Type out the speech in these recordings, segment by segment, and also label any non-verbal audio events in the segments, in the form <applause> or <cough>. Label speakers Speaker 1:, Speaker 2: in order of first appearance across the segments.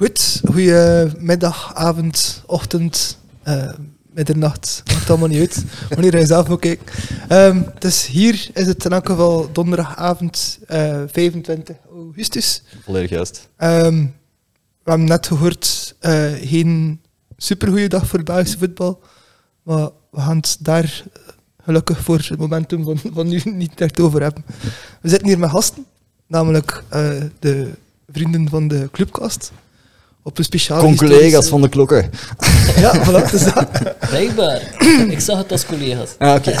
Speaker 1: Goed, goeiemiddag, avond, ochtend, eh, middernacht, maakt allemaal niet uit, wanneer hij zelf ook kijkt. Ehm, dus hier is het in elk geval donderdagavond eh, 25 augustus.
Speaker 2: Volledig juist.
Speaker 1: Ehm, we hebben net gehoord, eh, geen supergoeie dag voor het Belgische voetbal, maar we gaan het daar eh, gelukkig voor het momentum van, van nu <laughs> niet echt over hebben. We zitten hier met gasten, namelijk eh, de vrienden van de clubkast. Op een speciale
Speaker 2: Con-collega's
Speaker 1: historische-
Speaker 2: van de klokken.
Speaker 1: Ja, voilà, het
Speaker 3: <laughs>
Speaker 1: is dat.
Speaker 3: Blijkbaar. Ik zag het als collega's.
Speaker 2: Ah, oké.
Speaker 4: Ja,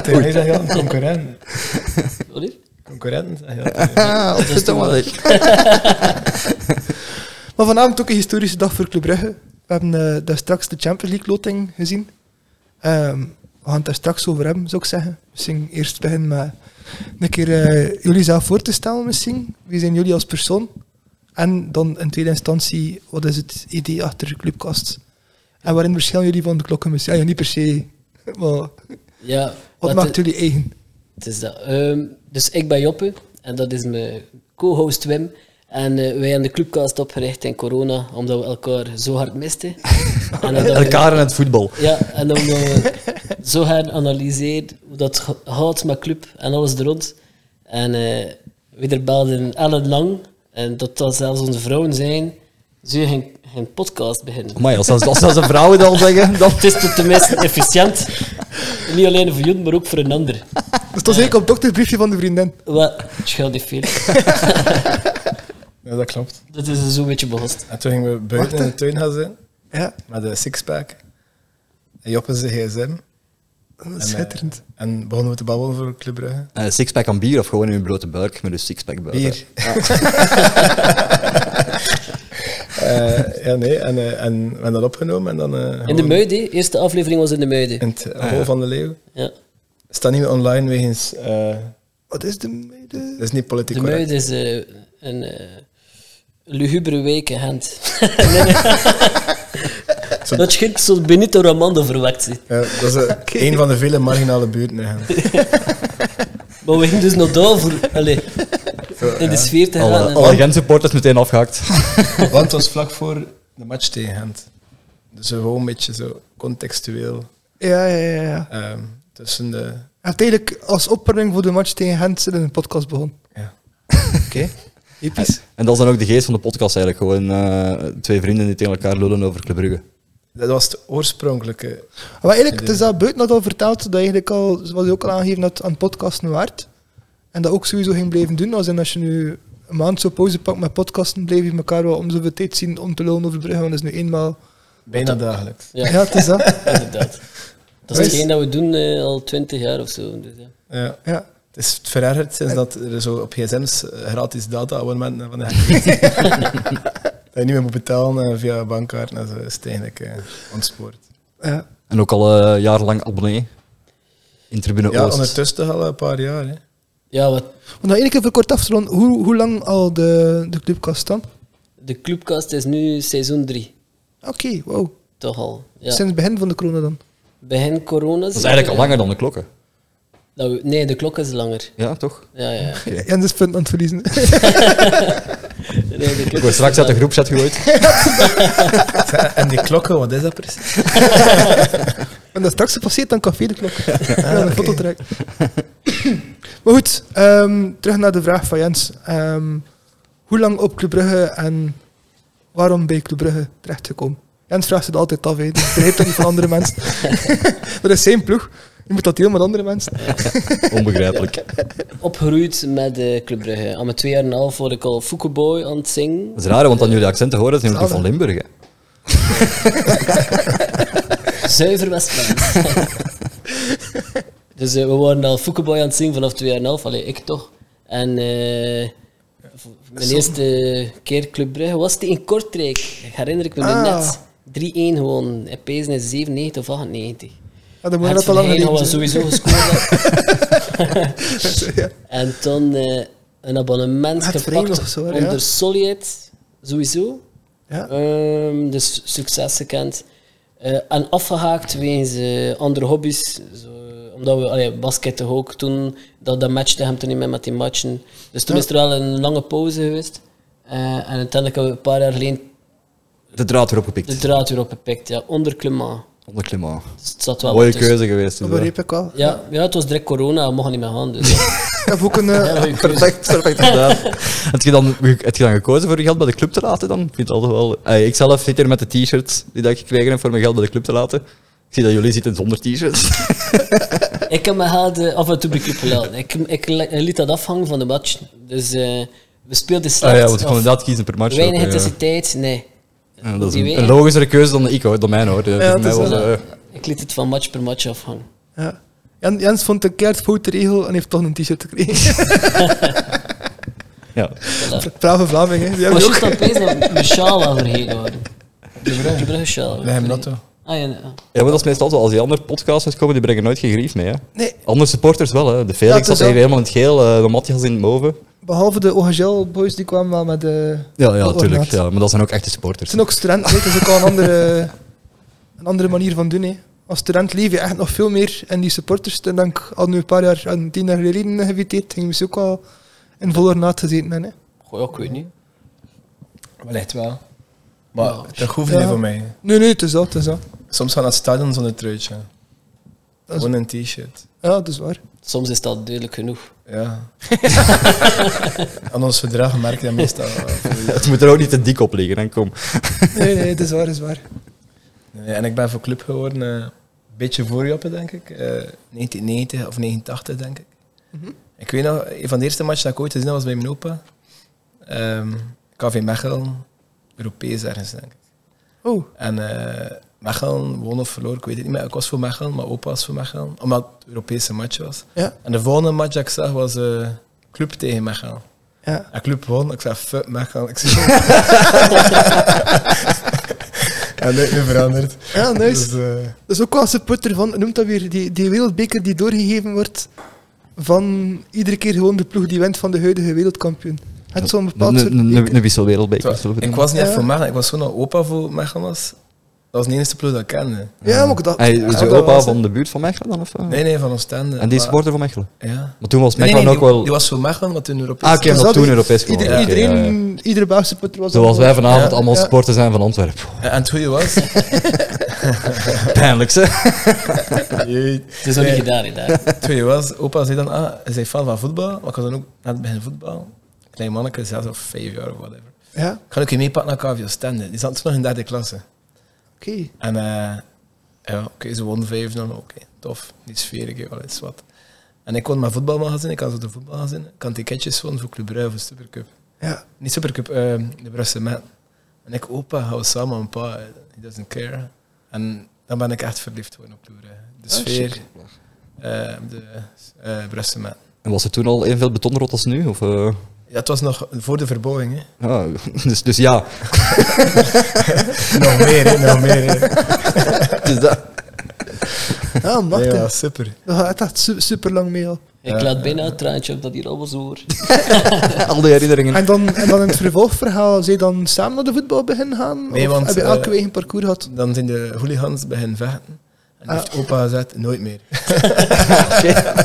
Speaker 4: tegen mij zeg je altijd concurrent.
Speaker 3: Sorry?
Speaker 4: Concurrent zeg je altijd.
Speaker 1: Ah,
Speaker 3: <laughs> Dat is toch wel
Speaker 1: opgetogen. maar vanavond ook een historische dag voor Club Brugge. We hebben eh, daar straks de Champions League loting gezien. Ehm, we gaan het daar straks over hebben, zou ik zeggen. Misschien eerst beginnen met een keer eh, jullie zelf voor te stellen misschien. Wie zijn jullie als persoon? En dan in tweede instantie, wat is het idee achter de clubkast? En waarin verschillen jullie van de klokken misschien? Ja, niet per se, <laughs> maar
Speaker 3: Ja.
Speaker 1: wat
Speaker 3: dat
Speaker 1: maakt
Speaker 3: is-
Speaker 1: jullie eigen?
Speaker 3: Het is dat. Ehm, dus ik ben Joppe en dat is mijn co-host Wim. En eh, wij hebben de clubcast opgericht in corona, omdat we elkaar zo hard
Speaker 1: <laughs>
Speaker 3: misten. en omdat we-
Speaker 2: Elkaar in het voetbal.
Speaker 3: Ja, en omdat we zo hard analyseerd hoe dat ge- gaat met club en alles er rond. En eh we er belden ellenlang, en dat dat zelfs onze vrouwen zijn, zou je geen, geen podcast beginnen.
Speaker 2: Maar als, als, als, als een vrouw het al zeggen, dan...
Speaker 3: Het is tot de meest efficiënt. Niet alleen voor jullie, maar ook voor een ander.
Speaker 1: Dus dat is eigenlijk op het dokterbriefje van de vriendin.
Speaker 3: Wat? Schuil die veel.
Speaker 4: Ja, dat klopt.
Speaker 3: Dat is zo'n beetje behost.
Speaker 4: En toen gingen we buiten in de tuin gaan zitten
Speaker 1: Ja,
Speaker 4: met een sixpack. En Joppe zijn gsm.
Speaker 1: dat
Speaker 4: En,
Speaker 1: is
Speaker 4: eh,
Speaker 1: schitterend.
Speaker 4: En begonnen we te babbelen voor Club Brugge.
Speaker 2: Een Eh, sixpack aan bier of gewoon in een blote buik met een sixpack buiten.
Speaker 4: Bier. <laughs> Eh, ja, nee. En, eh, en we hebben dat opgenomen. En dan, eh,
Speaker 3: In
Speaker 4: gewoon
Speaker 3: de Muiden, eerste aflevering was in de Muiden.
Speaker 4: In het
Speaker 1: Ah,
Speaker 4: hol van de leeuw.
Speaker 3: Ja.
Speaker 4: Staat niet meer online wegens... eh,
Speaker 1: Wat is de mede?
Speaker 4: dat is niet politiek
Speaker 3: De
Speaker 4: correct.
Speaker 3: Muiden is eh, een eh lugubere wijk in Gent. Nee, nee. Dat schip zo'n Benito Ramando verwekt. zit.
Speaker 4: Ja, dat is eh,
Speaker 1: <laughs> Oké.
Speaker 4: een van de vele marginale buurten. eigenlijk.
Speaker 3: Maar we gingen dus nog daarvoor allee, in de sfeer te gaan.
Speaker 2: Alle,
Speaker 3: en-
Speaker 2: alle Gent-supporters meteen <laughs> afgehakt.
Speaker 4: <laughs> Want het was vlak voor de match tegen Gent. Dus gewoon een beetje zo contextueel
Speaker 1: Ja, ja, ja. ja.
Speaker 4: ehm, tussen de...
Speaker 1: Uiteindelijk als opwarming voor de match tegen Gent zijn in een podcast begon.
Speaker 4: Ja.
Speaker 1: Oké. Episch.
Speaker 2: En dat is dan ook de geest van de podcast eigenlijk. Gewoon eh, twee vrienden die tegen elkaar lullen over Club Brugge.
Speaker 4: Dat was de oorspronkelijke...
Speaker 1: Maar eigenlijk, het is dat buiten had al verteld, dat eigenlijk al, zoals je ook al aangegeven had, aan podcasten waard. En dat ook sowieso ging blijven doen. Als, in als je nu een maand zo pauze pakt met podcasten, blijf je elkaar wel om zoveel tijd zien om te lonen over Brugge, want dat is nu eenmaal...
Speaker 4: Bijna dagelijks.
Speaker 1: Ja,
Speaker 3: Ja.
Speaker 1: het is
Speaker 3: <laughs>
Speaker 1: dat.
Speaker 3: Inderdaad. Dat is
Speaker 1: Wees-
Speaker 3: hetgeen dat we doen eh, al twintig jaar of zo. Dus, ja.
Speaker 4: Ja.
Speaker 1: Ja.
Speaker 4: Het is verergerd sinds dat er zo op gsm's gratis data-abonnementen van de gekregen. Dat je niet meer moet betalen eh, via bankkaart. Dat is eigenlijk eh, ontspoord.
Speaker 1: ja.
Speaker 2: En ook al eh, jarenlang abonnee. In Tribune
Speaker 4: Ja,
Speaker 2: Oost.
Speaker 4: ondertussen al een paar jaar. Hè.
Speaker 3: ja, wat
Speaker 1: Want nog één keer voor kort af te ronden, hoe, hoe lang al de, de clubkast dan?
Speaker 3: De Clubcast is nu seizoen 3,
Speaker 1: Oké, wow.
Speaker 3: toch al. Ja.
Speaker 1: Sinds het begin van de corona dan.
Speaker 3: Begin corona.
Speaker 2: Dat is eigenlijk al langer dan de klokken.
Speaker 3: nee, de klok is langer.
Speaker 2: Ja, toch?
Speaker 3: Ja, ja.
Speaker 2: <laughs>
Speaker 3: ja.
Speaker 1: Ja, dat is punt aan het verliezen.
Speaker 3: Nee, de
Speaker 2: Ik
Speaker 3: klok
Speaker 2: word
Speaker 3: is
Speaker 2: straks uit de
Speaker 3: langer.
Speaker 2: groepchat <laughs> gegooid.
Speaker 4: En die klokken, wat is dat precies?
Speaker 1: En dat straks gepasseerd aan Café de Klok. <laughs> Ja, een foto trek. <coughs> maar goed, ehm, terug naar de vraag van Jens. Ehm, hoe lang op Club Brugge en waarom bij Club Brugge terechtgekomen? Jens vraagt ze dat altijd af, hè. Dus begrijpt dat niet van andere mensen. <laughs> dat is zijn ploeg. Je moet dat delen met andere mensen.
Speaker 2: Onbegrijpelijk.
Speaker 3: Opgeroeid met eh Club Brugge. Aan mijn twee jaar en een half word ik al Foukeboy aan het
Speaker 2: <laughs>
Speaker 3: zingen.
Speaker 2: Dat is raar, want aan jullie accenten horen, zijn jullie van Limburg. hè.
Speaker 3: Zuiver
Speaker 2: <laughs>
Speaker 3: Westland. dus eh, we waren al Foukeboy aan het zingen vanaf twee jaar en een half. Allee, ik toch. En eh, v- mijn eerste keer Club Brugge was die in Kortrijk. Herinner ik me
Speaker 1: Ah.
Speaker 3: net. 3-1 gewoon. En Pezen is 97 of 98.
Speaker 1: Ja, dan moet je
Speaker 3: Het
Speaker 1: dat al
Speaker 3: van
Speaker 1: lang
Speaker 3: Heijn hadden
Speaker 1: geleden
Speaker 3: we
Speaker 1: zijn.
Speaker 3: sowieso
Speaker 1: <laughs>
Speaker 3: gescoord.
Speaker 1: Ja.
Speaker 3: en toen eh, een abonnement
Speaker 1: Het Verenigd
Speaker 3: gepakt
Speaker 1: of zo, hè,
Speaker 3: onder
Speaker 1: ja.
Speaker 3: Soliet, sowieso.
Speaker 1: Ja.
Speaker 3: Ehm, dus succes gekend. Eh, en afgehaakt wegens eh, andere hobby's. Zo, eh, omdat we allee, basketten ook toen, dat, dat matchte hem toen niet meer met die matchen. Dus toen
Speaker 1: Ja.
Speaker 3: is er wel een lange pauze geweest. Eh, en uiteindelijk hebben we een paar jaar geleden
Speaker 2: De draad weer
Speaker 3: de
Speaker 2: opgepikt.
Speaker 3: draad weer opgepikt. Ja, onder Clement.
Speaker 2: Onder klimaat.
Speaker 3: Dus het zat wel
Speaker 2: Mooie
Speaker 3: wat tussen.
Speaker 2: keuze geweest.
Speaker 1: Dat
Speaker 2: Is dat.
Speaker 1: begreep ik al.
Speaker 3: Ja, ja, het was direct corona, we mochten niet meer gaan. Dus.
Speaker 1: Ik heb ook een... eh,
Speaker 3: Ja, goeie keuze.
Speaker 2: Perfect, perfect gedaan. <laughs> heb, je dan, heb je dan gekozen voor je geld bij de club te laten dan? Ik vind het altijd wel... Ey, ik zelf zit hier met de t-shirt die dat ik gekregen heb voor mijn geld bij de club te laten. Ik zie dat jullie zitten zonder <laughs> t-shirt.
Speaker 3: ik heb mijn geld eh, af en toe bij club gelaten. Ik, ik li- liet dat afhangen van de match. Dus eh, we speelden
Speaker 2: Ah
Speaker 3: slecht.
Speaker 2: ja, want ik
Speaker 3: of
Speaker 2: kon inderdaad kiezen per match.
Speaker 3: weinig
Speaker 2: ook, eh. ja.
Speaker 3: intensiteit, nee.
Speaker 2: Ja, dat is
Speaker 3: Die
Speaker 2: een,
Speaker 3: wei-
Speaker 2: een logischere keuze dan ik hoor, dan mijn hoor. Ja,
Speaker 1: dat
Speaker 2: mij
Speaker 1: is
Speaker 2: was,
Speaker 1: wel-
Speaker 2: eh,
Speaker 3: Ik liet het van match per match afhangen.
Speaker 1: Ja. Jan- Jens vond een keert foute regel en heeft toch een t-shirt gekregen. <laughs>
Speaker 2: ja.
Speaker 1: Brave Vlaming, hè. Die hebben
Speaker 3: Maar
Speaker 1: we
Speaker 3: juist
Speaker 1: ook.
Speaker 3: dan pees dat we mijn sjaal al vergeten waren. De Brugge sjaal.
Speaker 4: We hebben auto.
Speaker 3: Ah ja, ja.
Speaker 2: ja, maar dat is meestal zo. Als die andere podcasters komen, die brengen nooit geen grief mee. Hè.
Speaker 1: Nee,
Speaker 2: Andere supporters wel. Hè. De
Speaker 1: Ja,
Speaker 2: Felix
Speaker 1: het is
Speaker 2: zat hier
Speaker 1: wel-
Speaker 2: helemaal in het geel, eh, de Matthias in het boven.
Speaker 1: behalve de OHL boys, die kwamen wel met... eh
Speaker 2: Ja, ja,
Speaker 1: Oh,
Speaker 2: tuurlijk.
Speaker 1: inderdaad.
Speaker 2: Ja, maar dat zijn ook echte
Speaker 1: Het
Speaker 2: supporters.
Speaker 1: zijn ook studenten, hè. het is ook al een andere, een andere manier van doen. Hè. Als student leef je echt nog veel meer in die supporters. En denk ik, al nu een paar jaar, een tien jaar geleden geviteerd, gingen we ze ook al in volle naad gezeten hebben. Hè.
Speaker 3: Goh, ja, ik weet niet.
Speaker 4: Wellicht wel. Maar
Speaker 3: Ja.
Speaker 4: dat hoeft
Speaker 1: Ja.
Speaker 4: niet voor mij.
Speaker 1: Nee, nee, het is dat, het is dat.
Speaker 4: Soms gaan naar het stadion zonder truitje.
Speaker 1: Dat is-
Speaker 4: Gewoon een t-shirt.
Speaker 1: Ja, dat is waar.
Speaker 3: Soms is dat duidelijk genoeg.
Speaker 1: <laughs>
Speaker 4: Ja. Aan ons verdrag merk je dat meestal. <laughs> wel.
Speaker 2: Het moet er ook niet te dik op liggen, hè. kom.
Speaker 1: Nee, nee, het is waar, het is waar.
Speaker 4: Nee, en ik ben voor club geworden, eh, een beetje voor Joppe, denk ik. Eh, 1990 of 89, denk ik.
Speaker 1: Mhm.
Speaker 4: Ik weet nog, een van de eerste matchen dat ik ooit gezien heb, was bij mijn opa. Ehm, KV Mechelen, Europees ergens, denk ik.
Speaker 1: Oh,
Speaker 4: En eh Mechelen won of verloor, ik weet het niet meer. Ik was voor Mechelen, maar opa was voor Mechelen. Omdat het Europese match was.
Speaker 1: Ja.
Speaker 4: En de volgende match dat ik zag was eh, Club tegen Mechelen.
Speaker 1: ja.
Speaker 4: En Club won, ik zei fuck Mechelen. Ik <laughs> zei, en dat is nu veranderd.
Speaker 1: Ja, nice.
Speaker 4: Dus, eh,
Speaker 1: Dat is ook wel een supporter van, noemt dat weer, die, die wereldbeker die doorgegeven wordt van iedere keer gewoon de ploeg die wint van de huidige wereldkampioen. Het zo'n bepaald soort...
Speaker 2: Een- Een
Speaker 1: beker.
Speaker 2: een wisselwereldbeker.
Speaker 4: Terwijl, Ik was niet echt voor Mechelen, ik was gewoon een opa voor Mechelen. was. Dat was de enige ploeg dat ik kende.
Speaker 1: Ja, maar ik dacht...
Speaker 2: Hij
Speaker 1: ja,
Speaker 2: is je
Speaker 1: dat
Speaker 2: opa
Speaker 1: was-
Speaker 2: van de buurt van Mechelen dan? Of, eh?
Speaker 4: Nee, nee, van Oostende.
Speaker 2: En die is
Speaker 4: maar-
Speaker 2: supporter van Mechelen.
Speaker 4: Ja.
Speaker 2: Maar toen was
Speaker 4: Nee, nee,
Speaker 2: Mechelen
Speaker 4: nee,
Speaker 2: ook wel...
Speaker 4: Die, die was voor Mechelen, maar toen Europees.
Speaker 2: Ah, oké,
Speaker 1: Dat
Speaker 2: omdat
Speaker 1: was
Speaker 2: toen
Speaker 1: dat-
Speaker 2: Europees
Speaker 1: Ieder,
Speaker 2: gewonnen. Oké, ja, ja.
Speaker 1: iedereen, Mm, iedere Belgische supporter was
Speaker 2: Zoals eh, wij vanavond
Speaker 4: Ja,
Speaker 2: allemaal
Speaker 1: ja.
Speaker 2: supporters zijn van Antwerpen. <laughs>
Speaker 4: En het goede was... <laughs>
Speaker 2: Pijnlijk, hè?
Speaker 4: Jee.
Speaker 3: Het is ook niet gedaan, hè, daar.
Speaker 4: Het goede was, opa zei dan, ah, hij is fan van voetbal. Maar ik was dan ook net bij voetbal. Klein manneke, zes of vijf jaar of whatever.
Speaker 1: Ja,
Speaker 4: Ik ga ook je meepakken naar KV Oostende. Die zat toen nog in derde klasse.
Speaker 1: oké.
Speaker 4: En eh, ja, oké, ze won 5 dan oké, tof. Die sfeer, ik wel eens wat. En ik kon mijn voetbalmagazine, ik had zo de voetbalmagazine, ik had ticketjes van voor Club Brugge voor Supercup.
Speaker 1: Ja.
Speaker 4: Niet Supercup, eh, de Brusselse Man. En ik, opa, hou samen een paar, he doesn't care. En dan ben ik echt verliefd geworden op Club Brugge. De sfeer, eh, op de eh Brusselse Man.
Speaker 2: En was er toen al evenveel betonrot als nu? Of, eh?
Speaker 4: Ja, het was nog voor de verbouwing, hè. <laughs>
Speaker 2: Ah, dus, dus ja, <laughs>
Speaker 4: Nog meer, hè, nog meer, hè.
Speaker 2: dus dat, <laughs>
Speaker 1: Ah, machtig.
Speaker 4: <laughs> Ja, super.
Speaker 1: Dat gaat echt su- super lang mee al.
Speaker 3: Ik laat bijna het traantje op dat hier allemaal zo hoor.
Speaker 2: al die herinneringen.
Speaker 1: En dan, en dan in het vervolgverhaal, zij dan samen naar de voetbal beginnen gaan?
Speaker 4: Nee,
Speaker 1: of
Speaker 4: want,
Speaker 1: heb je elke
Speaker 4: eh,
Speaker 1: eigen parcours gehad?
Speaker 4: Dan zijn de hooligans beginnen vechten. En
Speaker 1: Ah.
Speaker 4: heeft opa gezegd, nooit meer.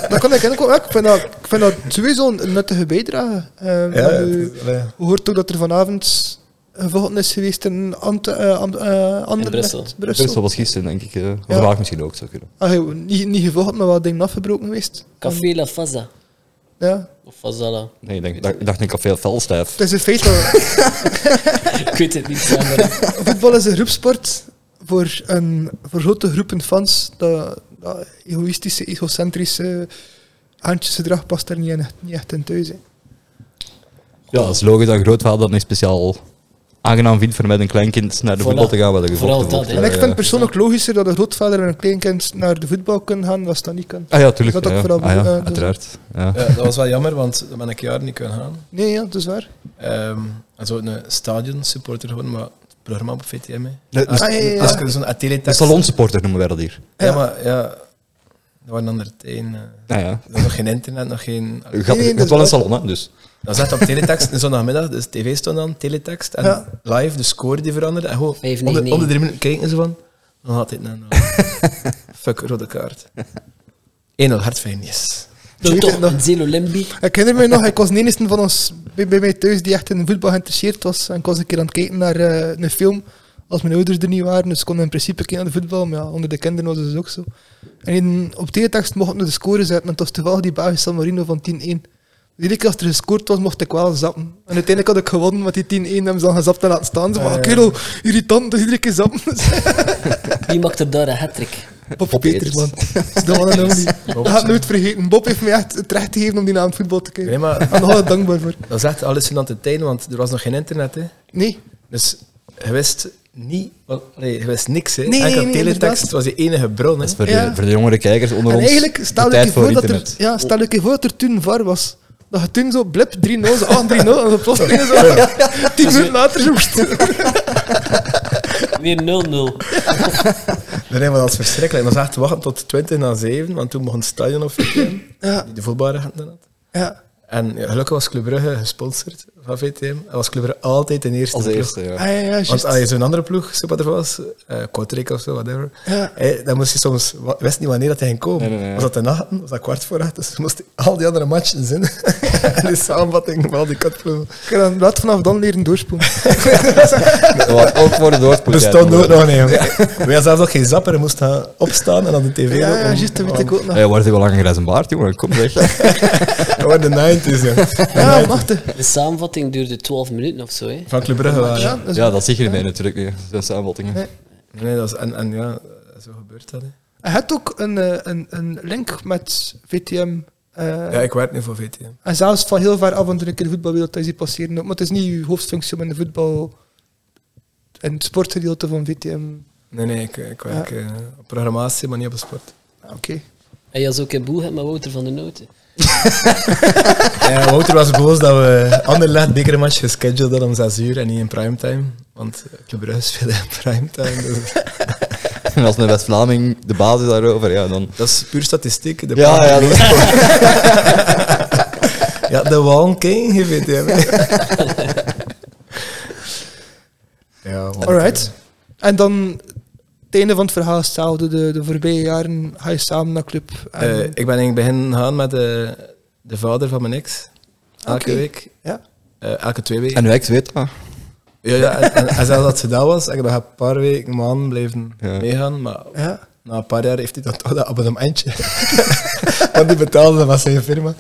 Speaker 1: Dat kan ik eigenlijk ook. ja, Ik vind dat, ik vind dat sowieso een nuttige bijdrage. Eh,
Speaker 4: Ja,
Speaker 1: maar
Speaker 4: het
Speaker 1: u
Speaker 4: is- allee.
Speaker 1: hoort ook dat er vanavond gevochten is geweest in Ant eh, Am- eh, Anderlecht,
Speaker 3: Brussel.
Speaker 1: Brussel.
Speaker 2: Brussel was gisteren, denk ik. eh. Of
Speaker 1: Ja.
Speaker 2: vandaag misschien ook, zou kunnen.
Speaker 1: Ah, heel, niet, niet gevochten, maar wel dingen afgebroken geweest.
Speaker 3: Café La Faza.
Speaker 1: Ja.
Speaker 3: Of Fazala.
Speaker 2: Nee, ik, denk, ik dacht- ik dacht een café felstijf.
Speaker 1: Het is een feit dat...
Speaker 3: Ik weet het niet eh, samen.
Speaker 1: Voetbal is een groepsport voor, een, voor grote groepen fans. Dat, dat egoïstische, egocentrische handjesgedrag past daar niet, in, niet echt in thuis. hè.
Speaker 2: Ja, dat is logisch dat grootvader dat niet speciaal aangenaam vindt voor met een kleinkind naar de
Speaker 3: Voilà.
Speaker 2: voetbal te gaan. Wat er
Speaker 3: Vooral
Speaker 2: gevochten wordt.
Speaker 3: dat,
Speaker 1: en
Speaker 3: hè.
Speaker 1: ik
Speaker 2: Eh,
Speaker 1: vind het persoonlijk logischer dat een grootvader en een kleinkind naar de voetbal kunnen gaan, als dat niet kan.
Speaker 2: Ah ja, tuurlijk.
Speaker 1: Dat ook
Speaker 2: ja.
Speaker 1: vooral-
Speaker 2: Ah ja,
Speaker 1: eh, dat-
Speaker 2: uiteraard. Ja.
Speaker 4: Ja, dat was wel jammer, want dan ben ik jaren niet kunnen gaan.
Speaker 1: Nee, ja, dat is waar.
Speaker 4: Ehm en zo een stadion supporter gewoon, maar het programma op VTM. hè.
Speaker 2: De,
Speaker 1: Ah, ja, ja, ja.
Speaker 4: Als ik zo'n
Speaker 2: de
Speaker 4: atletex...
Speaker 2: salonsupporter noemen wij dat hier.
Speaker 4: Ja, maar ja, dat waren andere tijden. eh.
Speaker 2: Nou ja.
Speaker 4: Er was nog geen internet, nog geen...
Speaker 2: Je gaat,
Speaker 1: Nee,
Speaker 2: je
Speaker 1: dat
Speaker 2: gaat
Speaker 1: is
Speaker 2: wel een
Speaker 1: waar.
Speaker 2: salon, hè, dus.
Speaker 4: Dan zat op teletext, een zondagmiddag, dus tv stond dan, teletext, en
Speaker 1: Ja.
Speaker 4: live, de score die veranderde. En gewoon,
Speaker 3: Vijf,
Speaker 4: om
Speaker 3: negen,
Speaker 4: de, om de
Speaker 3: negen.
Speaker 4: drie minuten kijken ze van,
Speaker 3: <laughs>
Speaker 4: dan had dit nou nou. Fuck, rode kaart. 1-0, Hartfijn, yes.
Speaker 1: Dat weet
Speaker 3: toch
Speaker 1: ik nog.
Speaker 3: een Zelo Limbi.
Speaker 1: Ik herinner me nog, ik was de enige van ons bij, bij mij thuis die echt in voetbal geïnteresseerd was. En ik was een keer aan het kijken naar eh, een film als mijn ouders er niet waren. Dus ik kon in principe kijken naar de voetbal, maar ja, onder de kinderen was het dus ook zo. En in- op tegentekst mocht ik nog de score zetten. En het was toevallig die Belgische San Marino van 10-1. Dus Iedere keer als er gescoord was, mocht ik wel zappen. En uiteindelijk had ik gewonnen, want die 10-1 hebben ze dan gezapt en laten staan. Ze maar
Speaker 4: Ah, ja.
Speaker 1: kerel, irritant, dus iedere keer
Speaker 4: <laughs>
Speaker 1: zappen.
Speaker 3: Wie maakt er daar een hat-trick?
Speaker 1: Bob,
Speaker 2: Bob
Speaker 1: Peters, man. Dat was een naam die... Ik ga het nooit vergeten. Bob heeft mij echt het recht gegeven om die naam voetbal te kijken.
Speaker 4: Nee, maar
Speaker 1: Ik ben er altijd dankbaar voor.
Speaker 4: dat is echt hallucinante tijden, want er was nog geen internet, hè.
Speaker 1: Nee,
Speaker 4: Dus je wist niet... wel, allee, je wist niks, hè.
Speaker 1: Nee, nee,
Speaker 4: Enkel
Speaker 1: nee,
Speaker 4: teletext
Speaker 1: inderdaad.
Speaker 4: was je enige bron, hè.
Speaker 2: Dat is voor,
Speaker 1: Ja.
Speaker 2: de, voor de jongere kijkers onder
Speaker 1: en
Speaker 2: ons.
Speaker 1: eigenlijk
Speaker 2: de
Speaker 1: stel ik
Speaker 2: tijd
Speaker 1: je voor dat er,
Speaker 2: internet.
Speaker 1: ja, stel ik je voor dat er toen var was. Dat je toen zo blip 3-0, zo aan 3-0 en dan
Speaker 4: <laughs>
Speaker 1: plotseling zo. Tien
Speaker 4: Dus
Speaker 1: minuten later zo.
Speaker 3: Weer 0-0.
Speaker 4: Nee, nee, maar dat is verschrikkelijk. En dan zag te wachten tot 20 na 7, want toen begon het stadion of die
Speaker 1: Ja,
Speaker 4: de voetbalrechten had.
Speaker 1: ja.
Speaker 4: En ja, gelukkig was Club Brugge gesponsord van VTM. En was Club Brugge altijd de eerste
Speaker 2: Als
Speaker 4: ploeg.
Speaker 2: eerste, ja.
Speaker 1: Ah, ja, ja,
Speaker 4: Want
Speaker 1: juist.
Speaker 4: als je zo'n andere ploeg, zo wat er was, eh Kortrijk of zo, whatever,
Speaker 1: Ja.
Speaker 4: eh, dan moest je soms, wa- wist niet wanneer dat hij ging komen.
Speaker 2: Nee, nee, nee.
Speaker 4: Was dat de nacht, was dat kwart voor acht, dus je moest al die andere matchen zien. <laughs> en die samenvatting van al die kutploegen.
Speaker 1: Ik ga dan laat vanaf dan leren doorspoelen.
Speaker 2: Wat ook voor de doorpoed.
Speaker 4: Bestond ook nog niet. jongen. <laughs> We hadden zelfs nog geen zapper, je moest gaan opstaan en dan de tv
Speaker 1: Ja, ja,
Speaker 4: openen.
Speaker 1: juist, dat weet ik ook nog.
Speaker 2: Hey, waar is die wel langer als een baard, jongen?
Speaker 1: <laughs>
Speaker 2: Kom zeg.
Speaker 4: Oh, de 90s, ja.
Speaker 1: Ja, machtig.
Speaker 3: De samenvatting duurde 12 minuten of zo. Hè.
Speaker 4: Van Club Brugge waren.
Speaker 1: Ja, dat is
Speaker 2: ja, dat zie je ermee natuurlijk niet. Zijn samenvattingen.
Speaker 1: Nee.
Speaker 4: Nee, dat is, en, en ja, zo gebeurt dat. Hè.
Speaker 1: Hij had ook een, eh, een, een link met VTM. eh,
Speaker 4: Ja, ik werk nu voor VTM.
Speaker 1: En zelfs van heel ver af en toe een keer de voetbalwereld is die passeren. ook. Maar het is niet uw hoofdfunctie om in de voetbal en het sportgedeelte van VTM.
Speaker 4: Nee, nee, ik, ik werk eh, op programmatie, maar niet op sport. <laughs>
Speaker 1: Ah, Oké.
Speaker 3: En je was ook in boel hè, met Wouter van de Noten.
Speaker 4: Ja, Wouter was boos dat we Anderlecht bekermatch gescheduled hadden om 6 uur en niet in primetime. Want eh, Club Brugge <laughs> speelde in primetime. Dus
Speaker 2: En als een West-Vlaming de basis daarover, ja, dan...
Speaker 4: dat is puur statistiek. De
Speaker 2: Ja, ja, dat is
Speaker 4: ja, de Wallen King, je weet het. <laughs> Ja, want,
Speaker 1: Alright. En dan het einde van het verhaal is hetzelfde. De, de voorbije jaren ga je samen naar club. En,
Speaker 4: eh, eh, ik ben in het begin gegaan met de, de vader van mijn ex. Elke
Speaker 1: Oké.
Speaker 4: week.
Speaker 1: ja.
Speaker 4: eh, elke twee
Speaker 1: <laughs>
Speaker 4: weken.
Speaker 2: En uw ex weet dat.
Speaker 4: Ja, ja en, en, en zelfs als ze dat was, ik ben een paar weken man blijven
Speaker 2: Ja.
Speaker 4: meegaan, maar
Speaker 1: Ja.
Speaker 4: na een paar jaar heeft hij dan toch dat abonnementje. <laughs> Want die betaalde dat met zijn firma.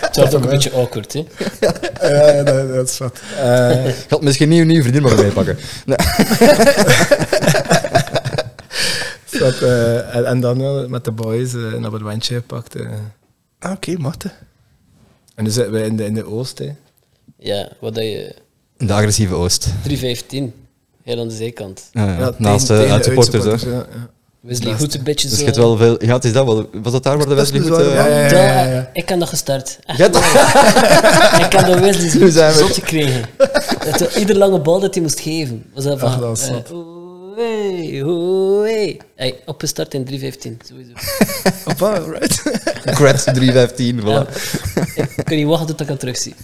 Speaker 3: Het was ook een beetje awkward. Hè.
Speaker 4: Ja, ja, dat, dat is wat. Eh,
Speaker 2: Ik had misschien niet uw nieuwe vriendin mogen meepakken. Nee.
Speaker 4: is wat, eh, en, en dan ja, met de boys eh, een abonnementje gepakt. eh.
Speaker 1: Ah, Oké, <laughs> matte.
Speaker 4: En nu zitten we in de, in de Oost. hè.
Speaker 3: Ja, wat dat je...
Speaker 2: In De agressieve Oost.
Speaker 3: 315. Heel aan de zijkant.
Speaker 2: Ja, ja.
Speaker 4: Ja, tegen-
Speaker 2: Naast eh, de
Speaker 4: tegen de
Speaker 2: uitsupporters, hè.
Speaker 4: uitsupporters, ja, ja.
Speaker 3: Wesley
Speaker 4: Naast-
Speaker 3: goed een beetje
Speaker 2: Dus je
Speaker 3: zo...
Speaker 2: hebt wel veel... Ja, het is dat wel... Was dat daar waar de
Speaker 1: Dat is
Speaker 2: Wesley
Speaker 1: dus
Speaker 2: goed...
Speaker 1: wel-
Speaker 2: eh,
Speaker 1: ja,
Speaker 4: ja, ja, ja, ja.
Speaker 3: Dat- Ik kan dat
Speaker 2: <laughs>
Speaker 3: gestart. <laughs> Echt.
Speaker 2: Je hebt dat-
Speaker 3: Ik kan de Wesley
Speaker 2: Nu
Speaker 3: zo
Speaker 2: zijn we-
Speaker 3: zot gekregen. Dat we iedere lange bal dat hij moest geven. Was dat van...
Speaker 4: Ach, dat was
Speaker 3: eh,
Speaker 4: zot.
Speaker 3: oei, oei. Hey, opgestart in 315, sowieso.
Speaker 1: Hoppa, alright.
Speaker 2: Creds 315, voilà.
Speaker 3: Ja. Ik kan niet wachten tot ik hem terugzie.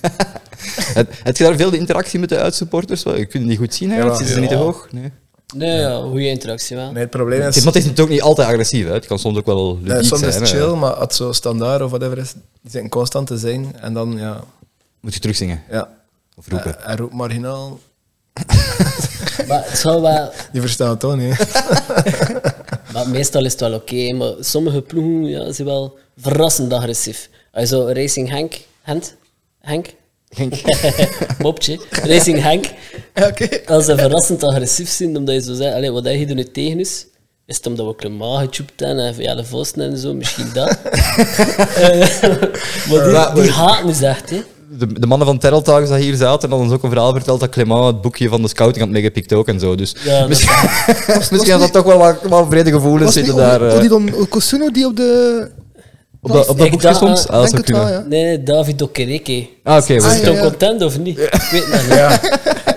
Speaker 2: Heb heb je daar veel interactie met de uitsupporters? Wel, Je kunt het niet goed zien, eigenlijk.
Speaker 4: Ja.
Speaker 2: Zitten ze niet te hoog? Nee.
Speaker 3: Nee, ja, goede interactie wel.
Speaker 4: Nee, het probleem
Speaker 2: Het
Speaker 4: is,
Speaker 2: is, maar het is natuurlijk ook niet altijd agressief. Hè. Het kan soms ook wel ludiek
Speaker 4: eh, soms is
Speaker 2: zijn.
Speaker 4: het
Speaker 2: hè.
Speaker 4: chill, maar als zo standaard of whatever is, die zitten constant te zingen. En dan, ja,
Speaker 2: Moet je terugzingen
Speaker 4: ja.
Speaker 2: of roepen.
Speaker 4: Eh, en roep marginaal.
Speaker 3: Maar, het zou wel,
Speaker 4: Die verstaan het toch niet. hè.
Speaker 3: maar meestal is het wel oké. maar sommige ploegen ja, zijn wel verrassend agressief. Als je zo Racing Henk... Hent? Henk? <laughs> Mopje. Racing Henk.
Speaker 1: Ja, <laughs> Oké.
Speaker 3: Als ze verrassend agressief zijn, omdat je zo zegt, allee, wat je er nu tegen is, is het omdat we klimaat gechoept hebben en ja, de vosten en zo, misschien
Speaker 1: <laughs>
Speaker 3: dat. Eh, maar die, die haat is echt, hè.
Speaker 2: De, de mannen van Terreltagens dat hier zaten, hadden ons ook een verhaal verteld dat Clément het boekje van de scouting had meegepikt ook en zo. Dus
Speaker 3: Ja, dat-
Speaker 2: misschien, <laughs> misschien had dat toch wel wat, wat vrede gevoelens
Speaker 1: Was niet
Speaker 2: zitten daar. eh,
Speaker 1: Odilon Kosuno die op de...
Speaker 2: op dat, op dat
Speaker 3: Ik
Speaker 2: boekje
Speaker 3: dacht,
Speaker 2: stond?
Speaker 3: eh,
Speaker 2: Ah,
Speaker 1: denk
Speaker 2: dat zou
Speaker 1: het wel,
Speaker 2: kunnen.
Speaker 1: ja.
Speaker 3: Nee, nee, David Okereke.
Speaker 2: Ah, oké.
Speaker 1: Ah,
Speaker 2: wel.
Speaker 3: Is het
Speaker 1: ja,
Speaker 3: ook
Speaker 1: ja.
Speaker 3: content of niet? Ik weet het niet.
Speaker 4: Ja,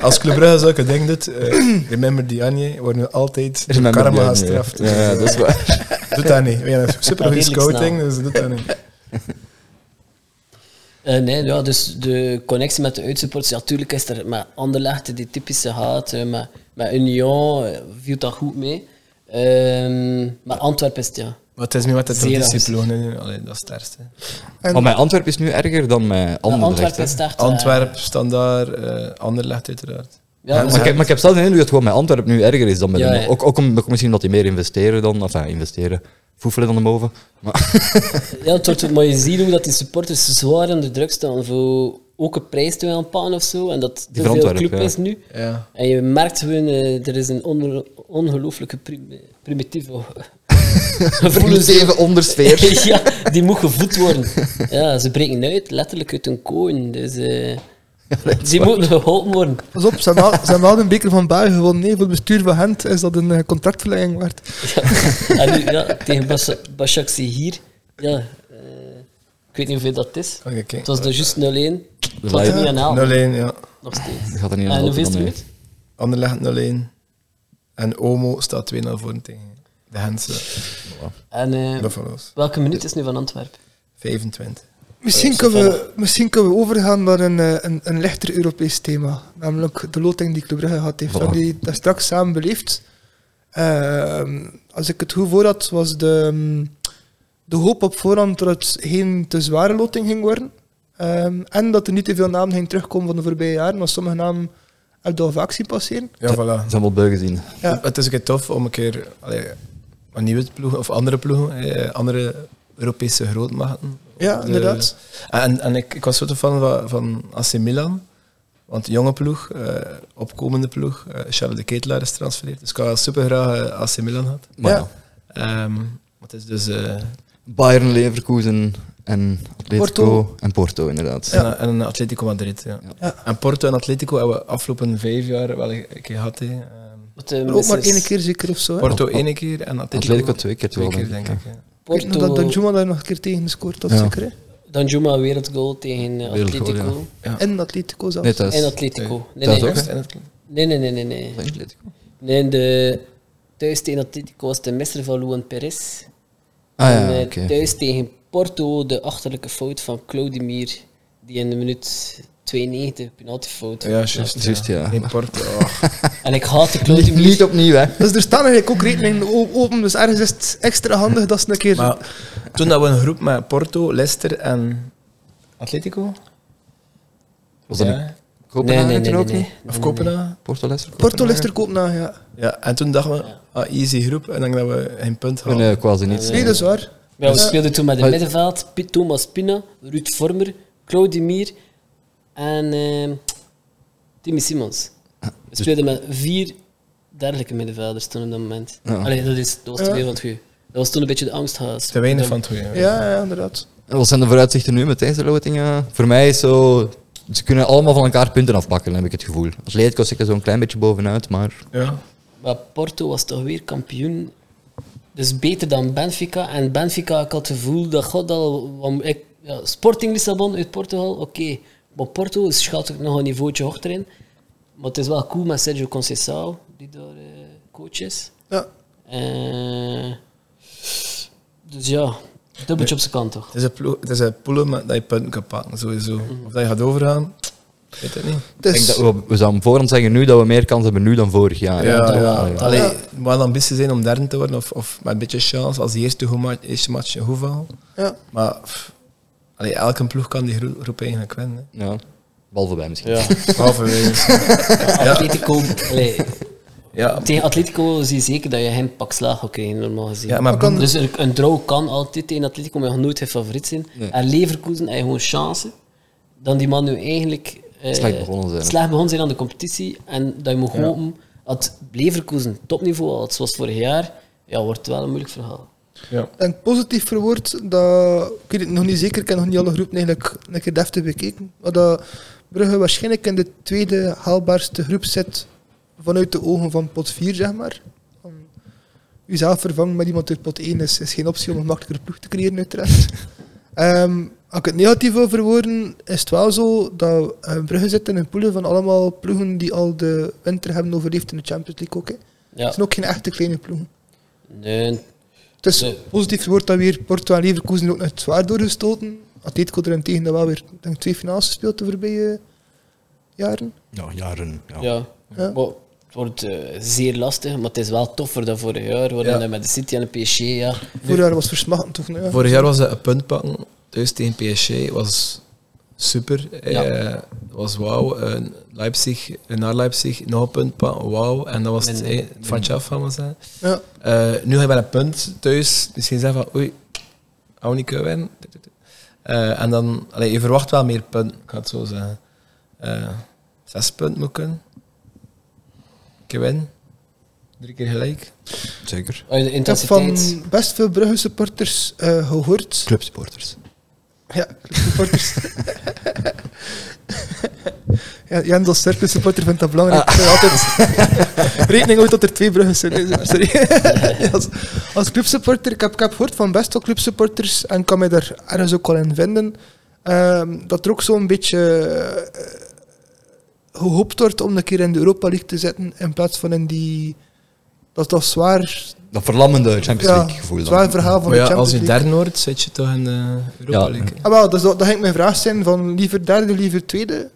Speaker 4: als Club Brugge zulke dingen doet, eh, <clears throat> remember Dianje, wordt nu altijd
Speaker 2: Er zijn
Speaker 4: door
Speaker 2: mijn
Speaker 4: karma dus,
Speaker 2: medaille,
Speaker 4: gestraft.
Speaker 2: ja. Ja, ja,
Speaker 4: eh.
Speaker 2: dat is waar.
Speaker 4: <laughs> Doet dat niet. We hebben een supergoeie
Speaker 3: Redelijk
Speaker 4: scouting, dus doet dat niet.
Speaker 3: Eh, nee, ja, dus de connectie met de uitsupporters, ja, natuurlijk is er met Anderlecht die typische haat, eh, met, met Union eh, viel dat goed mee. Ehm, maar Antwerpen is het, ja.
Speaker 4: Wat is nu wat het
Speaker 3: Zeer
Speaker 4: discipline nu? Allee, dat is het ergste.
Speaker 1: En
Speaker 2: Maar mijn Antwerpen is nu erger dan mijn
Speaker 3: Ja,
Speaker 2: andere
Speaker 3: Antwerpen is
Speaker 2: echt,
Speaker 3: eh,
Speaker 2: hè.
Speaker 3: start.
Speaker 4: Antwerp, standaard, eh Anderlecht uiteraard.
Speaker 3: Ja, dus
Speaker 2: Maar ik, heb- maar ik heb zelf de indruk dat gewoon mijn Antwerpen nu erger is dan met
Speaker 3: Ja,
Speaker 2: de
Speaker 3: ja.
Speaker 2: Mo- ook, ook, om- ook misschien omdat die meer investeren dan, enfin, investeren, foefelen dan de moven. <laughs> Maar
Speaker 3: Ja, het wordt, maar je ziet ook dat die supporters zwaar onder druk staan voor ook een prijs te willen pakken of zo. En dat
Speaker 2: Die
Speaker 3: te veel
Speaker 2: verantwoordelijk,
Speaker 3: club
Speaker 2: ja.
Speaker 3: is nu.
Speaker 4: Ja.
Speaker 3: En je merkt gewoon, eh, er is een onder- ongelooflijke prim-
Speaker 2: <laughs>
Speaker 3: primitieve <laughs> gevoelens.
Speaker 2: even ondersfeer.
Speaker 3: <laughs> ja, die moet gevoed worden. Ja, ze breken uit, letterlijk uit een kooi. Dus, eh, die moeten geholpen worden.
Speaker 1: Pas op, ze hebben wel- ze hebben wel een beker van België gewonnen. Nee, voor het bestuur van Gent is dat een eh, contractverlenging waard.
Speaker 3: Ja. En nu, ja, tegen Bas- Bashaksi hier. Ja, eh, ik weet niet hoeveel dat is.
Speaker 4: Oké, oké.
Speaker 3: Het was er juist 0-1. Het was
Speaker 2: Leiden.
Speaker 3: er niet aan
Speaker 4: 0-1,
Speaker 3: halen,
Speaker 4: ja.
Speaker 3: nog steeds.
Speaker 2: Ik had er niet
Speaker 3: En
Speaker 2: aan
Speaker 3: hoeveel is er
Speaker 2: nee.
Speaker 3: minuut?
Speaker 4: Anderlecht 0-1. En Omo staat 2-0 voor tegen de Hensen.
Speaker 3: En eh,
Speaker 4: Buffalo's.
Speaker 3: welke minuut is nu van Antwerpen?
Speaker 4: 25.
Speaker 1: Misschien, kunnen, we, misschien kunnen we overgaan naar een, eh, een, een lichter Europees thema. Namelijk de loting die Club Brugge gehad heeft.
Speaker 2: Voilà.
Speaker 1: We hebben die daar straks samen beleefd. Ehm, als ik het goed voor had, was de, ehm, de hoop op voorhand dat het geen te zware loting ging worden. Ehm, en dat er niet te veel namen gingen terugkomen van de voorbije jaren. Want sommige namen heb je al vaak zien passeren.
Speaker 4: Ja, voilà.
Speaker 2: Dat zijn wel beu gezien.
Speaker 1: Ja.
Speaker 4: Het is ook tof om een keer allee, een nieuwe ploeg of andere ploegen, eh, andere Europese grootmachten.
Speaker 1: Ja,
Speaker 4: De- Ah,
Speaker 1: inderdaad.
Speaker 4: En, en ik, ik was zo te fan van, van AC Milan. Want jonge ploeg, eh, opkomende ploeg. eh, Charles de Ketelaar is transfereerd. Dus ik had super graag AC Milan gehad.
Speaker 2: Maar
Speaker 1: Ja.
Speaker 2: ja.
Speaker 4: Ehm, maar het is dus... eh,
Speaker 2: Bayern, Leverkusen en Atletico
Speaker 1: Porto.
Speaker 2: en Porto, inderdaad.
Speaker 4: En, en een Atletico Madrid. Ja.
Speaker 1: Ja.
Speaker 4: En Porto en Atletico hebben we afgelopen vijf jaar wel een keer gehad. hè. Ehm,
Speaker 3: Want, eh,
Speaker 1: Ook maar
Speaker 3: minstens
Speaker 1: één keer zeker of zo. hè?
Speaker 4: Porto één keer en Atletico,
Speaker 2: Atletico twee keer
Speaker 4: twee
Speaker 2: wel,
Speaker 4: keer, denk ik. ja.
Speaker 1: Ik weet nog dat
Speaker 3: Porto,
Speaker 1: Danjuma daar nog een keer tegen gescoord had,
Speaker 2: Ja.
Speaker 1: zeker. Hè?
Speaker 3: Danjuma wereldgoal tegen eh,
Speaker 2: Wereldgoal,
Speaker 3: Atletico.
Speaker 4: Ja.
Speaker 1: En Atletico zelfs.
Speaker 2: Nee, thuis.
Speaker 3: En Atletico. Nee,
Speaker 2: Dat
Speaker 3: nee.
Speaker 2: ook, hè?
Speaker 4: En het-
Speaker 3: nee, nee, nee, nee, nee.
Speaker 2: Atletico.
Speaker 3: Nee, de thuis tegen Atletico was de misser van Luan Perez.
Speaker 2: Ah
Speaker 3: en
Speaker 2: ja,
Speaker 3: eh,
Speaker 2: oké.
Speaker 3: thuis tegen Porto de achterlijke fout van Claudemir, die in de minuut 92 penaltyfout.
Speaker 4: Ja, juist.
Speaker 2: Juist, ja.
Speaker 4: In Porto. oh.
Speaker 3: En ik haatte
Speaker 2: Niet,
Speaker 3: Claudemir.
Speaker 2: niet opnieuw, hè.
Speaker 1: Dus er staan eigenlijk ook rekeningen o- open, dus ergens is het extra handig dat ze een keer...
Speaker 4: <laughs> maar toen dat we een groep met Porto, Leicester en Atletico.
Speaker 2: Was dat
Speaker 4: ja,
Speaker 2: niet
Speaker 3: Nee,
Speaker 2: Kopenhagen
Speaker 3: nee, nee,
Speaker 2: toen
Speaker 3: nee,
Speaker 2: ook
Speaker 3: nee.
Speaker 2: niet?
Speaker 4: Of Kopenhagen.
Speaker 2: Porto, Leicester?
Speaker 1: Porto ligt er Kopenhagen, ja.
Speaker 2: Mm.
Speaker 4: Ja, en toen dachten we, ah, easy groep. En dan dat we geen punt
Speaker 2: Nee,
Speaker 4: hadden.
Speaker 2: nee, quasi niet.
Speaker 1: Nee, dat is waar.
Speaker 3: Ja,
Speaker 4: Dus
Speaker 3: we speelden toen met
Speaker 2: Maar-
Speaker 3: het middenveld Pi- Thomas Pina, Ruud Vormer, Claudemir en ehm, Timmy Simons.
Speaker 4: Ah,
Speaker 3: We
Speaker 4: dus-
Speaker 3: speelden met vier dergelijke middenvelders toen op dat moment.
Speaker 2: Ja.
Speaker 3: Allee, dat, is, dat was te
Speaker 1: Ja.
Speaker 3: veel van het goede. Dat was toen een beetje de angsthaas.
Speaker 4: Te weinig van het goede.
Speaker 1: Ja, ja, inderdaad.
Speaker 2: En Wat zijn de vooruitzichten nu met deze loting? eh? Voor mij is zo... Ze kunnen allemaal van elkaar punten afpakken, heb ik het gevoel. Atletico zit er zo'n klein beetje bovenuit, maar...
Speaker 4: Ja.
Speaker 3: Maar Porto was toch weer kampioen. Dus beter dan Benfica. En Benfica, ik had het gevoel dat God al. want ik- ja, Sporting Lissabon uit Portugal, oké. Maar Porto schat ik nog een niveautje hoger in. Maar het is wel cool met Sergio Conceição, die daar eh, coach is.
Speaker 1: Ja.
Speaker 3: Eh, dus ja, dubbeltje op zijn kant toch?
Speaker 4: Het is een, ploeg- het is een poelen met- dat je punten kan pakken, sowieso. Of dat je gaat overgaan, weet het niet.
Speaker 1: Dus,
Speaker 2: Ik denk dat we, we zouden voorhand zeggen nu dat we meer kans hebben nu dan vorig jaar. Ah,
Speaker 4: Ja, ja.
Speaker 2: ja.
Speaker 4: Allee, het moet wel ambitie zijn om derde te worden, of, of met een beetje chance als die eerste, goe- ma- eerste match je hoeveel.
Speaker 1: ja.
Speaker 4: Maar pff, allee, elke ploeg kan die gro- groep eigenlijk winnen.
Speaker 2: Ja. Behalve bij misschien.
Speaker 4: hè. <laughs> Halverwege.
Speaker 3: Atletico, allee,
Speaker 4: ja,
Speaker 3: tegen Atletico zie je zeker dat je geen pak slaag gaat krijgen, normaal gezien.
Speaker 4: ja, maar
Speaker 1: Maar kan-
Speaker 4: Boen-
Speaker 3: Dus er- een draw kan altijd in Atletico, maar je gaat nooit je favoriet zijn. En Leverkusen heeft gewoon chance. Dan die man nu eigenlijk... eh,
Speaker 2: Slecht begonnen zijn.
Speaker 3: Slecht begonnen zijn aan de competitie. En dat je moet hopen dat Leverkusen topniveau had, zoals vorig jaar, ja, wordt wel een moeilijk verhaal.
Speaker 4: ja.
Speaker 1: Ik denk positief verwoord dat... Ik weet het nog niet zeker, ik heb nog niet alle groepen eigenlijk een keer deftig bekeken. Maar dat Brugge waarschijnlijk in de tweede haalbaarste groep zit vanuit de ogen van pot 4, zeg maar. Van, Uzelf vervangen met iemand uit pot 1 is, is geen optie om een makkelijker ploeg te creëren, uiteraard. <laughs> Ehm, als ik het negatief wil verwoorden, is het wel zo dat eh, Brugge zit in een poelen van allemaal ploegen die al de winter hebben overleefd in de Champions League ook. hè.
Speaker 3: Ja.
Speaker 1: Het zijn ook geen echte kleine ploegen.
Speaker 3: Nee,
Speaker 1: Dus
Speaker 3: Nee.
Speaker 1: positief wordt dat weer Porto en Leverkusen ook nog het zwaar doorgestoten. Atletico er tegen dat wel weer ik denk, twee finales gespeeld de voorbije jaren.
Speaker 2: Ja, jaren. Ja.
Speaker 3: ja.
Speaker 1: Ja.
Speaker 3: Maar het wordt eh, zeer lastig, maar het is wel toffer dan vorig jaar. Waarin
Speaker 4: Ja.
Speaker 3: we met de City en de PSG, ja.
Speaker 1: Vorig jaar was versmachtend toch? Nou, ja.
Speaker 4: Vorig jaar was het een punt pakken. Thuis tegen PSG was super. Eh,
Speaker 3: Ja.
Speaker 4: was wauw. Eh, Leipzig, eh, naar Leipzig, nog een punt pakken. Wauw. En dat was het,
Speaker 3: Minder.
Speaker 4: eh, het vatje af gaan we zeggen.
Speaker 1: Ja.
Speaker 4: Eh, nu ga je met een punt thuis. Misschien zeggen van oei, hou niet kunnen winnen. Eh, en dan, allee, je verwacht wel meer punten, ik ga het zo zeggen. Eh, zes punten moet kunnen. Een keer winnen. Drie keer gelijk.
Speaker 2: Zeker.
Speaker 3: Ah, De
Speaker 1: Ik heb
Speaker 3: intensiteit.
Speaker 1: van best veel Brugge supporters eh, gehoord.
Speaker 2: Clubsporters.
Speaker 1: Ja, supporters. <laughs> ja, Jendel Cirkel supporter vindt dat
Speaker 4: Ah.
Speaker 1: belangrijk. Ik wil Altijd <laughs> rekening houden dat er twee bruggen zijn. Nee, Sorry. <laughs> als, als clubsupporter, ik heb, ik heb gehoord van best wel clubsupporters en kan mij daar ergens ook wel in vinden. ehm, dat er ook zo'n beetje eh, gehoopt wordt om een keer in de Europa League te zitten in plaats van in die. Dat dat zwaar,
Speaker 2: Dat verlammende Champions
Speaker 1: ja,
Speaker 2: League gevoel dan.
Speaker 1: zwaar verhaal van de
Speaker 4: Maar Oh ja,
Speaker 1: Champions
Speaker 4: als je
Speaker 1: League.
Speaker 4: derde wordt, zit je toch in de Europa
Speaker 2: Ja.
Speaker 4: League. hè?
Speaker 1: Ah, wel, dus dat, dat ging mijn vraag zijn: van liever derde, liever tweede.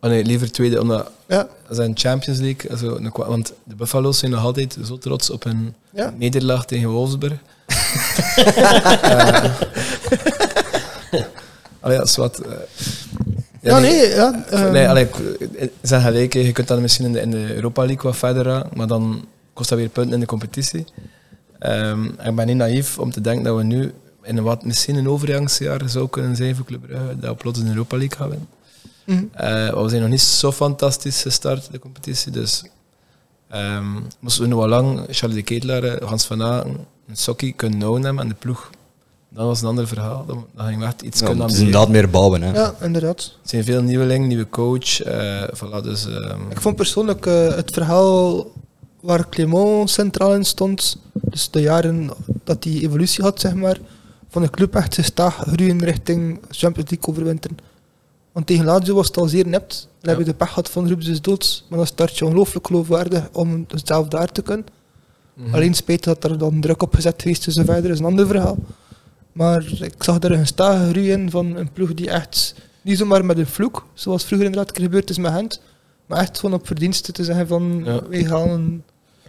Speaker 4: Oh nee, liever tweede, omdat
Speaker 1: Ja,
Speaker 4: als een Champions League, also, een kwa- want de Buffalo's zijn nog altijd zo trots op hun
Speaker 1: ja.
Speaker 4: nederlaag tegen Wolfsburg. <laughs> Eh, Allee, dat is wat. eh,
Speaker 1: Ja, nee, ja.
Speaker 4: Nee,
Speaker 1: ehm,
Speaker 4: allee, ik- eh, zeg gelijk, je kunt dan misschien in de, in de Europa League wat verder raken, maar dan kost dat weer punten in de competitie. Ehm, ik ben niet naïef om te denken dat we nu in wat misschien een overgangsjaar zou kunnen zijn voor Club Brugge, dat we plots in de Europa League gaan winnen.
Speaker 1: mhm.
Speaker 4: Eh, maar we zijn nog niet zo fantastisch gestart, de competitie. Dus ehm, moesten we nog wel lang Charles de Ketelaar, eh, Hans van Aken, een sokkie kunnen houden hebben aan de ploeg. Dat was een ander verhaal. Dan, dan ging we echt iets
Speaker 2: Ja,
Speaker 4: kunnen
Speaker 2: het is
Speaker 4: ambiëren.
Speaker 2: inderdaad meer bouwen. Hè.
Speaker 1: Ja, inderdaad.
Speaker 4: Er zijn veel nieuwelingen, nieuwe coach. eh voilà, dus, ehm,
Speaker 1: Ik vond persoonlijk eh, het verhaal waar Clément centraal in stond, dus de jaren dat hij evolutie had, zeg maar, van de club echt gestaag groeien richting Champions League overwinteren. Want tegen Lazio was het al zeer nipt. Dan heb je de pech gehad van Rups is dood, maar dan start je ongelooflijk geloofwaardig om het zelf daar te kunnen.
Speaker 4: mhm.
Speaker 1: Alleen spijt dat er dan druk op gezet geweest is en verder is een ander verhaal. Maar ik zag er een stage groei in van een ploeg die echt niet zomaar met een vloek, zoals vroeger inderdaad een keer gebeurd is met Gent, maar echt gewoon op verdiensten te zeggen van
Speaker 4: Ja.
Speaker 1: wij gaan, een-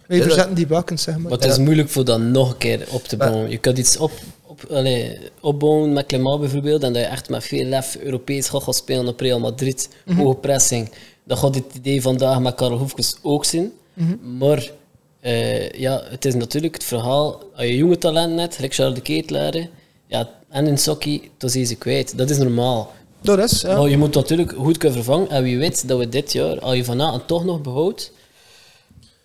Speaker 1: wij
Speaker 4: Ja, dat-
Speaker 1: verzetten die bakens zeg maar.
Speaker 3: Maar het is moeilijk voor dat nog een keer op te bouwen. Je kunt iets op, op, allee, opbouwen met Clément bijvoorbeeld, en dat je echt met veel lef Europees gaat gaan spelen op Real Madrid, hoge pressing. Dan gaat het idee vandaag met Karel Hoefkens ook zien. Maar eh, ja, het is natuurlijk het verhaal, als je jonge talent net, gelijk Charles de Ketelaere, ja, en een sokkie, dan zie je ze kwijt. Dat is normaal.
Speaker 1: Dat is, ja.
Speaker 3: Maar je moet natuurlijk goed kunnen vervangen. En wie weet dat we dit jaar, als je vanavond toch nog behoudt,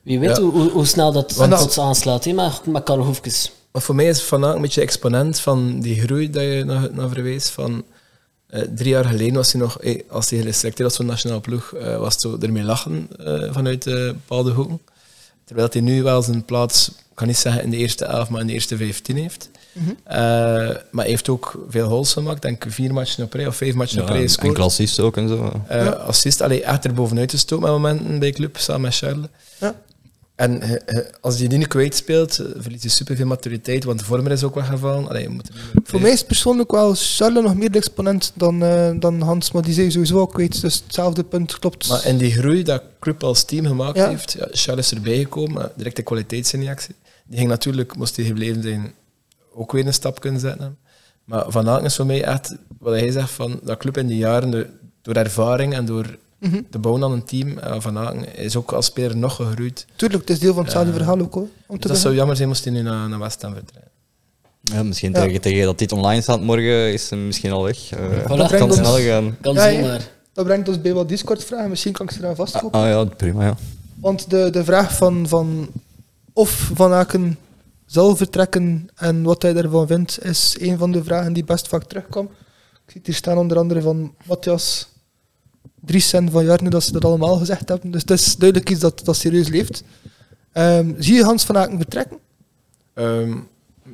Speaker 3: wie weet
Speaker 4: Ja.
Speaker 3: hoe, hoe, hoe snel dat
Speaker 4: Want-
Speaker 3: ons aanslaat. hè, maar met Karel Hoefkes.
Speaker 4: Maar voor mij is Van Aken een beetje exponent van die groei dat je naar, naar verwees. Van, eh, drie jaar geleden was hij nog, eh, als hij geselecteerd was voor de nationale ploeg, eh, was het zo ermee lachen eh, vanuit eh, bepaalde hoeken. Terwijl hij nu wel zijn plaats, ik kan niet zeggen in de eerste elf, maar in de eerste vijftien heeft. Eh, maar hij heeft ook veel goals gemaakt. Denk vier matchen op rij of vijf matchen
Speaker 2: Ja,
Speaker 4: op rij
Speaker 2: en, en
Speaker 4: gescoord.
Speaker 2: klassisch ook en zo.
Speaker 4: Eh, Assist, allee, echt er bovenuit gestoken met momenten bij club, samen met Charles.
Speaker 1: Ja.
Speaker 4: En eh, eh, als je die nu kwijt speelt, eh, verlies je superveel maturiteit, want de vormer is ook weggevallen. Allee, je moet er niet meer op
Speaker 1: Voor
Speaker 4: lezen.
Speaker 1: mij is persoonlijk wel Charles nog meer de exponent dan, eh, dan Hans, maar die zijn sowieso al kwijt, dus hetzelfde punt klopt.
Speaker 4: Maar in die groei dat club als team gemaakt
Speaker 1: Ja.
Speaker 4: heeft, ja, Charles is erbij gekomen, eh, directe kwaliteitsinjectie. Die ging natuurlijk, moest hij gebleven zijn, ook weer een stap kunnen zetten. Maar Van Aken is voor mij echt, wat hij zegt, van dat club in die jaren, de- door ervaring en door
Speaker 1: Mhm.
Speaker 4: de bouw aan een team, eh, Van Aken is ook als speler nog gegroeid.
Speaker 1: Tuurlijk, het is deel van hetzelfde
Speaker 4: Ja.
Speaker 1: verhaal ook hoor. Om te
Speaker 4: Dus dat zou
Speaker 1: beginnen.
Speaker 4: jammer zijn moest hij nu naar, naar West Ham vertrekken.
Speaker 2: Ja, misschien
Speaker 1: Ja.
Speaker 2: Tegen, tegen dat dit online staat morgen is hem misschien al weg. Eh
Speaker 3: Dat
Speaker 2: dat kan
Speaker 1: brengt
Speaker 2: snel
Speaker 1: ons-
Speaker 2: gaan.
Speaker 3: Kan
Speaker 1: Ja, ja.
Speaker 3: zomaar.
Speaker 1: dat brengt ons bij wat Discord-vragen, misschien kan ik ze eraan vastkopen.
Speaker 2: Ah ja, prima ja.
Speaker 1: Want de, de vraag van, van of Van Aken zal vertrekken en wat hij daarvan vindt, is een van de vragen die best vaak terugkwam. Ik zie het hier staan onder andere van Matthias Dries en Van Jarne, dat ze dat allemaal gezegd hebben. Dus het is duidelijk iets dat, dat serieus leeft. Ehm, zie je Hans Van Aken vertrekken?
Speaker 4: Ehm,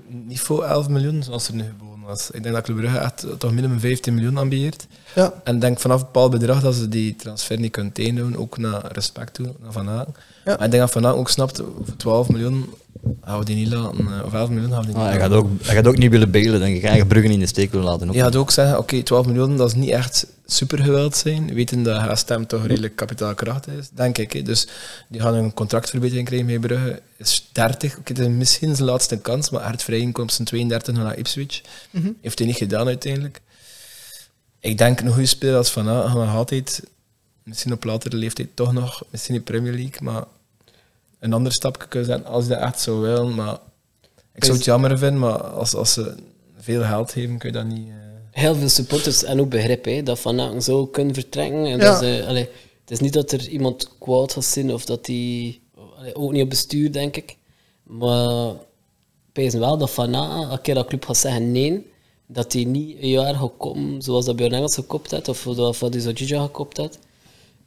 Speaker 4: niet voor 11 miljoen zoals er nu geboden was. Ik denk dat Club Brugge echt eh, toch minimum 15 miljoen ambieert.
Speaker 1: Ja.
Speaker 4: En ik denk vanaf een bepaald bedrag dat ze die transfer niet kunnen tegenhouden, ook naar respect toe, naar Van Aken.
Speaker 1: Ja.
Speaker 4: Maar ik denk dat Van Aken ook snapt, voor 12 miljoen gaan we die niet laten, eh, of 11 miljoen gaan we die niet
Speaker 2: Ah, hij,
Speaker 4: laten.
Speaker 2: gaat ook, hij gaat ook niet willen belen, denk ik. Hij gaat Bruggen in de steek willen laten. Ook.
Speaker 4: Je gaat ook zeggen, oké, 12 miljoen, dat is niet echt supergeweld zijn, weten dat Haastem toch redelijk kapitaalkracht is, denk ik. hè. Dus die gaan een contractverbetering krijgen bij Brugge. Is 30, oké, het is misschien zijn laatste kans, maar hard vrij inkomsten 32 naar Ipswich. Heeft hij niet gedaan uiteindelijk. Ik denk een goede speler als Van Aert gaan nog altijd, misschien op latere leeftijd toch nog, misschien in Premier League, maar een ander stapje kunnen zetten als hij dat echt zou willen. Maar ik zou het jammer vinden, maar als, als ze veel geld geven, kun je dat niet... eh,
Speaker 3: Heel veel supporters en ook begrip hè, dat Van Aken zo kunnen vertrekken.
Speaker 1: Ja.
Speaker 3: En dat ze, allee, het is niet dat er iemand kwaad gaat zijn of dat die. allee, ook niet op bestuur, denk ik. Maar pezen wel dat Van Aken, een keer dat club gaat zeggen nee, dat hij niet een jaar gaat komen zoals dat Björn Engels gekopt had of dat Fadi Zodjija gekopt had.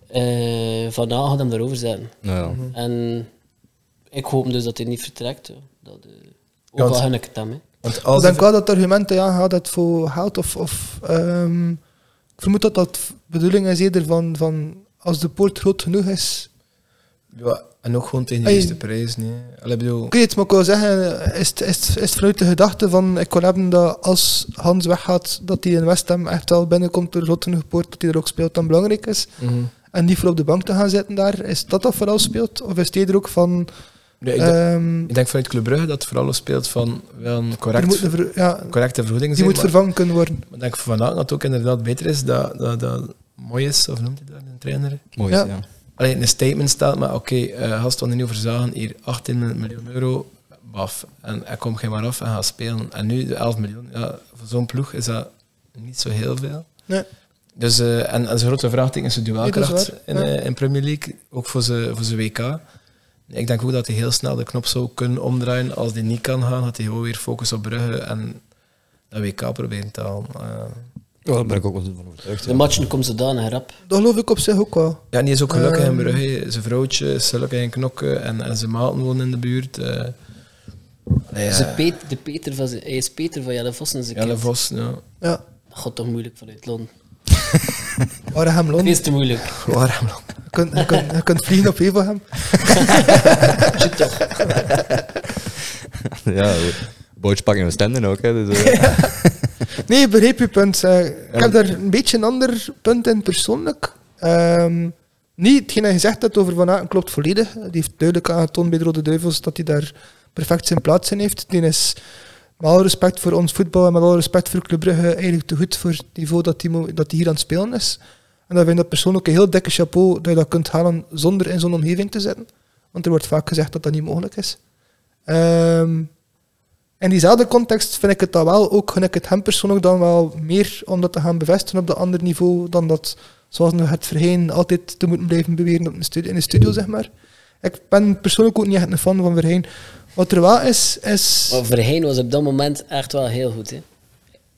Speaker 3: Eh van Aken gaat hem daarover zijn.
Speaker 2: Nou Ja.
Speaker 3: En ik hoop dus dat hij niet vertrekt. hè. Dat, eh, ook
Speaker 4: Ja, want-
Speaker 3: al gun ik het hem. hè.
Speaker 4: Want
Speaker 1: ik
Speaker 4: als
Speaker 1: denk wel dat het argument ja, gaat dat voor geld of... of ehm, ik vermoed dat dat de bedoeling is eerder van, van als de poort groot genoeg is.
Speaker 4: Ja, en ook gewoon tegen de
Speaker 1: Hey.
Speaker 4: eerste prijs. Nee. Allee, bedoel,
Speaker 1: Oké, het maar ik wil zeggen, eh, is, het- is, het- is het vanuit de gedachte van ik kon hebben dat als Hans weggaat, dat hij in West Ham echt wel binnenkomt door groot genoeg poort, dat hij er ook speelt dan belangrijk is.
Speaker 4: mhm.
Speaker 1: En niet voor op de bank te gaan zitten daar, is dat dat vooral speelt? Of is hij er ook van...
Speaker 4: Nee, ik, denk-
Speaker 1: ehm,
Speaker 4: ik denk vanuit Club Brugge dat het vooral speelt van wel een
Speaker 1: die
Speaker 4: correct,
Speaker 1: moet, een ver- ja,
Speaker 4: correcte
Speaker 1: die
Speaker 4: vergoeding zijn.
Speaker 1: moet
Speaker 4: maar,
Speaker 1: vervangen kunnen worden.
Speaker 4: maar ik denk van Aken dat het ook inderdaad beter is dat, dat, dat mooi is, of noemt hij dat, een trainer?
Speaker 2: Mooi,
Speaker 1: Ja.
Speaker 2: ja.
Speaker 4: Alleen een statement staat, maar oké, eh, gast van de nieuwe verzagen, hier 18 miljoen euro, baf. En hij komt geen maar af en gaat spelen. En nu de 11 miljoen, ja, voor zo'n ploeg is dat niet zo heel veel.
Speaker 1: Nee.
Speaker 4: Dus, eh, en, en zijn grote vraagteken is de
Speaker 1: Nee, dat
Speaker 4: duelkracht
Speaker 1: is
Speaker 4: in,
Speaker 1: waar, ja.
Speaker 4: eh, in Premier League, ook voor zijn voor zijn WK. Ik denk ook dat hij heel snel de knop zou kunnen omdraaien. Als die niet kan gaan, had hij gewoon weer focus op Brugge en dat WK proberen te halen. Eh,
Speaker 2: Ja, daar ben ik ook wel van overtuigd.
Speaker 3: De matchen komen zodanig rap.
Speaker 1: Dat geloof ik op zich ook wel.
Speaker 4: ja, en die is ook gelukkig in
Speaker 1: Ehm.
Speaker 4: Brugge. Zijn vrouwtje is gelukkig in Knokken en, en zijn maten wonen in de buurt. eh. Nee,
Speaker 3: Dus de
Speaker 4: eh,
Speaker 3: Peet- de Peter van, zijn- hij is Peter van Jelle Vossen. Zijn
Speaker 4: Jelle
Speaker 3: kind.
Speaker 4: Vos, ja.
Speaker 1: Ja,
Speaker 3: Dat gaat toch moeilijk vanuit Londen.
Speaker 1: waren hem
Speaker 3: Het
Speaker 1: loon.
Speaker 3: is te moeilijk.
Speaker 1: Je kunt, je, kunt, je kunt vliegen op Evelhem.
Speaker 3: Shit toch.
Speaker 2: <laughs> Ja, bootje pakken we stenden ook. Hè, dus, eh,
Speaker 1: Nee, ik begreep je punt. eh. ik heb daar een beetje een ander punt in persoonlijk. Ehm, niet hetgeen hij gezegd hebt over Van Aken klopt volledig. Die heeft duidelijk aangetoond bij de Rode Duivels dat hij daar perfect zijn plaats in heeft. Die is met alle respect voor ons voetbal en met alle respect voor Club Brugge eigenlijk te goed voor het niveau dat hij mo- dat hij hier aan het spelen is. En dan vind ik dat persoonlijk een heel dikke chapeau dat je dat kunt halen zonder in zo'n omgeving te zitten. Want er wordt vaak gezegd dat dat niet mogelijk is. Ehm in diezelfde context vind ik het dan wel, ook gun ik het hem persoonlijk dan wel meer om dat te gaan bevestigen op dat ander niveau dan dat, zoals we het Verheyen altijd te moeten blijven beweren op de studio, in de studio, zeg maar. Ik ben persoonlijk ook niet echt een fan van Verheyen. Wat er wel is, is
Speaker 3: Maar Verheen was op dat moment echt wel heel goed. Hè?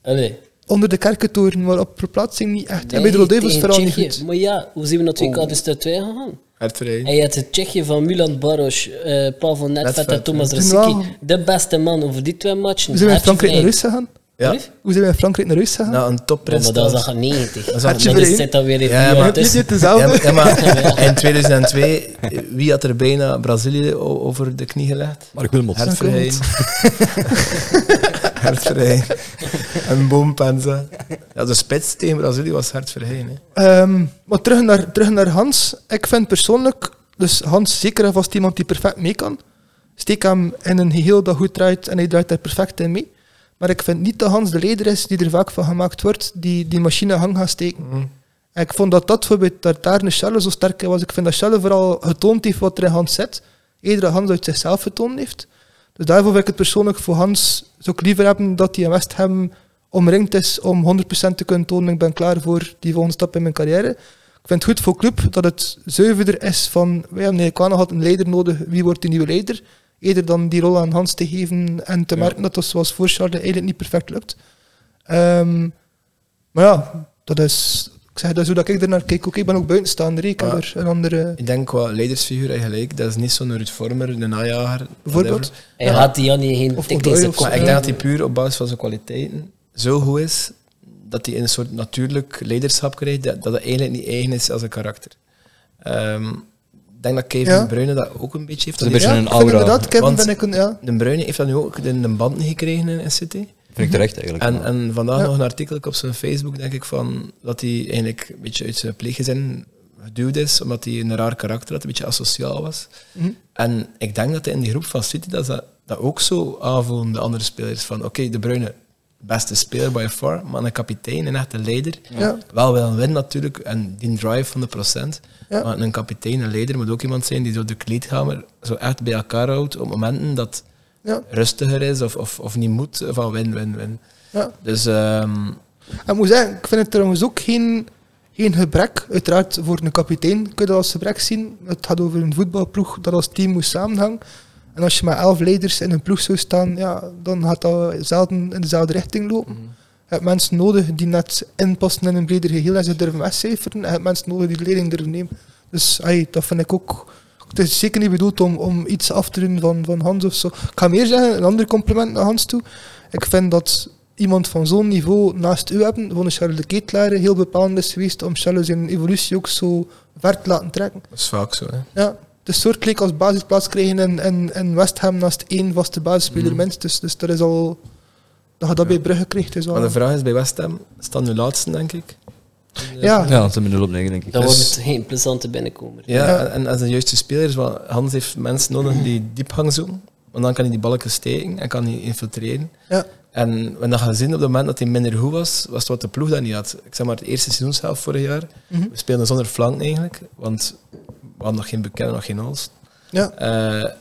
Speaker 3: Allee.
Speaker 1: onder de kerkentoren, maar op verplaatsing niet echt. en bij de
Speaker 3: Nee,
Speaker 1: Rode Duivels
Speaker 3: tegen
Speaker 1: vooral niet
Speaker 3: Tsjechië.
Speaker 1: goed. Oh.
Speaker 3: Maar ja, hoe zien we natuurlijk al dus de twee gegaan?
Speaker 4: Hartrein.
Speaker 3: Hij had het Tsjechië van Milan Baros, eh Pavel Nedved
Speaker 4: Nedved,
Speaker 3: en Thomas
Speaker 1: ja.
Speaker 3: Rosicky.
Speaker 1: Toen
Speaker 3: De beste man over die twee matchen.
Speaker 1: Hoe zijn we in
Speaker 3: Hartje
Speaker 1: Frankrijk naar
Speaker 3: Vrij.
Speaker 1: Rus gegaan?
Speaker 4: Ja,
Speaker 3: Allee?
Speaker 1: Hoe zijn we in Frankrijk naar Rus gegaan?
Speaker 4: nou, een
Speaker 3: Ja, maar dat was
Speaker 4: topprestatie.
Speaker 3: dan 90. Dat
Speaker 4: Hartje
Speaker 3: is
Speaker 1: Vrij.
Speaker 3: zit dan weer in
Speaker 4: Ja,
Speaker 3: ja,
Speaker 4: maar-
Speaker 1: Dit is
Speaker 3: tussen.
Speaker 1: dit
Speaker 4: Ja,
Speaker 1: dezelfde.
Speaker 4: maar, ja, maar in 2002, wie had er bijna Brazilië o- over de knie gelegd?
Speaker 2: maar ik wil hem
Speaker 4: Hartverheyen.
Speaker 1: <laughs>
Speaker 4: Hartverheyen. En Boompenza. Ja, de spits tegen Brazilië was Hartverheyen. hè.
Speaker 1: Ehm, maar terug naar, terug naar Hans. Ik vind persoonlijk, dus Hans zeker en vast iemand die perfect mee kan. Steek hem in een geheel dat goed draait en hij draait daar perfect in mee. Maar ik vind niet dat Hans de leider is die er vaak van gemaakt wordt, die die machine gang gaat steken. En ik vond dat dat bijvoorbeeld dat daar een Charles zo sterk in was. Ik vind dat Charles vooral getoond heeft wat er in Hans zit. Eerder dat Hans uit zichzelf getoond heeft. Dus daarvoor wil ik het persoonlijk voor Hans zou ik liever hebben dat hij in West Ham omringd is om 100% te kunnen tonen ik ben klaar voor die volgende stap in mijn carrière. Ik vind het goed voor club dat het zuiverder is van wij hebben in Kwana had een leider nodig, wie wordt die nieuwe leider? Eerder dan die rol aan Hans te geven en te
Speaker 4: Ja.
Speaker 1: merken dat dat zoals voor Charles eigenlijk niet perfect lukt. Ehm, maar ja, dat is, ik zeg, dat is hoe dat ik ernaar kijk. Oké, ik ben ook buitenstaander, hè. ik heb
Speaker 4: Ja.
Speaker 1: er een andere...
Speaker 4: Ik denk qua leidersfiguur eigenlijk, dat is niet zo'n Ruud Vormer, een najager.
Speaker 1: Bijvoorbeeld?
Speaker 4: whatever.
Speaker 3: Hij
Speaker 1: Ja.
Speaker 3: had die Jannie geen
Speaker 1: Of
Speaker 3: tik in
Speaker 1: Odoi
Speaker 3: zijn
Speaker 1: of
Speaker 3: kop.
Speaker 4: Maar ik denk dat hij puur op basis van zijn kwaliteiten zo goed is dat hij een soort natuurlijk leiderschap krijgt dat, dat het eigenlijk niet eigen is als een karakter. Ehm, ik denk dat Kevin
Speaker 1: Ja.
Speaker 4: De Bruyne dat ook een beetje heeft.
Speaker 2: Dat is een beetje
Speaker 4: Dat
Speaker 1: ja,
Speaker 2: een
Speaker 1: ik vind
Speaker 2: aura.
Speaker 1: inderdaad, Kevin
Speaker 4: Want-
Speaker 1: ben ik een... Ja.
Speaker 4: heeft- De Bruyne heeft dat nu ook in de band gekregen in in City.
Speaker 2: Vind ik terecht eigenlijk.
Speaker 4: En, en vandaag
Speaker 1: Ja.
Speaker 4: nog een artikel op zijn Facebook, denk ik, van dat hij eigenlijk een beetje uit zijn pleeggezin geduwd is, omdat hij een raar karakter had, een beetje asociaal was.
Speaker 1: Mhm.
Speaker 4: En ik denk dat hij in die groep van City dat, ze dat ook zo aanvoelen, de andere spelers. Van oké, de Bruyne, beste speler by far, maar een kapitein, een echte leider.
Speaker 1: Ja.
Speaker 4: Wel wel een win natuurlijk, en die drive van de procent.
Speaker 1: Ja.
Speaker 4: Maar een kapitein, een leider, moet ook iemand zijn die zo de kleedkamer zo echt bij elkaar houdt op momenten dat
Speaker 1: Ja.
Speaker 4: rustiger is of, of, of niet moet, eh, van win, win, win.
Speaker 1: Ja.
Speaker 4: Dus ehm,
Speaker 1: En ik moet zeggen, ik vind het trouwens ook geen, geen gebrek. Uiteraard, voor een kapitein kun je dat als gebrek zien. Het gaat over een voetbalploeg dat als team moet samenhangen. En als je met elf leiders in een ploeg zou staan, ja, dan gaat dat zelden in dezelfde richting lopen. Je hebt mensen nodig die net inpassen in een breder geheel en ze durven wegcijferen. En je hebt mensen nodig die de leiding durven nemen. Dus ai, dat vind ik ook... Het is zeker niet bedoeld om, om iets af te doen van, van Hans of zo. Ik ga meer zeggen, een ander compliment naar Hans toe. Ik vind dat iemand van zo'n niveau naast u hebben, gewoon een Charles de Ketelaere, heel bepalend is geweest om Charles zijn evolutie ook zo ver te laten trekken.
Speaker 4: dat is vaak zo. Hè.
Speaker 1: Ja, de soort leek als basisplaats kregen in, in, in West Ham naast één vaste basisspeler
Speaker 4: Mm.
Speaker 1: minstens. Dus, dus dat is al... Dat je dat bij Brugge kreeg, is al...
Speaker 4: Maar de vraag is bij West Ham, staan nu laatste, denk ik.
Speaker 1: Ja,
Speaker 2: ja, ze hebben 0 op 9, denk ik.
Speaker 3: Dan
Speaker 4: Dus-
Speaker 3: wordt het geen plezante binnenkomer.
Speaker 4: Ja,
Speaker 1: Ja.
Speaker 4: En, en als de juiste speler is, want Hans heeft mensen nodig die diepgang zoeken. Want dan kan hij die balken steken en kan hij infiltreren.
Speaker 1: Ja.
Speaker 4: En we hebben dat gezien op het moment dat hij minder goed was, was het wat de ploeg dat niet had. Ik zeg maar het eerste seizoenshelft vorig jaar.
Speaker 1: Mhm.
Speaker 4: We speelden zonder flank eigenlijk, want we hadden nog geen bekende, nog geen Hals.
Speaker 1: ja,
Speaker 4: Eh,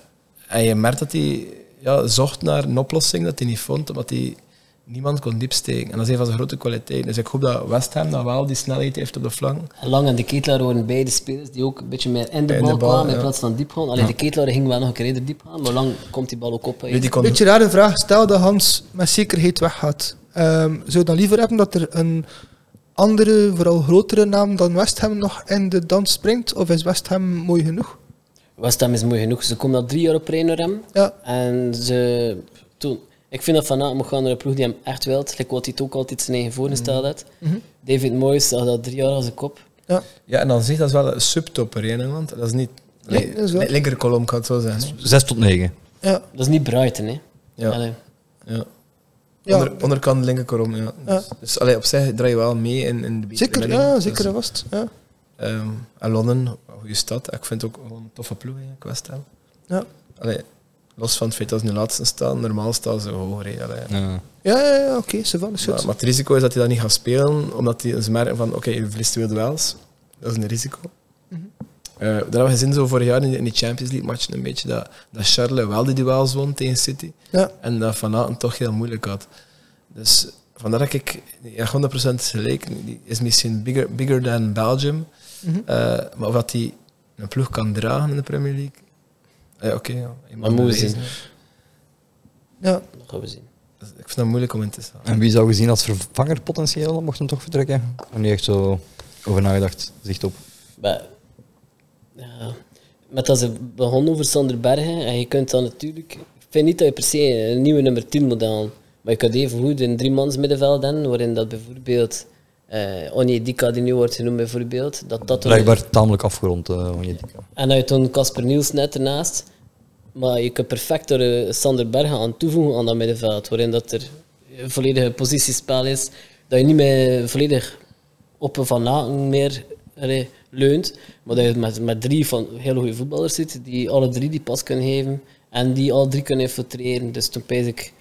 Speaker 4: en je merkt dat hij ja, zocht naar een oplossing dat hij niet vond, omdat hij niemand kon diepsteken. En dat is een van zijn grote kwaliteiten. Dus ik hoop dat West Ham dan wel die snelheid heeft op de flank.
Speaker 3: En Lang en de Ketelaar waren beide spelers die ook een beetje meer in de
Speaker 4: de
Speaker 3: bal,
Speaker 4: bal,
Speaker 3: kwamen in
Speaker 4: ja.
Speaker 3: plaats van diep gaan. Alleen de Ketelaar ging wel nog een keer eerder diep gaan, maar Lang komt die bal ook op.
Speaker 4: Nu,
Speaker 3: uit.
Speaker 4: die kon-
Speaker 1: Beetje rare vraag. Stel dat Hans met zekerheid weggaat. Ehm, zou je dan liever hebben dat er een andere, vooral grotere naam dan West Ham nog in de dans springt? Of is West Ham mooi genoeg?
Speaker 3: West Ham is mooi genoeg. Ze komen al drie jaar op rij naar hem.
Speaker 1: Ja,
Speaker 3: En ze, toen, ik vind dat Van Aert moet gaan naar een ploeg die hem echt wilt. Gelijk wat hij het ook altijd zijn eigen voorgesteld had.
Speaker 4: Mhm.
Speaker 3: David Moyes zag dat drie jaar als een kop.
Speaker 1: ja.
Speaker 4: Ja, en dan zie je dat is wel een subtopper in Engeland. Dat is niet.
Speaker 1: Nee, dat is wel-
Speaker 4: li- linkerkolom kan het zo zijn.
Speaker 2: 6 tot 9.
Speaker 1: ja.
Speaker 3: Dat is niet Brighton, hè.
Speaker 4: Ja.
Speaker 3: Allee.
Speaker 4: ja.
Speaker 1: Ja.
Speaker 4: Onder, onderkant linkerkolom, ja. Dus, dus allee, op zich draai je wel mee in, in de betere
Speaker 1: Zeker,
Speaker 4: middelen.
Speaker 1: ja,
Speaker 4: Dus,
Speaker 1: zeker en vast. Ja.
Speaker 4: ehm, en Londen, goede stad. Ik vind het ook gewoon een toffe ploeg, hè, ik West Ham.
Speaker 1: Ja.
Speaker 4: Allee, los van het feit dat ze nu laatste staan, normaal staan ze hoger. hè. Allee.
Speaker 2: Ja.
Speaker 1: Ja, ja, ja, oké, ze van is goed.
Speaker 4: Maar, maar het risico is dat hij dat niet gaat spelen, omdat hij ze merken van oké, je verliest twee duels. Dat is een risico. Eh, dat hebben we gezien zo vorig jaar in die- in die Champions League matchen een beetje, dat, dat Charles wel die duels won tegen City.
Speaker 1: Ja.
Speaker 4: En dat Van Aten toch heel moeilijk had. Dus vandaar dat ik ja, 100% gelijk, die is misschien bigger, bigger than Belgium.
Speaker 1: Mhm.
Speaker 4: Eh, maar of dat hij een ploeg kan dragen in de Premier League? Eh, Oké, ja, iemand
Speaker 3: Dat moeten we
Speaker 4: bewijzen,
Speaker 3: zien.
Speaker 4: hè.
Speaker 1: Ja.
Speaker 3: Dat gaan we zien.
Speaker 4: Dus Ik vind dat moeilijk om in te staan.
Speaker 2: En wie zou gezien als vervanger potentieel, mocht hem toch vertrekken? Of niet echt zo over nagedacht, zicht op.
Speaker 3: Maar, ja. Met dat ze begonnen over Sander Bergen, en je kunt dan natuurlijk... Ik vind niet dat je per se een nieuwe nummer 10 moet halen. Maar je kunt even goed een driemans middenveld hebben, waarin dat bijvoorbeeld... eh Onyedika, die nu wordt genoemd bijvoorbeeld, dat dat... er-
Speaker 2: Blijkbaar tamelijk afgerond. eh, Onyedika.
Speaker 3: En dan heb je toen Casper Niels net ernaast. Maar je kunt perfect er eh, Sander Bergen aan toevoegen aan dat middenveld. Waarin dat er een volledige positiespel is. Dat je niet meer volledig op een Van Aken meer allee, leunt. Maar dat je met, met drie van heel goede voetballers zit. Die alle drie die pas kunnen geven. En die al drie kunnen infiltreren. Dus toen pees ik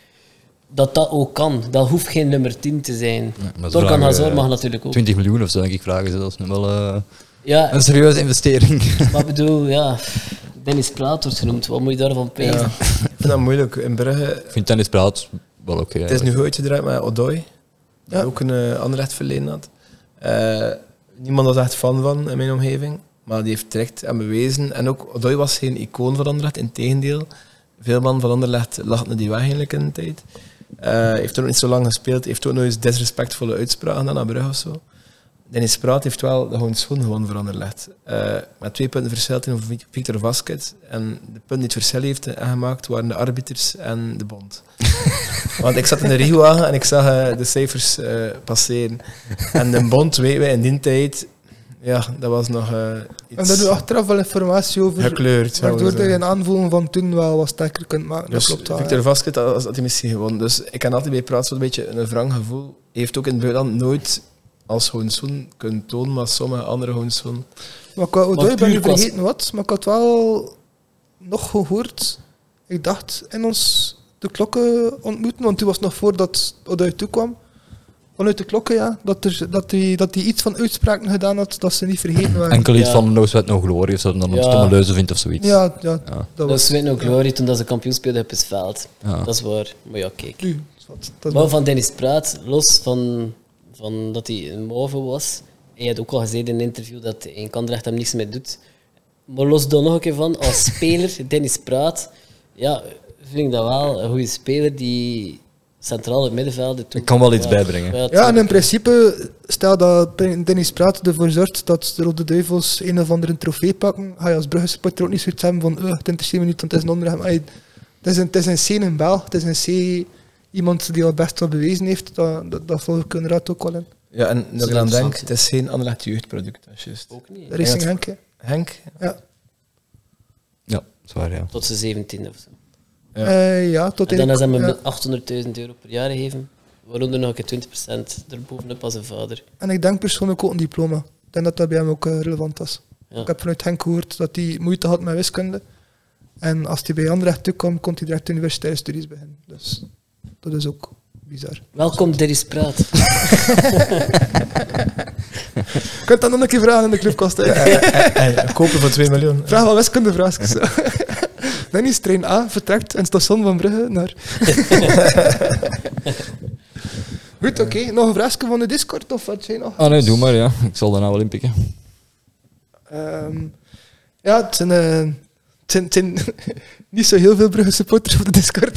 Speaker 3: dat dat ook kan. Dat hoeft geen nummer 10 te zijn.
Speaker 2: maar ze
Speaker 3: Torkan
Speaker 2: vragen,
Speaker 3: Hazard
Speaker 2: eh,
Speaker 3: mag natuurlijk ook.
Speaker 2: 20 miljoen of zo, denk ik, vragen ze. Dat is nu wel eh, <laughs>
Speaker 3: Ja,
Speaker 2: een serieuze investering. <laughs>
Speaker 3: maar ik bedoel, ja... Dennis Praat wordt genoemd. Wat moet je daarvan pezen?
Speaker 4: Ja. ik vind dat moeilijk. In Brugge,
Speaker 2: ik vind Dennis Praat wel oké.
Speaker 4: het is
Speaker 2: eigenlijk.
Speaker 4: nu goed uitgedraaid met Odoi, die
Speaker 1: Ja.
Speaker 4: ook een eh, ander recht verleden had. Eh, niemand was echt fan van in mijn omgeving, maar die heeft direct en bewezen. En ook Odoi was geen icoon van Anderlecht, integendeel. Veel man van Anderlecht lachten die weg eigenlijk in de tijd. Eh heeft er ook niet zo lang gespeeld, heeft ook nooit eens disrespectvolle uitspraken gedaan aan Brugge of zo. Dennis Praat heeft wel gewoon schoon gewonnen voor Anderlecht. Eh, met twee punten verschil tegen Vic- Victor Vasquez. En de punten die het verschil heeft eh, aangemaakt waren de arbiters en de bond. Want ik zat in de Rio-wagen en ik zag eh, de cijfers eh, passeren. En de bond, weten wij, in die tijd Ja, dat was nog eh,
Speaker 1: En
Speaker 4: iets
Speaker 1: dat doe achteraf wel informatie over.
Speaker 4: gekleurd. zouden we
Speaker 1: Waardoor dat je
Speaker 4: zeggen.
Speaker 1: een aanvoelen van toen wel wat sterker kunt maken.
Speaker 4: Dus
Speaker 1: dat klopt wel.
Speaker 4: Victor
Speaker 1: ja.
Speaker 4: Vasquez had, had die missie gewonnen. Dus ik kan altijd bij praten zo'n beetje een wrang gevoel. Hij heeft ook in het buitenland nooit als Hoensoen kunnen tonen, maar sommige andere Hoensoen.
Speaker 1: Maar ik, wou-
Speaker 3: Maar
Speaker 1: ik ben
Speaker 3: puur
Speaker 1: niet
Speaker 3: was-
Speaker 1: vergeten wat, maar ik had wel nog gehoord. Ik dacht in ons de klokken ontmoeten, want toen was nog voordat Odoi toekwam. Vanuit de klokken, ja. Dat hij dat die, dat die iets van uitspraken gedaan had dat ze niet vergeten waren.
Speaker 2: Enkel iets
Speaker 3: Ja.
Speaker 2: van No Sweat No Glory of zo, dan
Speaker 3: Ja.
Speaker 2: een stomme leuze vindt of zoiets.
Speaker 1: Ja, ja,
Speaker 2: Ja.
Speaker 1: dat
Speaker 3: Dat
Speaker 1: was.
Speaker 3: is ook Glory toen dat ze kampioen speelden op het veld.
Speaker 2: Ja.
Speaker 3: Dat is waar. Maar ja, kijk.
Speaker 1: Nu, dat, dat
Speaker 3: Maar van Dennis Praat, los van, van dat hij een move was, hij had ook al gezegd in een interview dat een kandrecht hem niks meer doet. Maar los daar nog een keer
Speaker 2: <laughs>
Speaker 3: van, als speler, Dennis Praat, ja, vind ik dat wel een goede speler die centraal het middenveld doet.
Speaker 2: Ik kan wel iets bijbrengen.
Speaker 1: Ja, en in principe, stel dat Dennis Praat ervoor zorgt dat de Rode Duivels een of andere trofee pakken, ga je als Brugge supporter ook niet zoiets hebben van eh, het interesseert me niet, want het is een onderhem. Ai, Het is een, het is een C in Bel, het is een C iemand die al best wat bewezen heeft, dat, dat, dat volg ik inderdaad ook wel in.
Speaker 4: Ja, en
Speaker 3: is
Speaker 4: dat ik dan denk,
Speaker 3: interessant.
Speaker 4: het is geen Anderlecht jeugdproduct. Dat is juist.
Speaker 3: Ook niet.
Speaker 1: Racing
Speaker 4: Ja,
Speaker 1: Henk, hè.
Speaker 4: Henk?
Speaker 1: ja.
Speaker 2: Ja, zwaar ja.
Speaker 3: Tot zijn 17 of zo.
Speaker 4: Ja.
Speaker 1: Eh, ja, tot
Speaker 3: En dan
Speaker 1: in-
Speaker 3: is hij
Speaker 1: ja.
Speaker 3: me 800.000 euro per jaar gegeven, waaronder nog een keer 20% erbovenop als een vader.
Speaker 1: En ik denk persoonlijk ook een diploma. Ik denk dat dat bij hem ook eh, relevant was.
Speaker 3: Ja.
Speaker 1: Ik heb vanuit Henk gehoord dat hij moeite had met wiskunde. En als hij bij Anderlecht toe kwam, kon hij direct universitaire studies beginnen. Dus dat is ook bizar.
Speaker 3: Welkom, Dennis Praat.
Speaker 1: Je kunt dat nog een keer vragen in de clubkast. hè.
Speaker 4: En kopen voor 2 miljoen.
Speaker 1: <laughs> Vraag wel wiskunde, vraag <laughs> Dan is trein A, vertrekt in het station van Brugge naar... Goed, oké. Nog een vraagje van de Discord, of wat jij nog?
Speaker 2: Ah nee, doe maar ja. Ik zal daarna wel inpikken.
Speaker 1: Ehm, ja, het zijn, eh, het zijn, het zijn <laughs> niet zo heel veel Brugge supporters op de Discord.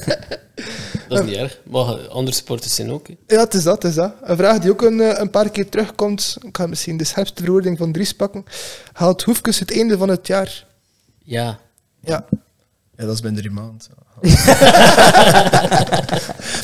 Speaker 3: <laughs>
Speaker 1: <laughs>
Speaker 3: Dat is niet erg. Maar eh, andere sporters zijn ook. hè.
Speaker 1: ja, het is dat, het is dat. Een vraag die ook een, eh, een paar keer terugkomt. Ik ga misschien de scherpste verwoording van Dries pakken. Haalt Hoefkes het einde van het jaar?
Speaker 3: Ja.
Speaker 1: Ja,
Speaker 4: Ja, dat is binnen drie maanden.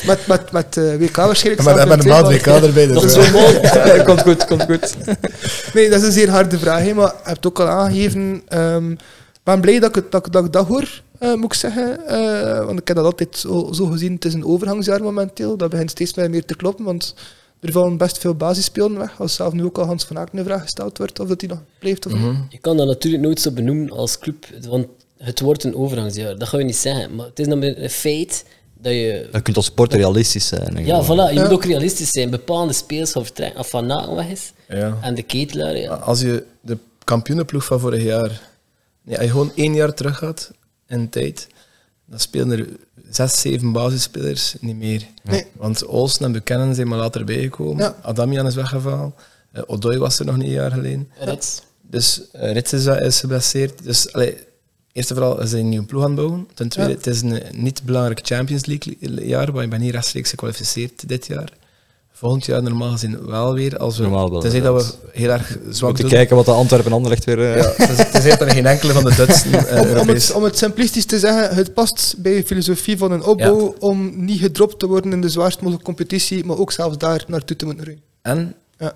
Speaker 1: met, met, met eh, WK waarschijnlijk.
Speaker 4: Maar
Speaker 1: staat
Speaker 4: met
Speaker 1: er
Speaker 4: een
Speaker 1: twee
Speaker 4: maand
Speaker 1: maanden.
Speaker 4: WK erbij.
Speaker 3: Dat is
Speaker 4: Dus
Speaker 3: zo
Speaker 2: <laughs>
Speaker 3: mooi.
Speaker 2: komt goed, komt goed.
Speaker 1: <laughs> Nee, dat is een zeer harde vraag, hè, maar je hebt ook al aangegeven. ehm, ik ben blij dat ik het- dat, ik- dat, ik dat hoor, eh, moet ik zeggen. eh, want ik heb dat altijd zo, zo gezien. Het is een overgangsjaar momenteel. Dat begint steeds meer, meer te kloppen, want er vallen best veel basisspelen weg. Als zelf nu ook al Hans van Aken de vraag gesteld wordt of dat hij nog blijft of niet.
Speaker 4: Mhm.
Speaker 3: Je kan dat natuurlijk nooit zo benoemen als club, want het wordt een overgangsjaar. Dat ga je niet zeggen. Maar het is dan een feit dat je...
Speaker 2: Je kunt als sport realistisch zijn. en
Speaker 3: Ja,
Speaker 2: gewoon-
Speaker 3: voilà. Je
Speaker 1: Ja.
Speaker 3: moet ook realistisch zijn. Bepaalde speels gaan vertrekken. Of Van Naken weg is.
Speaker 4: Ja.
Speaker 3: En de ketelaar, ja.
Speaker 4: Als je de kampioenenploeg van vorig jaar, ja, als je gewoon één jaar terug gaat in tijd, dan spelen er zes, zeven basisspelers niet meer.
Speaker 1: Nee.
Speaker 4: Want Olsen en Buchanan zijn maar later bijgekomen.
Speaker 1: Ja.
Speaker 4: Adamian is weggevallen. Eh, Odoi was er nog niet een jaar geleden.
Speaker 3: Rits.
Speaker 4: Dus eh, Rits is, wel- is geblesseerd. Dus allee, eerst en vooral ze zijn een nieuwe ploeg aan het bouwen. Ten tweede,
Speaker 1: Ja.
Speaker 4: het is een eh, niet belangrijk Champions League li- jaar, want je bent niet rechtstreeks gekwalificeerd dit jaar. Volgend jaar normaal gezien wel weer. Als we,
Speaker 2: Normaal wel,
Speaker 4: tenzij dat we heel erg
Speaker 2: We
Speaker 4: zwak
Speaker 2: moeten
Speaker 4: doen.
Speaker 2: kijken wat de Antwerpen ander echt weer... eh,
Speaker 4: Ja, het is dat er geen enkele van de
Speaker 1: <laughs>
Speaker 4: Dutsen eh,
Speaker 1: Om, om,
Speaker 4: Europees...
Speaker 1: het, om het simplistisch te zeggen, het past bij de filosofie van een opbouw om niet gedropt te worden in de zwaarst mogelijke competitie, maar ook zelfs daar naartoe te moeten roeien.
Speaker 4: En
Speaker 1: Ja.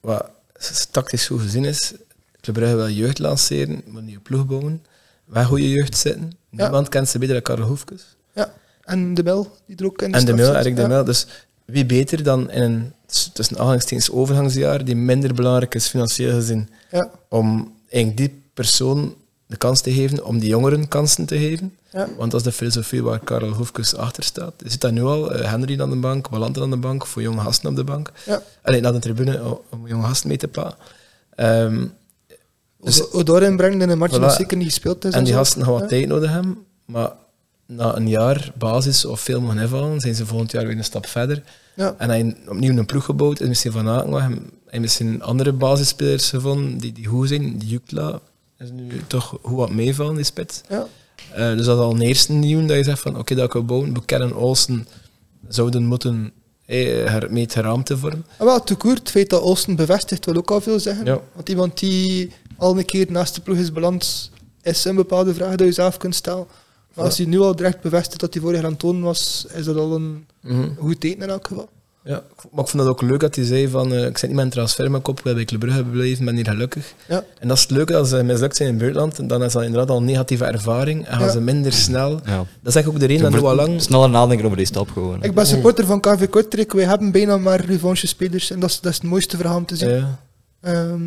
Speaker 4: wat s- tactisch goed gezien is, Club Brugge wil jeugd lanceren, moet een nieuwe ploeg bouwen, waar goede jeugd zitten. Niemand kent ze beter dan Karel Hoefkes.
Speaker 1: Ja. En de Mel, die er ook in
Speaker 4: En de
Speaker 1: start
Speaker 4: Mil,
Speaker 1: zit.
Speaker 4: Erik de
Speaker 1: Ja.
Speaker 4: Mil. Dus wie beter dan in een s- tussen aanhalingstekens overgangsjaar, die minder belangrijk is financieel gezien,
Speaker 1: Ja.
Speaker 4: om eigenlijk die persoon de kans te geven, om die jongeren kansen te geven.
Speaker 1: Ja.
Speaker 4: Want dat is de filosofie waar Karel Hoefkes achter staat. Je ziet dat nu al, eh, Henry aan de bank, Wallander aan de bank, voor jonge gasten op de bank.
Speaker 1: Ja.
Speaker 4: Alleen naar de tribune o- om jonge gasten mee te pakken. Ehm, Dus-
Speaker 1: Dus Odor inbrengen in een match
Speaker 4: Voilà.
Speaker 1: die nog zeker niet gespeeld is.
Speaker 4: en die
Speaker 1: zo.
Speaker 4: gasten gaan wat
Speaker 1: Dus Ja.
Speaker 4: tijd nodig hebben, maar na een jaar basis of veel mogen invallen, zijn ze volgend jaar weer een stap verder.
Speaker 1: Ja.
Speaker 4: En hij heeft opnieuw een ploeg gebouwd. En misschien Van Akenweg. En misschien andere basisspelers gevonden die, die goed zijn. Die Jukla is nu toch goed wat meevallen, die spits.
Speaker 1: Ja.
Speaker 4: Eh, dus dat is al een eerste nieuw dat je zegt van oké, dat kan bouwen. Buchanan Olsen zouden moeten eh, her- mee het geraamte te vormen.
Speaker 1: En Ah, wel, te koer, het feit dat Olsen bevestigt wil ook al veel zeggen.
Speaker 4: Ja.
Speaker 1: Want iemand die al een keer naast de ploeg is beland, is een bepaalde vraag dat je zelf kunt stellen. Mhm. Maar als hij nu al direct bevestigt dat hij vorig jaar aan het tonen was, is dat al een goed teken in elk geval.
Speaker 4: Ja, ik vo- maar ik vond dat ook leuk dat hij zei van eh, ik zit niet met een transfer mijn kop, ik wil bij Club Brugge blijven, ben hier gelukkig.
Speaker 1: Ja.
Speaker 4: En dat is het leuke als ze mislukt zijn in het buitenland, dan is dat inderdaad al een negatieve ervaring en gaan
Speaker 1: Ja.
Speaker 4: ze minder snel.
Speaker 2: Ja.
Speaker 4: Dat is eigenlijk ook de reden dat Noah Lang... eh,
Speaker 2: Sneller nadenken over die stap gewoon. hè.
Speaker 1: Ik ben supporter van KV Kortrijk. Wij hebben bijna maar revanche-spelers. En dat is, dat is het mooiste verhaal om te zien.
Speaker 4: Ja,
Speaker 1: Ehm,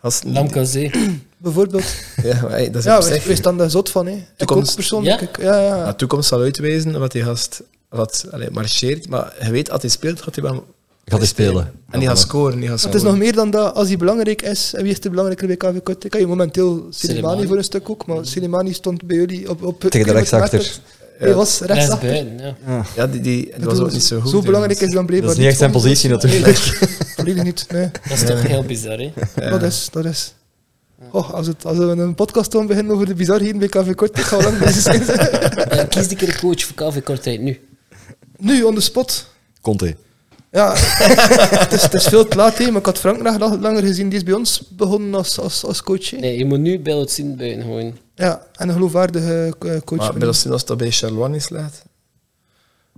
Speaker 4: als,
Speaker 3: Lamkazé.
Speaker 1: bijvoorbeeld.
Speaker 4: ja, maar, hey, <laughs> dat is
Speaker 1: Ja,
Speaker 4: op
Speaker 1: wij,
Speaker 4: zich...
Speaker 1: wij staan daar zot van. Hè. Ik
Speaker 4: Toekomst.
Speaker 1: ook persoonlijk.
Speaker 3: Ja?
Speaker 1: Ik- Ja? Ja,
Speaker 4: De toekomst zal uitwijzen wat die gast wat, allee, marcheert, maar je weet, als hij speelt, gaat hij wel...
Speaker 2: Gaat hij spelen.
Speaker 4: En die gaat scoren, die gaat
Speaker 1: Het
Speaker 4: scoren.
Speaker 1: is nog meer dan dat. Als hij belangrijk is, en wie is er belangrijker bij KV Kortrijk? Ja, momenteel Selimani
Speaker 3: Soleimani.
Speaker 1: voor een stuk ook.
Speaker 4: Mm.
Speaker 1: Maar Selimani stond bij jullie op... op
Speaker 2: Tegen de rechtsachter.
Speaker 1: Hij was
Speaker 3: Rechts
Speaker 1: rechtsachter.
Speaker 3: buiten, ja.
Speaker 4: Ja, die, die, dat was ook niet zo goed.
Speaker 1: Zo belangrijk is
Speaker 4: trouwens.
Speaker 1: dan blijkbaar
Speaker 2: Dat is niet echt zijn positie natuurlijk. <laughs>
Speaker 1: <laughs> Nee, volledig niet. Nee.
Speaker 3: Dat is toch heel bizar, <laughs> hè?
Speaker 4: Ja.
Speaker 1: Dat is, dat is. Oh, als, het, als we een podcast gaan beginnen over de bizarheden bij KV Kortrijk, gaan we lang bezig
Speaker 4: <laughs>
Speaker 1: zijn.
Speaker 3: Eh, Kies de keer een coach voor KV Kortrijk nu.
Speaker 1: Nu, on the spot.
Speaker 2: Conte.
Speaker 1: Ja, <laughs> het, is, het is veel te laat, hè, maar ik had Frank nog lang- langer gezien. Die is bij ons begonnen als, als, als coach. hè.
Speaker 3: Nee, je moet nu bij het zien buiten gewoon.
Speaker 1: Ja, en een geloofwaardige eh, coach.
Speaker 4: Maar
Speaker 1: vinden.
Speaker 4: Belostin was dat bij Charlois niet slecht.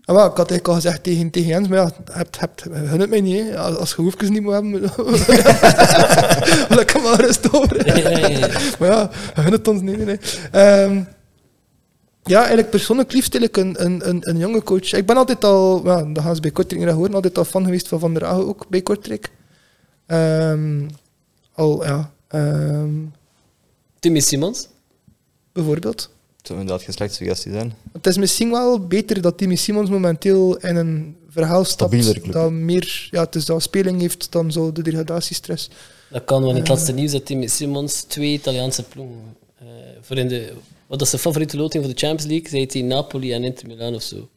Speaker 1: Ah, maar ik had eigenlijk al gezegd tegen, tegen Jens, maar ja, hebt, hebt, hun het mij niet. hè. Als, als je hoefjes niet moet hebben, <laughs> lekker maar rust over.
Speaker 3: Ja, ja, ja.
Speaker 1: Maar ja, hun het ons niet. Nee, nee. Ehm, ja, eigenlijk persoonlijk liefst eigenlijk een, een, een, een jonge coach. Ik ben altijd al, ja, dat gaan ze bij Kortrijk graag horen, altijd al fan geweest van Van der Agen ook bij Kortrijk. Ehm, al, ja, ehm,
Speaker 3: Timmy Simons.
Speaker 1: bijvoorbeeld.
Speaker 2: Het zou inderdaad geen slechte suggestie zijn.
Speaker 1: Het is misschien wel beter dat Timmy Simons momenteel in een verhaal
Speaker 2: Stabielere
Speaker 1: stapt
Speaker 2: club.
Speaker 1: dat meer ja, het is dat speling heeft dan zo de degradatiestress.
Speaker 3: Dat kan, want in het
Speaker 1: Eh.
Speaker 3: laatste nieuws dat Timmy Simons twee Italiaanse ploegen. eh, voor in de, wat dat is zijn favoriete loting voor de Champions League? Zei hij Napoli en Inter Milan of zo.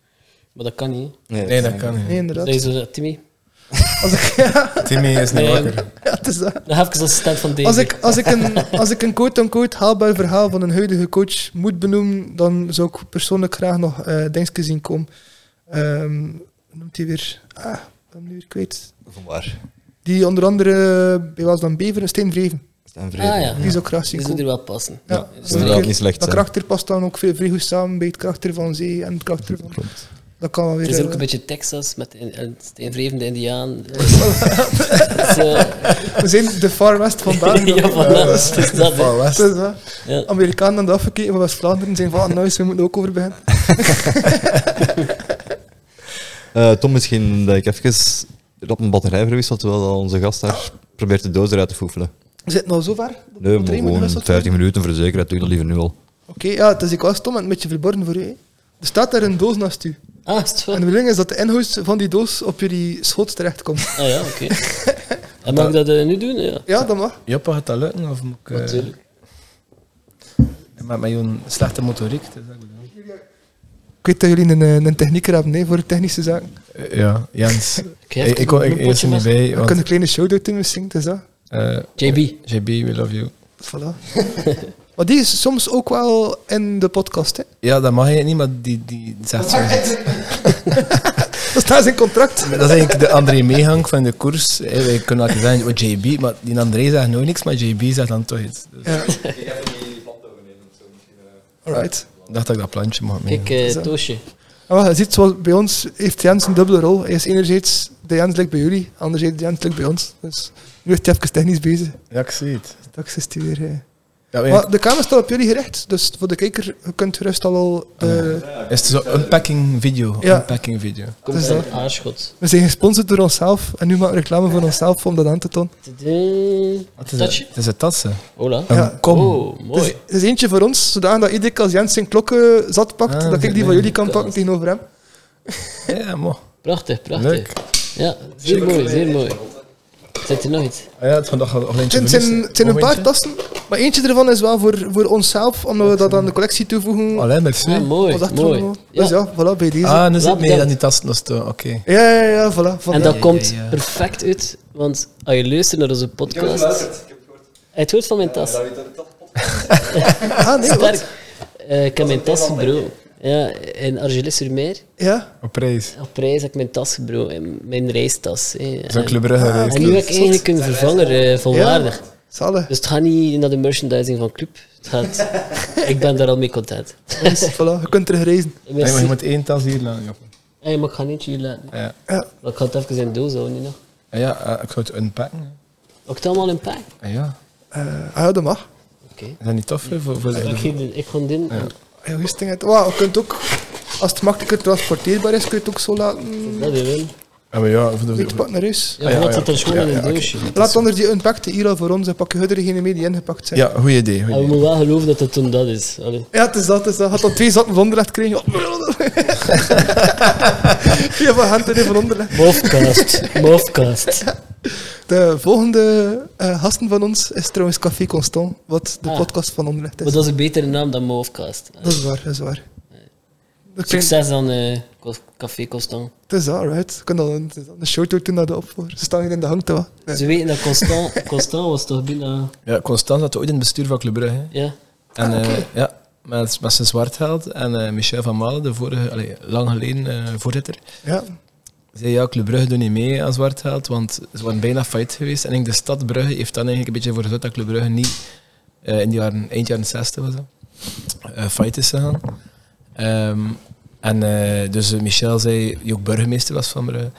Speaker 3: Maar dat kan niet. hè.
Speaker 4: Nee, dat kan niet.
Speaker 1: Nee, inderdaad.
Speaker 3: Zeg je zo, Timmy?
Speaker 1: <laughs>
Speaker 4: Timmy is niet
Speaker 3: Nee,
Speaker 4: <laughs> wakker.
Speaker 1: Ja, het is dat.
Speaker 3: Dan heb ik als assistent van deze.
Speaker 1: Als ik, als ik een, als ik een quote-unquote haalbaar verhaal van een huidige coach moet benoemen, dan zou ik persoonlijk graag nog eh Dingske zien komen. Ehm, hoe noemt hij weer? Ah, ik ben hem nu weer kwijt.
Speaker 2: Van waar?
Speaker 1: Die onder andere bij was dan Beveren, Steen Vreven.
Speaker 2: Stijn
Speaker 3: ah
Speaker 2: Vrede.
Speaker 3: ja,
Speaker 1: Die zou ik graag zien
Speaker 3: die zou er
Speaker 1: komen.
Speaker 3: wel passen.
Speaker 1: Ja,
Speaker 2: Dat is inderdaad niet slecht.
Speaker 1: dat
Speaker 2: zijn.
Speaker 1: karakter past dan ook vrij vrij goed samen bij het karakter van Zee en het karakter van...
Speaker 2: Klopt.
Speaker 1: Dat kan wel weer...
Speaker 3: Er is
Speaker 1: eh,
Speaker 3: ook een beetje Texas met een, een
Speaker 1: <laughs>
Speaker 3: steenvrevende Indiaan. Dus, eh,
Speaker 1: We zijn de Far West van België.
Speaker 3: <laughs> ja, van
Speaker 1: Ja,
Speaker 3: dat. Dus dat hè.
Speaker 4: Van West.
Speaker 1: dat is waar.
Speaker 3: Ja.
Speaker 1: Amerikanen aan de afgekeken van West-Vlaanderen zijn van, ah, nice, we moeten ook over beginnen.
Speaker 2: Eh, Tom, misschien dat ik even op een batterij verwissel, terwijl dat onze gast daar probeert de doos eruit te foefelen.
Speaker 1: We zitten al zo ver.
Speaker 2: Nee, maar
Speaker 1: Drie
Speaker 2: gewoon
Speaker 1: minuten,
Speaker 2: 50 minuten voor de zekerheid, doe ik dat liever nu al.
Speaker 1: Oké, ja, het is ik was stom en een beetje verborgen voor u. hè. Er staat daar een doos naast u.
Speaker 3: Ah, is het
Speaker 1: En
Speaker 3: waar?
Speaker 1: de bedoeling is dat de inhoud van die doos op jullie schoot terechtkomt.
Speaker 3: Ah ja, oké. En mag ik dat eh, nu doen? Ja.
Speaker 1: Ja, dat mag.
Speaker 4: Joppa, gaat dat lukken? Of moet ik... eh,
Speaker 3: Natuurlijk.
Speaker 4: Maar met jouw slechte motoriek, dat is dat goed, hè?
Speaker 1: Ik weet dat jullie een, eh, een technieker hebben hè, voor technische zaken.
Speaker 4: Eh, Ja,
Speaker 3: <laughs>
Speaker 4: Jens. Eh,
Speaker 3: Ik heb
Speaker 4: Ik, ik kon ik, eerst er niet
Speaker 3: mee.
Speaker 4: bij,
Speaker 1: We kunnen
Speaker 4: want...
Speaker 1: een kleine shout-out doen, misschien. Het is dat.
Speaker 4: eh,
Speaker 3: JB.
Speaker 4: JB, we love you.
Speaker 1: Voilà. <laughs> maar die is soms ook wel in de podcast. Hè.
Speaker 4: Ja, dat mag je niet, maar die, die zegt <laughs> zo.
Speaker 1: <laughs> Dat staat in contract.
Speaker 4: Dat is eigenlijk de André Meegang van de koers. Hey, wij kunnen altijd zeggen, oh, JB, maar die André zegt nooit niks, maar JB zegt dan toch iets. Dus
Speaker 1: Ja.
Speaker 2: Ik heb die plant overnemen of zo misschien.
Speaker 1: Alright.
Speaker 4: ik dacht dat ik dat plantje mag mee.
Speaker 3: Kijk, eh Toosje.
Speaker 1: Ah, wel, je ziet, zoals bij ons heeft Jens een dubbele rol. Hij is enerzijds de Jens lijkt bij jullie, anderzijds de Jens lijkt bij ons. Dus nu is hij even technisch bezig.
Speaker 4: Ja, ik zie het.
Speaker 1: Straks is hij weer... eh.
Speaker 4: Ja, maar
Speaker 1: Maar de kamer staat op jullie gerecht, dus voor de kijker, je kunt gerust al al... eh,
Speaker 4: Is het zo'n unpacking video?
Speaker 1: Ja.
Speaker 4: Unpacking video.
Speaker 3: Komt
Speaker 1: Dus
Speaker 3: dus
Speaker 1: dat-
Speaker 3: een aarschot.
Speaker 1: we zijn gesponsord door onszelf en nu maken we reclame voor onszelf om dat aan te tonen.
Speaker 3: Tudum.
Speaker 4: Wat is
Speaker 3: Touchje?
Speaker 4: het? Het is een tatsen.
Speaker 3: Hola.
Speaker 1: Ja.
Speaker 4: Een kom.
Speaker 3: Oh,
Speaker 1: Dus
Speaker 3: mooi.
Speaker 1: het is eentje voor ons, zodat dat iedere keer als Jens zijn klokken eh, zat pakt,
Speaker 4: Ah,
Speaker 1: dat ik die
Speaker 4: nee.
Speaker 1: van jullie kan pakken
Speaker 3: Kast.
Speaker 1: tegenover hem.
Speaker 4: Ja, mooi.
Speaker 3: Prachtig, prachtig.
Speaker 4: Leuk.
Speaker 3: Ja, zeer mooi, zeer mooi. Zit er nog iets?
Speaker 4: Ah ja, het gaat nog een
Speaker 1: Het zijn, het zijn, het zijn een paar tassen, maar eentje ervan is wel voor, voor onszelf, omdat we dat aan de collectie toevoegen.
Speaker 4: Alleen met z'n.
Speaker 3: Ja, mooi,
Speaker 1: Als
Speaker 3: mooi.
Speaker 1: achtergrond.
Speaker 3: Ja.
Speaker 1: Dus ja, voilà, bij deze.
Speaker 4: Ah, en dan zit
Speaker 3: Laat
Speaker 4: mee
Speaker 3: dat.
Speaker 4: aan die tassen nog staan. Oké.
Speaker 1: Ja, ja, ja, voilà. Van
Speaker 3: En dat
Speaker 1: ja.
Speaker 3: komt
Speaker 4: ja.
Speaker 3: perfect uit, want als je luistert naar onze podcast... Hij het hoort van mijn tas.
Speaker 1: Ah, nee, wat?
Speaker 3: Sterk. Eh, ik heb mijn tas gebroken. Ja, in Argelis-sur-Mer.
Speaker 1: Ja,
Speaker 4: Op prijs.
Speaker 3: Op reis heb ik mijn tas gebroken. en Mijn reistas. hè.
Speaker 4: Zo'n
Speaker 3: En,
Speaker 4: Club Brugge
Speaker 3: en nu heb ik eigenlijk een vervanger, eh, volwaardig.
Speaker 1: zalig.
Speaker 3: Dus het gaat niet naar de merchandising van Club. Het gaat, ik ben daar al mee content. <laughs>
Speaker 1: Dus, voilà, je kunt terugreizen.
Speaker 4: Nee, maar
Speaker 3: Merci.
Speaker 4: je moet één tas hier laten. Joppen. Ah,
Speaker 3: Hey, maar ik ga niet jullie laten.
Speaker 4: Ja,
Speaker 1: Ja,
Speaker 3: Maar Ik ga het even in doos houden, niet nog.
Speaker 4: En ja eh, ik ga het unpacken.
Speaker 3: Ook het allemaal in pijn.
Speaker 4: En ja,
Speaker 1: eh, ah, ja, dat mag.
Speaker 3: Oké.
Speaker 4: is dat niet tof? hè, Voor, voor
Speaker 3: Ik
Speaker 4: de,
Speaker 3: geef dit- Ik ga dit in.
Speaker 4: Ja.
Speaker 1: Heel rustig. uit. Wauw, je kunt ook, als het makkelijker transporteerbaar is, kun je het ook zo laten.
Speaker 3: Dat wil je
Speaker 4: ja, maar ja, voor de,
Speaker 1: Niet
Speaker 4: voor,
Speaker 1: pak naar huis.
Speaker 3: Ja,
Speaker 4: Ah, ja,
Speaker 3: wat
Speaker 4: ja.
Speaker 3: zit er gewoon
Speaker 4: Ja,
Speaker 3: in
Speaker 4: ja,
Speaker 3: een
Speaker 4: oké.
Speaker 3: doosje?
Speaker 1: Laat anders die unpackte hier al voor ons en pak je degene mee die ingepakt zijn.
Speaker 4: ja, goed idee.
Speaker 3: En we
Speaker 4: Goed idee.
Speaker 3: moeten wel geloven dat het toen dat is. Allee.
Speaker 1: Ja, het is dat, het is dat. Had al twee zakken van onderleg gekregen. Oh, ja, van hand en één van onderleg.
Speaker 4: <laughs>
Speaker 3: Mofcast. Mofcast.
Speaker 1: De volgende eh, gasten van ons is trouwens Café Constant, wat de
Speaker 3: Ah.
Speaker 1: podcast van onderleg is.
Speaker 3: Maar dat is een betere naam dan Mofcast.
Speaker 1: Dat is waar, dat is waar. Dat klinkt-
Speaker 3: Succes dan eh, Co- Café Constant.
Speaker 1: Het is alright. Ik kan dan een, een short tour doen naar de opvoer. Ze staan hier in de hangtouw. Nee.
Speaker 3: Ze weten dat Constant, Constant was toch bijna...
Speaker 4: Ja, Constant zat ooit in het bestuur van Club Brugge. hè.
Speaker 3: Ja.
Speaker 4: En eh, ja, met, met zijn zwartheld en eh, Michel van Malen, de vorige, allee, lang geleden eh, voorzitter,
Speaker 1: Ja,
Speaker 4: zei ja, Club Brugge doet niet mee aan zwartheld, want ze waren bijna failliet geweest. En ik denk, de stad Brugge heeft dan eigenlijk een beetje voor gezorgd dat Club Brugge niet eh, in die jaren, eind jaren 60 was dat, eh, failliet is gegaan. Ehm, en eh, dus eh, Michel zei, die ook burgemeester was van Brugge,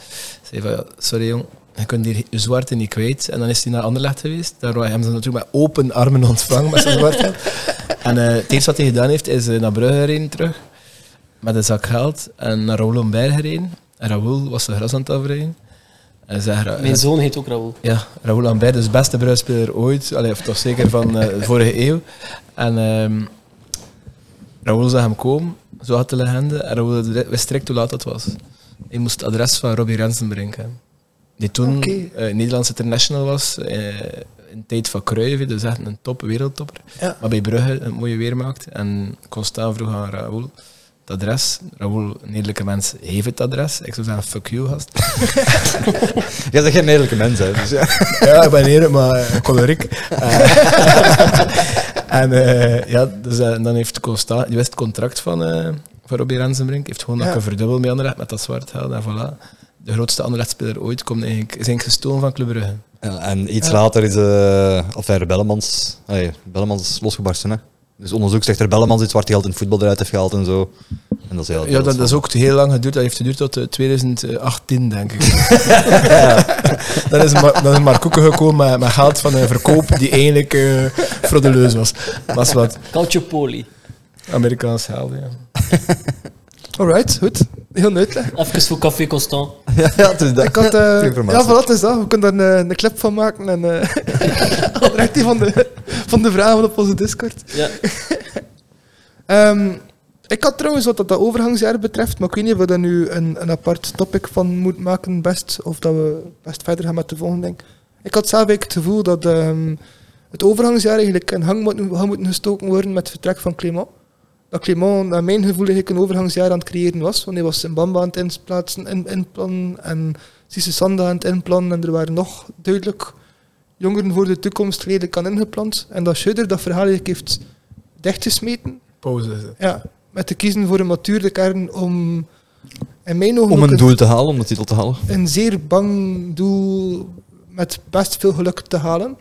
Speaker 4: zei van, ja, sorry jong, je kunt hier je zwarte niet kwijt. En dan is hij naar Anderlecht geweest. Daar hebben ze natuurlijk met open armen ontvangen met zijn zwarte. en eh, het eerste wat hij gedaan heeft, is eh, naar Brugge gereden terug. Met een zak geld. En naar Raoul Lombert gereden. En Raoul was zijn gras aan het afrijden. En zei, Ra-
Speaker 3: Mijn zoon heet ook Raoul.
Speaker 4: ja, Raoul Lambert, dus beste bruidspeler ooit. Allee, of toch zeker
Speaker 1: <laughs>
Speaker 4: van eh, de vorige eeuw. En ehm Raoul zag hem komen, zo had de legende. En Raoul wist direct hoe laat dat was. Hij moest het adres van Robbie Rensen brengen. Die toen
Speaker 1: Oké.
Speaker 4: eh, Nederlands international was. eh, in de tijd van Cruyff, hè, dus echt een top, wereldtopper.
Speaker 1: Ja.
Speaker 4: Maar bij Brugge een mooie weer maakt. En Constant vroeg aan Raoul het adres. Raoul, een eerlijke mens, heeft het adres. Ik zou zeggen, fuck you, gast.
Speaker 2: Jij bent geen eerlijke mens, hè. Dus, ja.
Speaker 4: Ja, ik ben eerlijk, maar eh, <laughs> choleriek. Eh, en eh, ja, dus, eh, dan heeft Costa, die wist het contract van, eh van Robbie Rensenbrink, heeft gewoon
Speaker 1: Ja.
Speaker 4: nog een verdubbel mee Anderlecht met dat zwart geld en voilà. De grootste Anderlecht-speler ooit komt eigenlijk, is eigenlijk gestolen van Club Brugge.
Speaker 2: <laughs> Ja, En iets later is eh enfin, Bellemans, allee, Bellemans is losgebarsten, hè. Dus onderzoek zegt er Bellemans iets zwart geld in het voetbal eruit heeft gehaald en zo. En dat is heel
Speaker 4: Ja, dat, is ook heel lang geduurd. Dat heeft geduurd tot eh, 2018, denk ik. <laughs> dan, is Mar- dan is Mark Koeken gekomen met, met geld van een verkoop die eigenlijk eh fraudeleus was. Maar dat is wat
Speaker 3: Calciopoli.
Speaker 4: Amerikaans geld, ja.
Speaker 1: alright, goed. Heel nuttig.
Speaker 3: Even voor Café Constant.
Speaker 2: <laughs> Ja, ja, het is dat.
Speaker 1: Ik had, eh,
Speaker 2: Ter
Speaker 1: ja,
Speaker 2: <laughs> informatie.
Speaker 1: voilà, het is dat. We kunnen daar eh, een, een clip van maken en eh <laughs> direct die van de, van de vragen op onze Discord.
Speaker 3: Ja.
Speaker 1: Ehm, ik had trouwens wat dat dat overgangsjaar betreft, maar ik weet niet of we daar nu een, een apart topic van moeten maken, best, of dat we best verder gaan met de volgende ding. Ik had zelf eigenlijk het gevoel dat ehm, het overgangsjaar eigenlijk in hang moet, had moeten gestoken worden met het vertrek van Clément. Dat Clément, naar mijn gevoel, eigenlijk een overgangsjaar aan het creëren was, want hij was in Bamba aan het insplaatsen, in, inplannen en Sisse Sanda aan het inplannen en er waren nog duidelijk jongeren voor de toekomst redelijk aan ingepland. En dat Schudder dat verhaal eigenlijk heeft dichtgesmeten,
Speaker 4: Pauze is het.
Speaker 1: ja, met te kiezen voor een matuurde kern om, in mijn ogen,
Speaker 2: Om
Speaker 1: ook
Speaker 2: een doel te halen, om de titel te halen.
Speaker 1: een zeer bang doel met best veel geluk te halen.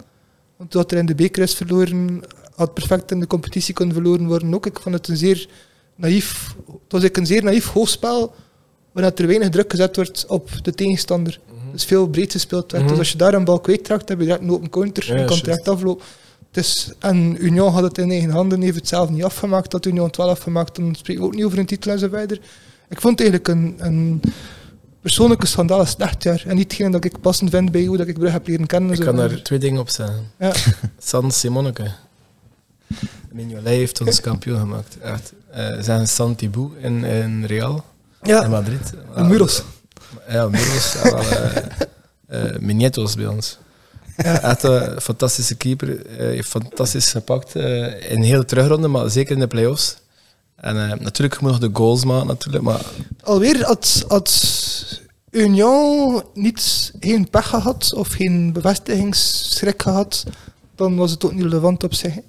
Speaker 1: Want doordat er in de beker is verloren, had perfect in de competitie kunnen verloren worden ook. Ik vond het een zeer naïef, het was eigenlijk een zeer naïef hoogspel, waarin er weinig druk gezet wordt op de tegenstander. Dus veel breed gespeeld werd.
Speaker 4: Mhm.
Speaker 1: Dus als je daar een bal kwijtraakt, heb je direct een open counter
Speaker 4: Ja,
Speaker 1: en kan
Speaker 4: juist.
Speaker 1: direct aflopen. Dus, en Union had het in eigen handen, heeft het zelf niet afgemaakt. Had Union 12 afgemaakt, dan spreken we ook niet over een titel en zo verder. Ik vond het eigenlijk een, een persoonlijke schandaal een slecht jaar. En niet hetgeen dat ik passend vind bij hoe dat ik Brugge heb leren kennen. en
Speaker 4: Ik
Speaker 1: zo
Speaker 4: kan
Speaker 1: verder.
Speaker 4: daar twee dingen op zeggen.
Speaker 1: Ja.
Speaker 4: <laughs> San Simonneke. Mignolet heeft ons kampioen gemaakt. Echt. Eh, zijn Santibou in, in Real, in
Speaker 1: Ja,
Speaker 4: Madrid.
Speaker 1: de Muros.
Speaker 4: Ja, Muros. en wel, eh eh, Minietos bij ons. Echt een fantastische keeper. eh, heeft fantastisch gepakt eh, in heel de terugronde, maar zeker in de play-offs. En eh, natuurlijk, je moet nog de goals maken, natuurlijk, maar
Speaker 1: Alweer had, had Union niet, geen pech gehad of geen bevestigingsschrik gehad, dan was het ook niet relevant op zich. hè.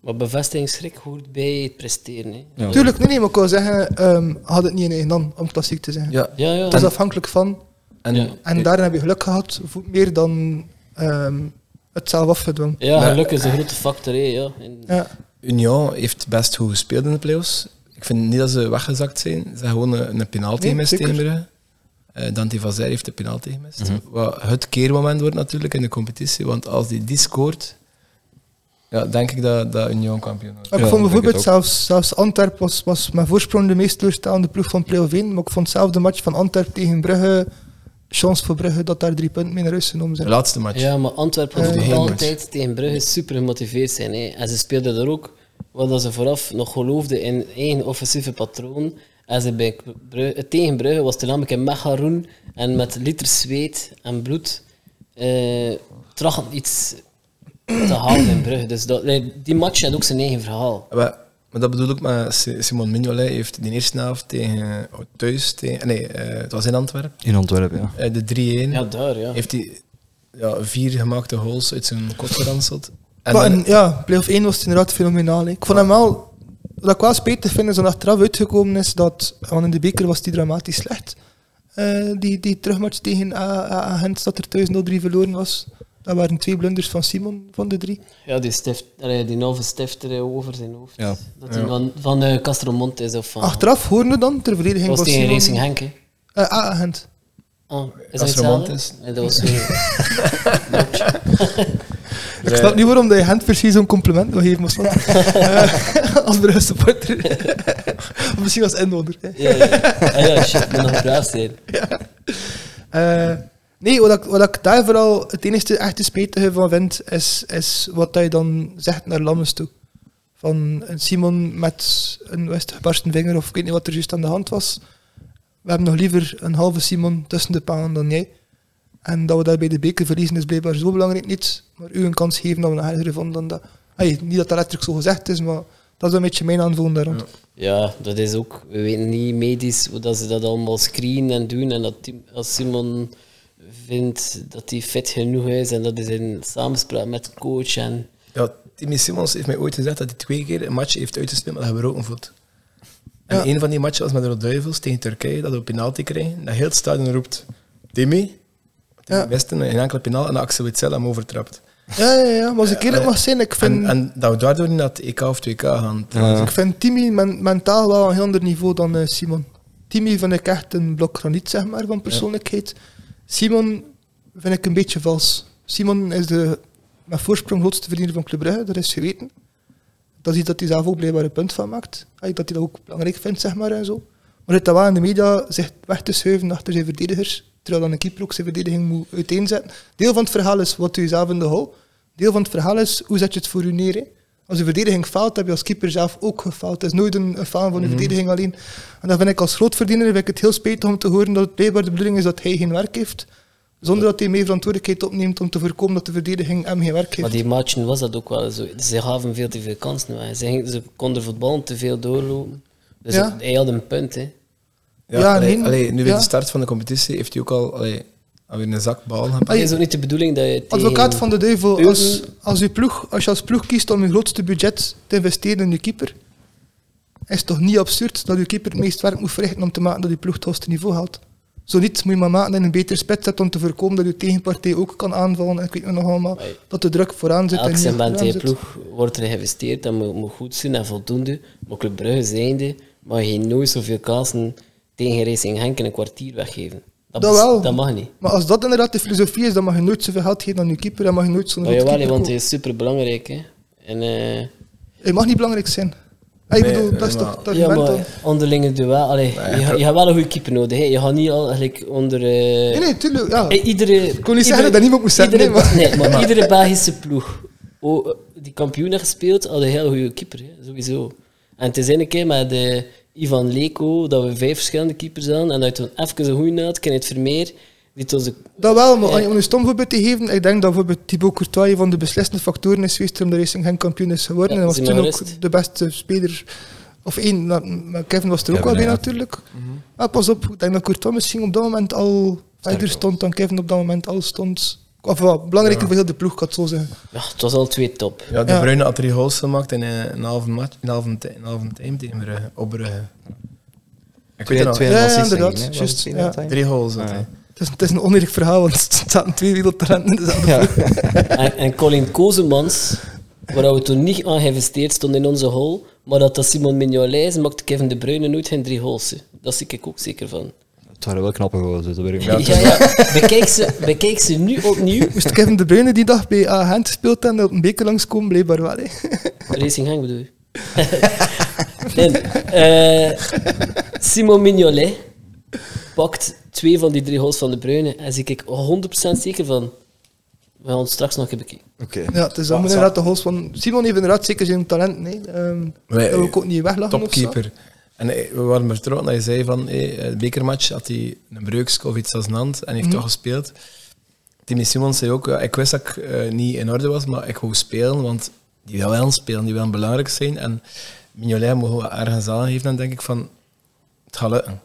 Speaker 3: Maar bevestigingsschrik hoort bij het presteren. Hè.
Speaker 2: Ja.
Speaker 1: Tuurlijk, nee, nee, maar ik wil zeggen, ehm had het niet in eigen hand, om klassiek te zeggen.
Speaker 4: ja.
Speaker 3: Ja, ja.
Speaker 1: Het is afhankelijk van,
Speaker 4: En,
Speaker 3: Ja.
Speaker 1: en daarin heb je geluk gehad, vo- meer dan ehm, het zelf afgedwongen.
Speaker 3: Ja,
Speaker 4: Maar-
Speaker 3: geluk is een grote factor. Hè, ja. En-
Speaker 1: Ja.
Speaker 4: Union heeft best goed gespeeld in de playoffs. Ik Ik vind niet dat ze weggezakt zijn. Ze hebben gewoon een, een penalty
Speaker 1: Nee,
Speaker 4: gemist
Speaker 1: zeker.
Speaker 4: tegen Brugge. Eh, Dante van Zijl heeft de penalty gemist.
Speaker 2: Mhm.
Speaker 4: Wat het keermoment wordt natuurlijk in de competitie. Want als die die scoort, ja, denk ik dat, dat Union kampioen wordt.
Speaker 1: Ik
Speaker 2: Ja,
Speaker 1: vond
Speaker 2: ik denk het
Speaker 1: bijvoorbeeld
Speaker 2: ook.
Speaker 1: zelfs, zelfs Antwerp was, was mijn voorsprong de meest teleurstaande ploeg van play-off 1. Maar ik vond zelf de match van Antwerp tegen Brugge, chance voor Brugge, dat daar drie punten mee naar huis genomen
Speaker 4: De
Speaker 1: zijn.
Speaker 4: laatste match.
Speaker 3: Ja, maar Antwerpen
Speaker 1: Ja.
Speaker 3: moet
Speaker 4: Die
Speaker 3: altijd tegen Brugge super gemotiveerd zijn. Hè. En ze speelden er ook, wat dat ze vooraf nog geloofden in één offensieve patroon. En ze bij Brugge, tegen Brugge was het namelijk een macaroen en met liters zweet en bloed eh trachten iets te halen in Brugge. Dus dat, die match had ook zijn eigen verhaal.
Speaker 4: Eh, Maar, maar dat bedoel ik, maar Si- Simon Mignolet heeft de eerste helft tegen oh, thuis, tegen, nee, eh, het was in Antwerpen,
Speaker 2: In Antwerpen, <laughs> ja.
Speaker 4: eh, de 3-1.
Speaker 3: Ja, daar, ja.
Speaker 4: Heeft hij ja, vier gemaakte goals uit zijn kop geranseld. En
Speaker 1: Maar
Speaker 4: dan-
Speaker 1: in- ja, play-off 1 was het inderdaad fenomenaal. hè. Ik vond hem wel, wat ik wel spijtig vind, is dat achteraf uitgekomen is dat, want in de beker was die dramatisch slecht. Eh, die, die terugmatch tegen A Gent, dat er thuis 0-3 verloren was. Dat waren twee blunders van Simon van de drie.
Speaker 3: Ja, die, stift, allee, die halve stifter eh, over zijn hoofd.
Speaker 2: Ja.
Speaker 3: Dat hij van, van eh, Castromont is of van...
Speaker 1: Achteraf hoorde dan, ter
Speaker 3: Dat
Speaker 1: verdediging
Speaker 3: was
Speaker 1: van
Speaker 3: tegen
Speaker 1: Simon...
Speaker 3: Racing Henk, hè.
Speaker 1: eh, A Gent.
Speaker 3: Ah, is dat
Speaker 4: Als
Speaker 3: hetzelfde?
Speaker 4: romantisch.
Speaker 3: Nee, dat was <laughs> zo.
Speaker 1: Ik snap niet waarom dat je Gent precies zo'n compliment wil geven, maar snap. Eh, <laughs> als Brugge supporter. of misschien als inwoner. hè.
Speaker 3: ja, ja. Ah, ja, shit, ik moet nog braaf zijn.
Speaker 1: Eh, nee, wat ik, wat ik daar vooral het enige echte spijtige van vind, is, is wat hij dan zegt naar Lammens toe. Van een Simon met een wist gebarsten vinger, of ik weet niet wat er juist aan de hand was. We hebben nog liever een halve Simon tussen de palen dan jij. En dat we daar bij de beker verliezen is blijkbaar zo belangrijk niet. Maar u een kans geven dat we nog erger vonden dan dat. Hey, niet dat dat letterlijk zo gezegd is, maar dat is een beetje mijn aanvoelen daar rond.
Speaker 3: Ja, dat is ook, we weten niet medisch hoe dat ze dat allemaal screenen en doen. En dat die- als Simon vindt dat hij fit genoeg is en dat is in samenspraak met coach en...
Speaker 4: ja, Timmy Simons heeft mij ooit gezegd dat hij twee keer een match heeft uitgespeeld met een gebroken voet. En
Speaker 1: Ja.
Speaker 4: een van die matchen was met de Rode Duivels tegen Turkije, dat we een penalty kregen. Dat heel het stadion roept, Timmy. Timmy
Speaker 1: Ja.
Speaker 4: Westen, een enkele penal en Axel Witsel hem overtrapt.
Speaker 1: Ja, ja, ja, maar als ik eerlijk mag zijn, ik vind...
Speaker 4: Eh, En, en dat we daardoor niet naar het EK of 2K gaan.
Speaker 2: Ja.
Speaker 1: Ik vind Timmy men- mentaal wel een heel ander niveau dan eh, Simon. Timmy vind ik echt een blok graniet, zeg maar, van persoonlijkheid. Simon vind ik een beetje vals. Simon is de met voorsprong grootste verdiener van Club Brugge, dat is geweten. Dat is iets dat hij zelf ook blijkbaar een punt van maakt. Ay, Dat hij dat ook belangrijk vindt, zeg maar, en zo. Maar het dat wel in de media zich weg te schuiven achter zijn verdedigers, terwijl dan een keeper ook zijn verdediging moet uiteenzetten. Deel van het verhaal is wat u zelf in de hol. Deel van het verhaal is hoe zet je het voor u neer. hè. Als uw verdediging faalt, heb je als keeper zelf ook gefaald. Het is nooit een, een faal van uw verdediging alleen. En dat vind ik als grootverdiener vind ik het heel spijtig om te horen dat het blijkbaar de bedoeling is dat hij geen werk heeft. Zonder dat hij mee verantwoordelijkheid opneemt om te voorkomen dat de verdediging hem geen werk heeft.
Speaker 3: Maar die matchen was dat ook wel zo. Ze gaven veel te veel kansen weg. Ze, gingen- ze konden voetballen te veel doorlopen. Dus
Speaker 1: Ja.
Speaker 3: hij had een punt, hè.
Speaker 1: Ja,
Speaker 4: allee,
Speaker 1: nee,
Speaker 4: allee, nu weer
Speaker 1: ja.
Speaker 4: de start van de competitie heeft hij ook al allee, alweer een zak bal gepakt.
Speaker 3: Het is ook niet de bedoeling dat je tegen...
Speaker 1: Advocaat van de duivel,
Speaker 3: Tegen-
Speaker 1: als, als, uw ploeg, als je als ploeg kiest om je grootste budget te investeren in je keeper, is het toch niet absurd dat je keeper het meest werk moet verrichten om te maken dat je ploeg het hoogste niveau haalt? Zo niet, moet je maar maken in een beter spitset om te voorkomen dat je tegenpartij ook kan aanvallen en ik weet nog allemaal,
Speaker 3: Nee.
Speaker 1: dat de druk vooraan zit
Speaker 3: Elk
Speaker 1: en niet
Speaker 3: segment
Speaker 1: achteraan
Speaker 3: in je
Speaker 1: zit.
Speaker 3: ploeg wordt er geïnvesteerd, dat moet, moet goed zijn en voldoende. Maar Club Brugge zijnde mag je nooit zoveel kansen tegen Racing Henk in een kwartier weggeven. Dat,
Speaker 1: Dat
Speaker 3: is-
Speaker 1: wel.
Speaker 3: dat mag niet.
Speaker 1: Maar als dat inderdaad de filosofie is, dan mag je nooit zoveel geld geven aan je keeper en mag je nooit zo'n
Speaker 3: Maar
Speaker 1: grote
Speaker 3: jawel, hè,
Speaker 1: keeper
Speaker 3: want hij
Speaker 1: kopen.
Speaker 3: is superbelangrijk. Hè. En, eh,
Speaker 1: Hij mag niet belangrijk zijn. Ah, Ik
Speaker 4: Nee,
Speaker 1: bedoel, dat is
Speaker 4: maar-
Speaker 1: toch het
Speaker 3: ja,
Speaker 1: argument dan?
Speaker 3: maar onderlinge duel. Allee, je, gaat- je gaat wel een goede keeper nodig. Hè. Je gaat niet al gelijk onder... eh,
Speaker 1: Nee, nee, tuurlijk. Ja.
Speaker 3: eh, iedere, ik
Speaker 1: kon niet zeggen dat dat niemand moest zeggen,
Speaker 3: Iedere,
Speaker 1: nee, maar-
Speaker 3: <laughs> nee, maar iedere Belgische ploeg oh, eh, die kampioen heeft gespeeld, had een heel goede keeper, hè, sowieso. En het is een keer met eh, Ivan Leko dat we vijf verschillende keepers hadden. En dat je toen even een goede had, Kenneth Vermeer. Die tot de,
Speaker 1: Dat wel, maar
Speaker 3: Ja.
Speaker 1: om een stom voorbeeld te geven, ik denk dat bijvoorbeeld Thibaut Courtois een van de beslissende factoren is geweest om de Racing Genk kampioen is geworden.
Speaker 3: Ja,
Speaker 1: en was
Speaker 3: zie
Speaker 1: toen
Speaker 3: maar
Speaker 1: ook
Speaker 3: gerust.
Speaker 1: de beste speler, of één, maar- maar Kevin was er ook
Speaker 2: Kevin,
Speaker 1: wel bij
Speaker 2: ja.
Speaker 1: natuurlijk.
Speaker 3: Mhm.
Speaker 1: Maar pas op, ik denk dat Courtois misschien op dat moment al verder
Speaker 4: was.
Speaker 1: stond dan Kevin op dat moment al stond. Of wel, belangrijker voor heel de ploeg, kan het zo zeggen.
Speaker 3: ja, het was al twee
Speaker 1: <laughs>
Speaker 3: top.
Speaker 4: Ja, de
Speaker 1: Ja.
Speaker 4: Bruyne had drie goals gemaakt in eh, een halve match, een halve ti- een halve time tegen Brugge, op Brugge. Ik weet het nog,
Speaker 1: Ja, ja, inderdaad, juist, ja.
Speaker 4: drie goals had
Speaker 2: Ja.
Speaker 4: hij.
Speaker 1: Het is, het is een oneerlijk verhaal, want er staan twee wereldtalenten in dezelfde
Speaker 2: Ja.
Speaker 1: ploeg.
Speaker 3: En, en Colin Kozemans waar we toen niet aan geïnvesteerd stonden in onze hol, maar dat dat Simon Mignolet is, maakt Kevin De Bruyne nooit geen drie holes. hè. Daar zie ik ook zeker van.
Speaker 2: Het waren wel knappe gozer, dat weet ik
Speaker 3: <laughs> Ja,
Speaker 2: wel.
Speaker 3: ja, Bekijk, ze, bekijk ze nu opnieuw.
Speaker 1: Moest Kevin De Bruyne die dag bij A Gent gespeeld en op een beker langskomen, blijkbaar wel. hè.
Speaker 3: Racing Gang bedoel je? <laughs> nee, eh, Simon Mignolet pakt twee van die drie goals van de Bruyne en zie ik 100% zeker van. We gaan het straks nog even bekijken.
Speaker 2: Oké.
Speaker 1: Ja, het is allemaal inderdaad de goals van... Simon heeft inderdaad zeker zijn talent, nee. ehm
Speaker 4: Wij-
Speaker 1: dat wil ik ook niet weglachen Of
Speaker 4: Topkeeper. En eh, we waren vertrouwd dat je zei van, hey, eh, bekermatch had hij een breukske of iets als een hand en hij heeft
Speaker 1: Mhm.
Speaker 4: toch gespeeld. Timmy Simons zei ook, ja, ik wist dat ik eh, niet in orde was, maar ik wou spelen, want die wil wel spelen, die wil belangrijk zijn. En Mignolet mogen we ergens aangeven, dan denk ik van, het gaat lukken.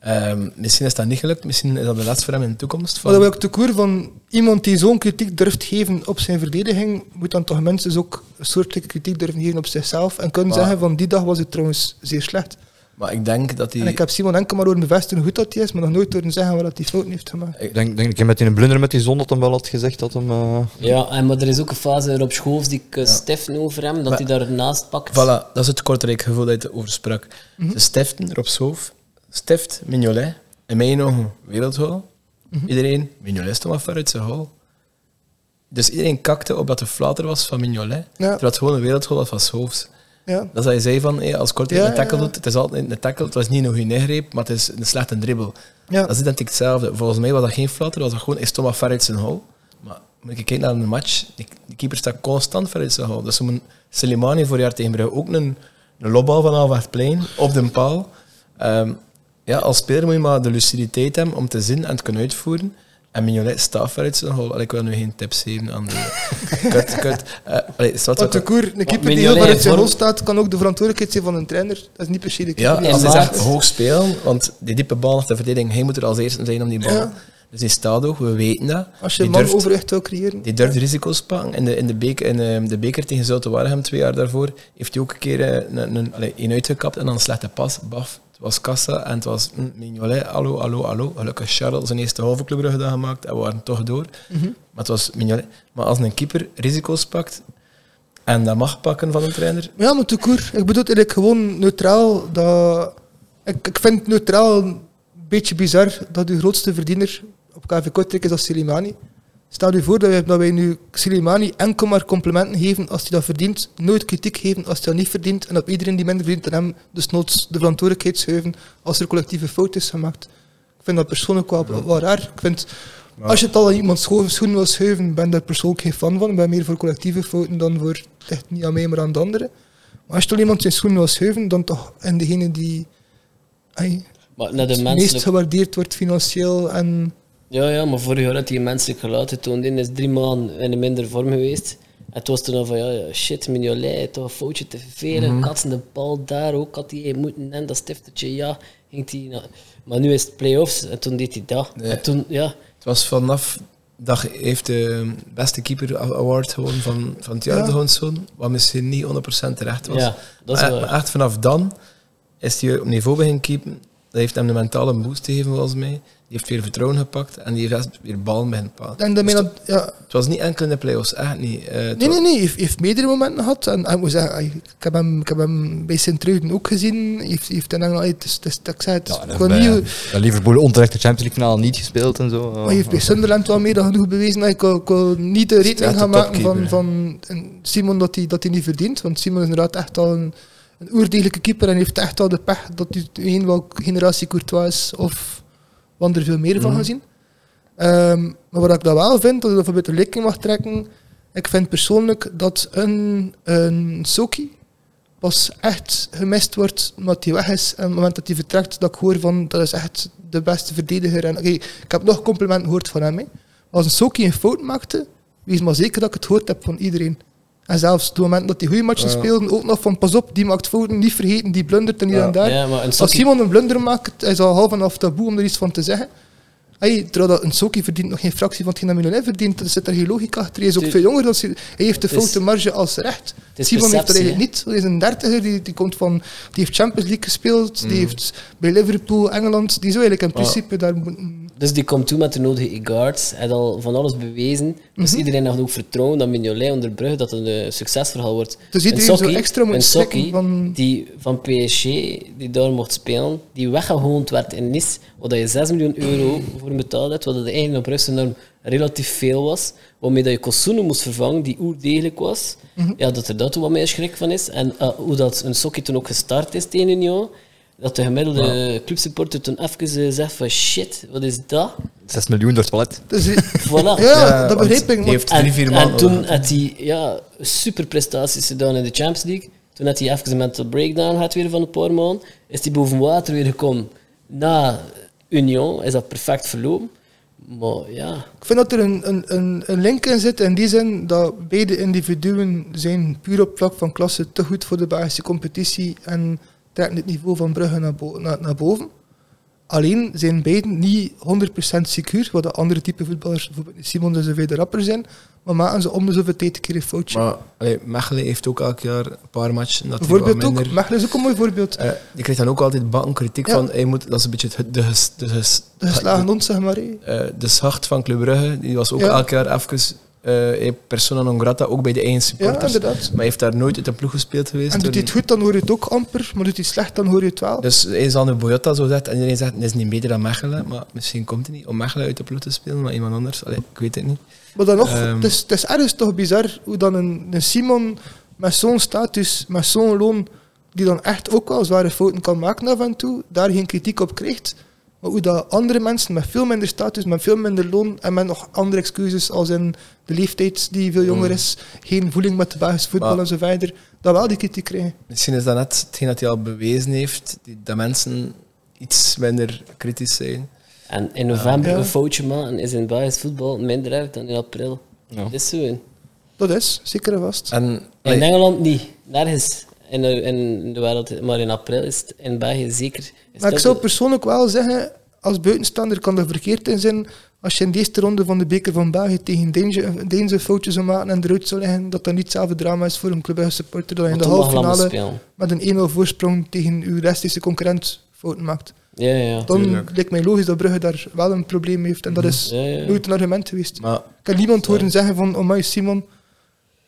Speaker 4: Ehm, misschien is dat niet gelukt, misschien is dat de laatste voor hem in de toekomst.
Speaker 1: zo. Maar dat wil ik te koer van iemand die zo'n kritiek durft geven op zijn verdediging, moet dan toch mensen dus ook een soortelijke kritiek durven geven op zichzelf en kunnen
Speaker 4: Maar-
Speaker 1: zeggen van die dag was het trouwens zeer slecht.
Speaker 4: Maar ik denk dat hij...
Speaker 1: En ik heb Simon enkel maar horen bevestigen hoe goed dat hij is, maar nog nooit horen zeggen wat dat hij fout heeft gemaakt.
Speaker 2: Ik denk, denk ik heb met die blunder met die zon dat hem wel had gezegd dat hem... eh,
Speaker 3: Ja, en, maar er is ook een fase Rob Schoofs die ik eh, Steffen over hem, dat
Speaker 4: Maar-
Speaker 3: hij daarnaast pakt.
Speaker 4: Voilà, dat is het kortrijk gevoel dat je over sprak.
Speaker 1: Mhm.
Speaker 4: Ze stiften, Rob Schoof, stift Mignolet, in mijn ogen wereldhol.
Speaker 1: Mhm.
Speaker 4: Iedereen, Mignolet stond maar ver uit zijn hol. Dus iedereen kakte op dat de flater was van Mignolet, terwijl het gewoon een wereldhol was van Schoofs.
Speaker 1: Ja.
Speaker 4: Dat is wat je zei van, hé, als kortrijk
Speaker 1: Ja,
Speaker 4: een tackle
Speaker 1: ja, ja.
Speaker 4: doet, het is altijd een tackle, het was niet nog een ingreep, maar het is een slechte dribbel.
Speaker 1: Ja.
Speaker 4: Dat is identiek hetzelfde. Volgens mij was dat geen flater, was dat gewoon, hij stond maar ver uit zijn hol. Maar moet je kijken naar de match, die, die keeper staat constant ver uit zijn hol. Dus zo'n Slimani voor jaar tegen Brugge ook een, een lobbal vanaf het plein, op de paal. Ehm, ja, als speler moet je maar de luciditeit hebben om te zien en te kunnen uitvoeren. En Mignolet staat ver uit zijn hol. Allee, Ik wil nu geen tips geven aan de... <laughs> kut, kut. Eh, allee, is wat
Speaker 1: Wat de
Speaker 4: ook-
Speaker 1: koer, een keeper die
Speaker 3: Mignolet
Speaker 1: heel ver uit zijn
Speaker 3: vorm-
Speaker 1: rol staat, kan ook de verantwoordelijkheid zijn van een trainer. Dat is niet per se de
Speaker 4: Ja,
Speaker 1: keeper.
Speaker 4: als hij
Speaker 3: maakt-
Speaker 4: zegt hoog spelen, want die diepe bal naar de verdediging, hij moet er als eerste zijn om die bal.
Speaker 1: Ja.
Speaker 4: Dus die staat ook, we weten dat.
Speaker 1: Als je een
Speaker 4: die,
Speaker 1: man
Speaker 4: durft,
Speaker 1: overwicht wil creëren.
Speaker 4: die durft risico's pakken. In de, in de, beker, in eh, de beker tegen Zulte Waregem twee jaar daarvoor heeft hij ook een keer eh, een, een, allee, een uitgekapt en dan een slechte pas. Baf, het was Kassa en het was mm, Mignolet, hallo, hallo, hallo. Gelukkig Charles zijn eerste halve clubrug dat gemaakt en we waren toch door.
Speaker 1: Mhm.
Speaker 4: Maar het was Mignolet. Maar als een keeper risico's pakt en dat mag pakken van een trainer,
Speaker 1: Ja, maar te koer. Ik bedoel eigenlijk gewoon neutraal. Dat... Ik, ik vind het neutraal een beetje bizar dat uw grootste verdiener op KV Kortrijk is als Silimani. Stel u voor dat wij, dat wij nu Silimani enkel maar complimenten geven als hij dat verdient, nooit kritiek geven als hij dat niet verdient en op iedereen die minder verdient dan hem dus noods de verantwoordelijkheid schuiven als er collectieve fout is gemaakt. Ik vind dat persoonlijk wel, wel raar. Ik vind, als je het al aan iemands scho- schoenen wil schuiven, ben ik daar persoonlijk geen fan van. Ik ben meer voor collectieve fouten dan voor, het ligt niet aan mij, maar aan de anderen. Maar als je toch iemand zijn schoenen wil schuiven, dan toch en degene die ai,
Speaker 3: Maar naar de
Speaker 1: het meest
Speaker 3: menselijke...
Speaker 1: gewaardeerd wordt financieel en
Speaker 3: Ja, ja, maar vorig jaar had hij een menselijk geluid getoond. in is drie maanden in een minder vorm geweest. En het was toen al van, ja, ja shit, Mignolet, toch een foutje te vervelen.
Speaker 1: Mhm.
Speaker 3: Katsen de bal daar ook, had hij moeten en dat stiftertje, ja. Ging hij naar- Maar nu is het play-offs en toen deed hij dat.
Speaker 4: Nee.
Speaker 3: En toen, ja,
Speaker 4: Het was vanaf dag heeft de beste keeper award gewonnen van, van het jaar
Speaker 1: Ja.
Speaker 4: de Hondszoon, wat misschien niet 100% terecht was.
Speaker 3: ja, dat is
Speaker 4: maar,
Speaker 3: wel...
Speaker 4: maar echt vanaf dan is hij op niveau beginnen keepen. Dat heeft hem een mentale boost gegeven volgens mij. Die heeft weer vertrouwen gepakt en die heeft echt weer ballen beginnen pakken.
Speaker 1: en daarmee dat, ja,
Speaker 4: Dus Het was niet enkel in de play-offs, echt niet. Eh, het
Speaker 1: Nee,
Speaker 4: was-
Speaker 1: nee, nee. Hij heeft, heeft meerdere momenten gehad. En, en ik moet zeggen, ai, ik heb hem, ik heb hem bij Sint-Truiden ook gezien. Hij heeft, hij heeft in Engeland... ai, Het is, het is, ik zei het,
Speaker 2: Ja, en
Speaker 1: ja,
Speaker 2: bij, bij Liverpool onterecht de Champions League finale niet gespeeld en zo.
Speaker 1: Maar je Oh, heeft bij Sunderland wel meer dan genoeg bewezen. dat Ik wil, ik wil niet de rekening
Speaker 4: de
Speaker 1: gaan maken van,
Speaker 4: topkeeper,
Speaker 1: van een Simon dat hij, dat hij niet verdient. Want Simon is inderdaad echt al een, een oerdegelijke keeper en heeft echt al de pech dat hij geen welke generatie Courtois is of want er veel meer
Speaker 4: Mhm.
Speaker 1: van gezien. Ehm, maar wat ik dat wel vind, dat ik dat bijvoorbeeld de rekening mag trekken. Ik vind persoonlijk dat een, een Soki pas echt gemist wordt omdat hij weg is. En op het moment dat hij vertrekt, dat ik hoor van dat is echt de beste verdediger. En, oké, ik heb nog complimenten gehoord van hem. hè. Als een Soki een fout maakte, wees maar zeker dat ik het gehoord heb van iedereen. En zelfs op het moment dat hij goede matchen speelden, ook nog van pas op, die maakt fouten, niet vergeten, die blundert en hier en daar.
Speaker 3: Ja, maar een
Speaker 1: Als
Speaker 3: sokkie-
Speaker 1: Simon een blunder maakt, is al half en half taboe om er iets van te zeggen. Hey, terwijl dat een Soki verdient nog geen fractie van hetgeen dat Mignolet verdient, er zit er geen logica achter. Hij is ook
Speaker 3: Het-
Speaker 1: veel jonger dan Simon. Hij heeft de
Speaker 3: het is-
Speaker 1: foute marge als recht.
Speaker 3: is
Speaker 1: Simon heeft dat
Speaker 3: perceptie,
Speaker 1: eigenlijk niet. Hij is een dertiger, die, die, komt van, die heeft Champions League gespeeld,
Speaker 3: Mm.
Speaker 1: die heeft bij Liverpool, Engeland,
Speaker 3: Oh.
Speaker 1: die zou eigenlijk in principe daar moeten... <laughs>
Speaker 3: Dus die komt toe met de nodige e-guards. Hij had al van alles bewezen. Dus
Speaker 1: Mhm.
Speaker 3: iedereen had ook vertrouwen dat Mignolet onder Brugge dat het een succesverhaal wordt.
Speaker 1: Dus
Speaker 3: Een
Speaker 1: iedereen zo
Speaker 3: sokkie-
Speaker 1: extra moet
Speaker 3: een
Speaker 1: strikken
Speaker 3: sokkie
Speaker 1: van-
Speaker 3: die van PSG, die daar mocht spelen, die weggehoond werd in Nice, waar je 6 miljoen euro voor betaald hebt, wat dat eigenlijk op Brusselse norm relatief veel was, waarmee dat je Kosunu moest vervangen, die oerdegelijk was. Ja, dat er dat toen wat meer schrik van is. En eh, hoe dat een sokkie toen ook gestart is tegen Union, dat de gemiddelde clubsupporter toen even eh, zegt van shit, wat is dat?
Speaker 2: 6 miljoen door het toilet.
Speaker 1: Dus,
Speaker 3: Voilà.
Speaker 1: ja, dat
Speaker 4: want
Speaker 1: begreep ik.
Speaker 4: Die
Speaker 1: maar-
Speaker 4: heeft drie, vier maanden.
Speaker 3: en toen
Speaker 4: nodig.
Speaker 3: had hij ja, superprestaties gedaan in de Champions League. Toen had hij even een mental breakdown gehad weer van een paar maanden. Is hij boven water weer gekomen. Na Union is dat perfect verlopen. Maar ja,
Speaker 1: Ik vind dat er een, een, een, een link in zit in die zin dat beide individuen zijn puur op vlak van klasse te goed voor de Belgische competitie en trekken het niveau van Brugge naar, bo- naar, naar boven. Alleen zijn beiden niet 100% secuur, wat de andere type voetballers, bijvoorbeeld Simon en zoveel de rapper zijn, maar maken ze om de zoveel tijd een keer een foutje.
Speaker 4: Maar allee, Mechelen heeft ook elk jaar een paar matchen dat hij wat
Speaker 1: Bijvoorbeeld ook,
Speaker 4: minder...
Speaker 1: Mechelen is ook een mooi voorbeeld.
Speaker 4: Eh, je krijgt dan ook altijd bakken kritiek
Speaker 1: Ja.
Speaker 4: van, hey, moet, dat is een beetje het, de, ges- de, ges-
Speaker 1: De geslagen ons, zeg maar. hé.
Speaker 4: eh, de schacht van Club Brugge, die was ook
Speaker 1: Ja.
Speaker 4: elk jaar even eh, hey, persona non grata, ook bij de eigen
Speaker 1: Ja,
Speaker 4: supporters.
Speaker 1: inderdaad.
Speaker 4: maar hij heeft daar nooit uit de ploeg gespeeld geweest.
Speaker 1: En doet hij
Speaker 4: door-
Speaker 1: het goed, dan hoor je het ook amper, maar doet hij het slecht, dan hoor je het wel.
Speaker 4: Dus hij zal nu Boyata zo zegt en iedereen zegt, hij is niet beter dan Mechelen, maar misschien komt hij niet om Mechelen uit de ploeg te spelen, maar iemand anders, allee, ik weet het niet.
Speaker 1: Maar dan nog,
Speaker 4: Ehm.
Speaker 1: het, is, het is ergens toch bizar hoe dan een, een Simon met zo'n status, met zo'n loon, die dan echt ook wel zware fouten kan maken af en toe, daar geen kritiek op krijgt. Maar hoe dat andere mensen met veel minder status, met veel minder loon en met nog andere excuses als in de leeftijd die veel jonger is, geen voeling met de Belgische voetbal
Speaker 4: Mm. Maar-
Speaker 1: en zo verder, dat wel die kritiek krijgen.
Speaker 4: Misschien is dat net hetgeen dat hij al bewezen heeft, die, dat mensen iets minder kritisch zijn.
Speaker 3: en in november
Speaker 1: Ja.
Speaker 3: een foutje maken is in Belgisch voetbal minder uit dan in april. Dat is zo. in.
Speaker 1: Dat is, zeker en vast.
Speaker 4: En,
Speaker 3: In
Speaker 4: allee,
Speaker 3: Engeland niet. Nergens. In de, in de wereld. Maar in april is het in België zeker. is het
Speaker 1: Maar ik
Speaker 3: ook
Speaker 1: zou
Speaker 3: de-
Speaker 1: persoonlijk wel zeggen, als buitenstaander kan dat verkeerd in zijn. Als je in deze ronde van de Beker van België tegen Deense- Deense foutjes zou maken en eruit zou liggen, dat dat niet hetzelfde drama is voor een clubhuis supporter dan je in
Speaker 3: want
Speaker 1: de
Speaker 3: dan mag Lammen
Speaker 1: halve
Speaker 3: spelen.
Speaker 1: met een 1-0 voorsprong tegen uw restische concurrent fouten maakt.
Speaker 3: Ja, ja, ja.
Speaker 1: Dan
Speaker 4: Tuurlijk.
Speaker 1: lijkt mij logisch dat Brugge daar wel een probleem mee heeft. En dat is
Speaker 3: Ja, ja, ja.
Speaker 1: nooit een argument geweest.
Speaker 4: maar
Speaker 1: Ik heb niemand horen zeggen van, oh my Simon...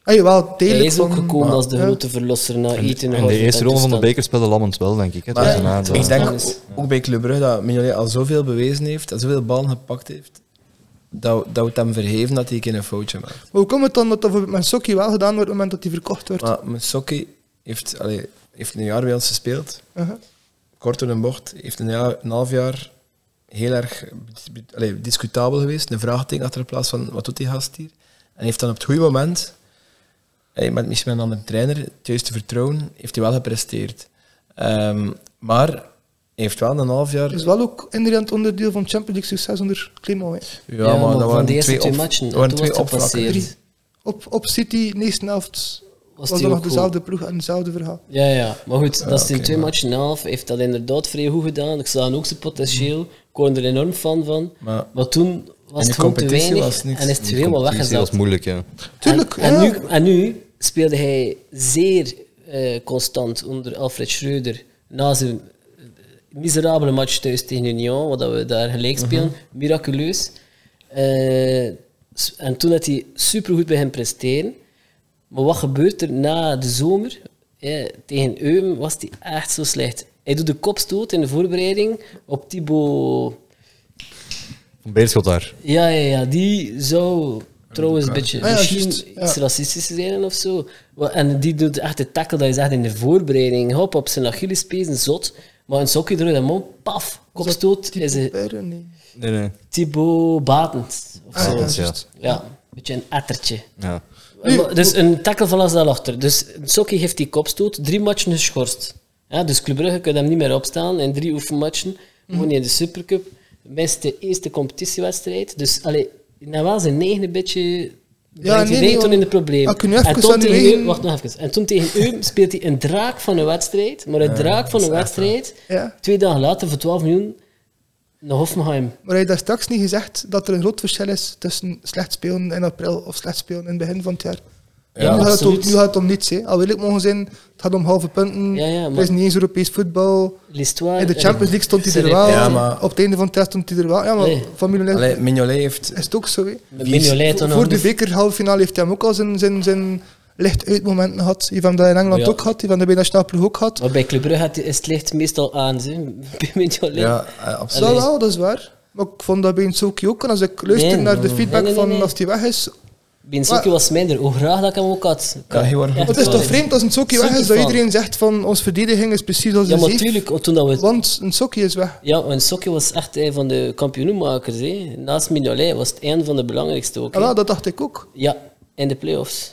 Speaker 1: Ah, jawel,
Speaker 3: Hij
Speaker 1: degelijk
Speaker 3: is ook
Speaker 1: van-
Speaker 3: gekomen als de
Speaker 1: Ah, Ja.
Speaker 3: grote verlosser na
Speaker 2: In,
Speaker 3: eten.
Speaker 2: in de eerste ronde van de beker speelde Lammens wel, denk ik. Hè.
Speaker 4: Maar
Speaker 2: Dus daarna,
Speaker 3: het
Speaker 2: dat-
Speaker 4: ik
Speaker 3: is-
Speaker 4: denk
Speaker 3: dat is-
Speaker 4: ook bij Club Brugge dat Mignolet al zoveel bewezen heeft, en zoveel ballen gepakt heeft, dat, dat we het hem vergeven dat hij een keer een foutje maakt.
Speaker 1: Maar hoe komt het dan dat dat bijvoorbeeld met Sokkie wel gedaan wordt op het moment dat hij verkocht wordt?
Speaker 4: Maar Musoki heeft, allee, heeft een jaar bij ons gespeeld,
Speaker 1: Uh-huh.
Speaker 4: kort door een bocht, heeft een, jaar, een half jaar heel erg be- allee, discutabel geweest, een vraagteken achter de plaats van wat doet die gast hier? En heeft dan op het goede moment, allee, met misschien met een andere trainer, het juiste vertrouwen, heeft hij wel gepresteerd. Ehm, maar hij heeft wel een half jaar
Speaker 1: is wel ook inderdaad onderdeel van Champions League succes onder Clément. hè.
Speaker 3: Ja,
Speaker 4: Ja,
Speaker 3: maar
Speaker 4: dat
Speaker 3: van
Speaker 4: waren
Speaker 3: de eerste
Speaker 4: twee,
Speaker 3: twee
Speaker 4: op-
Speaker 3: matchen,
Speaker 4: dat
Speaker 3: en
Speaker 4: waren
Speaker 3: toen
Speaker 4: twee
Speaker 3: was het
Speaker 4: opvakken.
Speaker 3: gepasseerd.
Speaker 1: Drie. Op, op City, de eerste helft, was,
Speaker 3: Was die
Speaker 1: dan nog
Speaker 3: ook goed?
Speaker 1: dezelfde ploeg en hetzelfde verhaal. Dus
Speaker 3: Ja, ja. Maar goed, dat is in
Speaker 4: oké,
Speaker 3: twee
Speaker 4: maar-
Speaker 3: matchen en een half. Heeft dat inderdaad vrij goed gedaan. Ik zag hem ook zijn potentieel. Ik was er enorm fan van.
Speaker 4: Maar
Speaker 3: Maar toen was
Speaker 4: de
Speaker 3: het gewoon te
Speaker 4: competitie
Speaker 3: weinig.
Speaker 4: was niks.
Speaker 3: En is
Speaker 4: Die
Speaker 3: het helemaal
Speaker 2: competitie was
Speaker 3: weggezet.
Speaker 2: moeilijk, ja.
Speaker 1: Tuurlijk,
Speaker 3: En, en
Speaker 1: ja.
Speaker 3: nu, en nu speelde hij zeer eh, constant onder Alfred Schreuder na zijn eh, miserabele match thuis tegen Union, wat dat we daar gelijk spelen,
Speaker 1: Mhm.
Speaker 3: miraculeus. Eh, s- en toen had hij supergoed bij hem presteren. Maar wat gebeurt er na de zomer? Eh, tegen Eupen was hij echt zo slecht. Hij doet de kopstoot in de voorbereiding op Thibaut
Speaker 2: Van Beerschot daar.
Speaker 3: ja, ja, ja, die zou trouwens een beetje
Speaker 1: Ah ja,
Speaker 3: misschien
Speaker 1: juist, ja.
Speaker 3: iets racistisch zijn of zo. Wa- En die doet echt de tackle, dat is echt in de voorbereiding. Hop, op zijn Achillespezen, zot. Maar een sokje eruit en mond, paf, kopstoot, is
Speaker 1: Type
Speaker 3: het
Speaker 1: Bayern, nee.
Speaker 2: Nee, nee.
Speaker 3: Thibaut Batens of zo.
Speaker 1: Ah,
Speaker 2: ja.
Speaker 1: juist.
Speaker 3: Ja, een beetje een ettertje.
Speaker 2: ja.
Speaker 1: Nu-
Speaker 3: Maar- dus een tackle van Las achter. Dus Sokkie heeft die kopstoot, drie matchen geschorst. Ja, dus Club Brugge kan hem niet meer opstaan in drie oefenmatchen.
Speaker 1: Mhm.
Speaker 3: Gewoon in de Supercup. Minst de eerste competitiewedstrijd. Dus allee, nou wel zijn negende beetje. Ja,
Speaker 1: nee,
Speaker 3: nee,
Speaker 1: nee,
Speaker 3: toen
Speaker 1: want-
Speaker 3: in de problemen.
Speaker 1: Ah, kun je even
Speaker 3: en, toen
Speaker 1: aan die
Speaker 3: tegen
Speaker 1: eigen-
Speaker 3: Eupen- wacht nog even. en toen tegen Eupen speelt hij een draak van een wedstrijd. Maar een draak van een wedstrijd,
Speaker 1: Ja.
Speaker 3: twee dagen later voor 12 miljoen, naar Hoffenheim.
Speaker 1: Maar hij daar straks niet gezegd dat er een groot verschil is tussen slecht spelen in april of slecht spelen in het begin van het jaar.
Speaker 3: Ja,
Speaker 1: nu, gaat het om,
Speaker 3: absoluut.
Speaker 1: nu gaat het om niets. Hè. Al wil ik mogen zijn, het gaat om halve punten.
Speaker 3: Ja, ja,
Speaker 1: er
Speaker 3: maar
Speaker 1: is niet eens Europees voetbal.
Speaker 3: l'histoire...
Speaker 1: In de Champions League stond hij
Speaker 3: Ze
Speaker 1: er wel.
Speaker 4: Ja, maar-
Speaker 1: Op het einde van het test stond hij er wel. Ja, maar
Speaker 3: Nee.
Speaker 1: familie Leeuw-
Speaker 4: Allee, Mignolet heeft...
Speaker 1: is het ook zo. hè.
Speaker 3: Mignolet
Speaker 1: Voor,
Speaker 3: toen
Speaker 1: voor
Speaker 3: nog
Speaker 1: de
Speaker 3: niet-
Speaker 1: beker halve finale heeft hij hem ook al zijn, zijn, zijn licht uitmomenten gehad. Die van dat in Engeland
Speaker 3: Ja.
Speaker 1: ook had, die van de bijnationale ploeg ook had.
Speaker 3: Maar bij Club Brugge had- is het licht meestal aan, ze. <laughs> Bij Mignolet.
Speaker 4: Ja, eh, absoluut.
Speaker 1: Dat
Speaker 3: Allee.
Speaker 1: wel, dat is waar. Maar ik vond dat bij een Soki ook. En als ik luister
Speaker 3: Nee.
Speaker 1: naar de feedback
Speaker 3: Nee, nee, nee, nee.
Speaker 1: van als hij weg is.
Speaker 3: Binsokje was minder. Hoe graag dat ik hem ook had. Ik
Speaker 4: Ja,
Speaker 3: had-
Speaker 4: heel erg.
Speaker 3: echt
Speaker 1: Het is
Speaker 3: waar.
Speaker 1: toch vreemd als een Soki weg
Speaker 3: Zeker
Speaker 1: is dat
Speaker 3: van.
Speaker 1: iedereen zegt van onze verdediging is precies als
Speaker 3: Ja,
Speaker 1: een
Speaker 3: maar
Speaker 1: zeef.
Speaker 3: tuurlijk, toen dat we...
Speaker 1: Want een Soki is weg.
Speaker 3: Ja, en Sokje was echt een van de kampioenmakers. Hè. Naast Mignolet was het een van de belangrijkste ook. hè.
Speaker 1: Ah, wel, dat dacht ik ook.
Speaker 3: Ja, in de playoffs.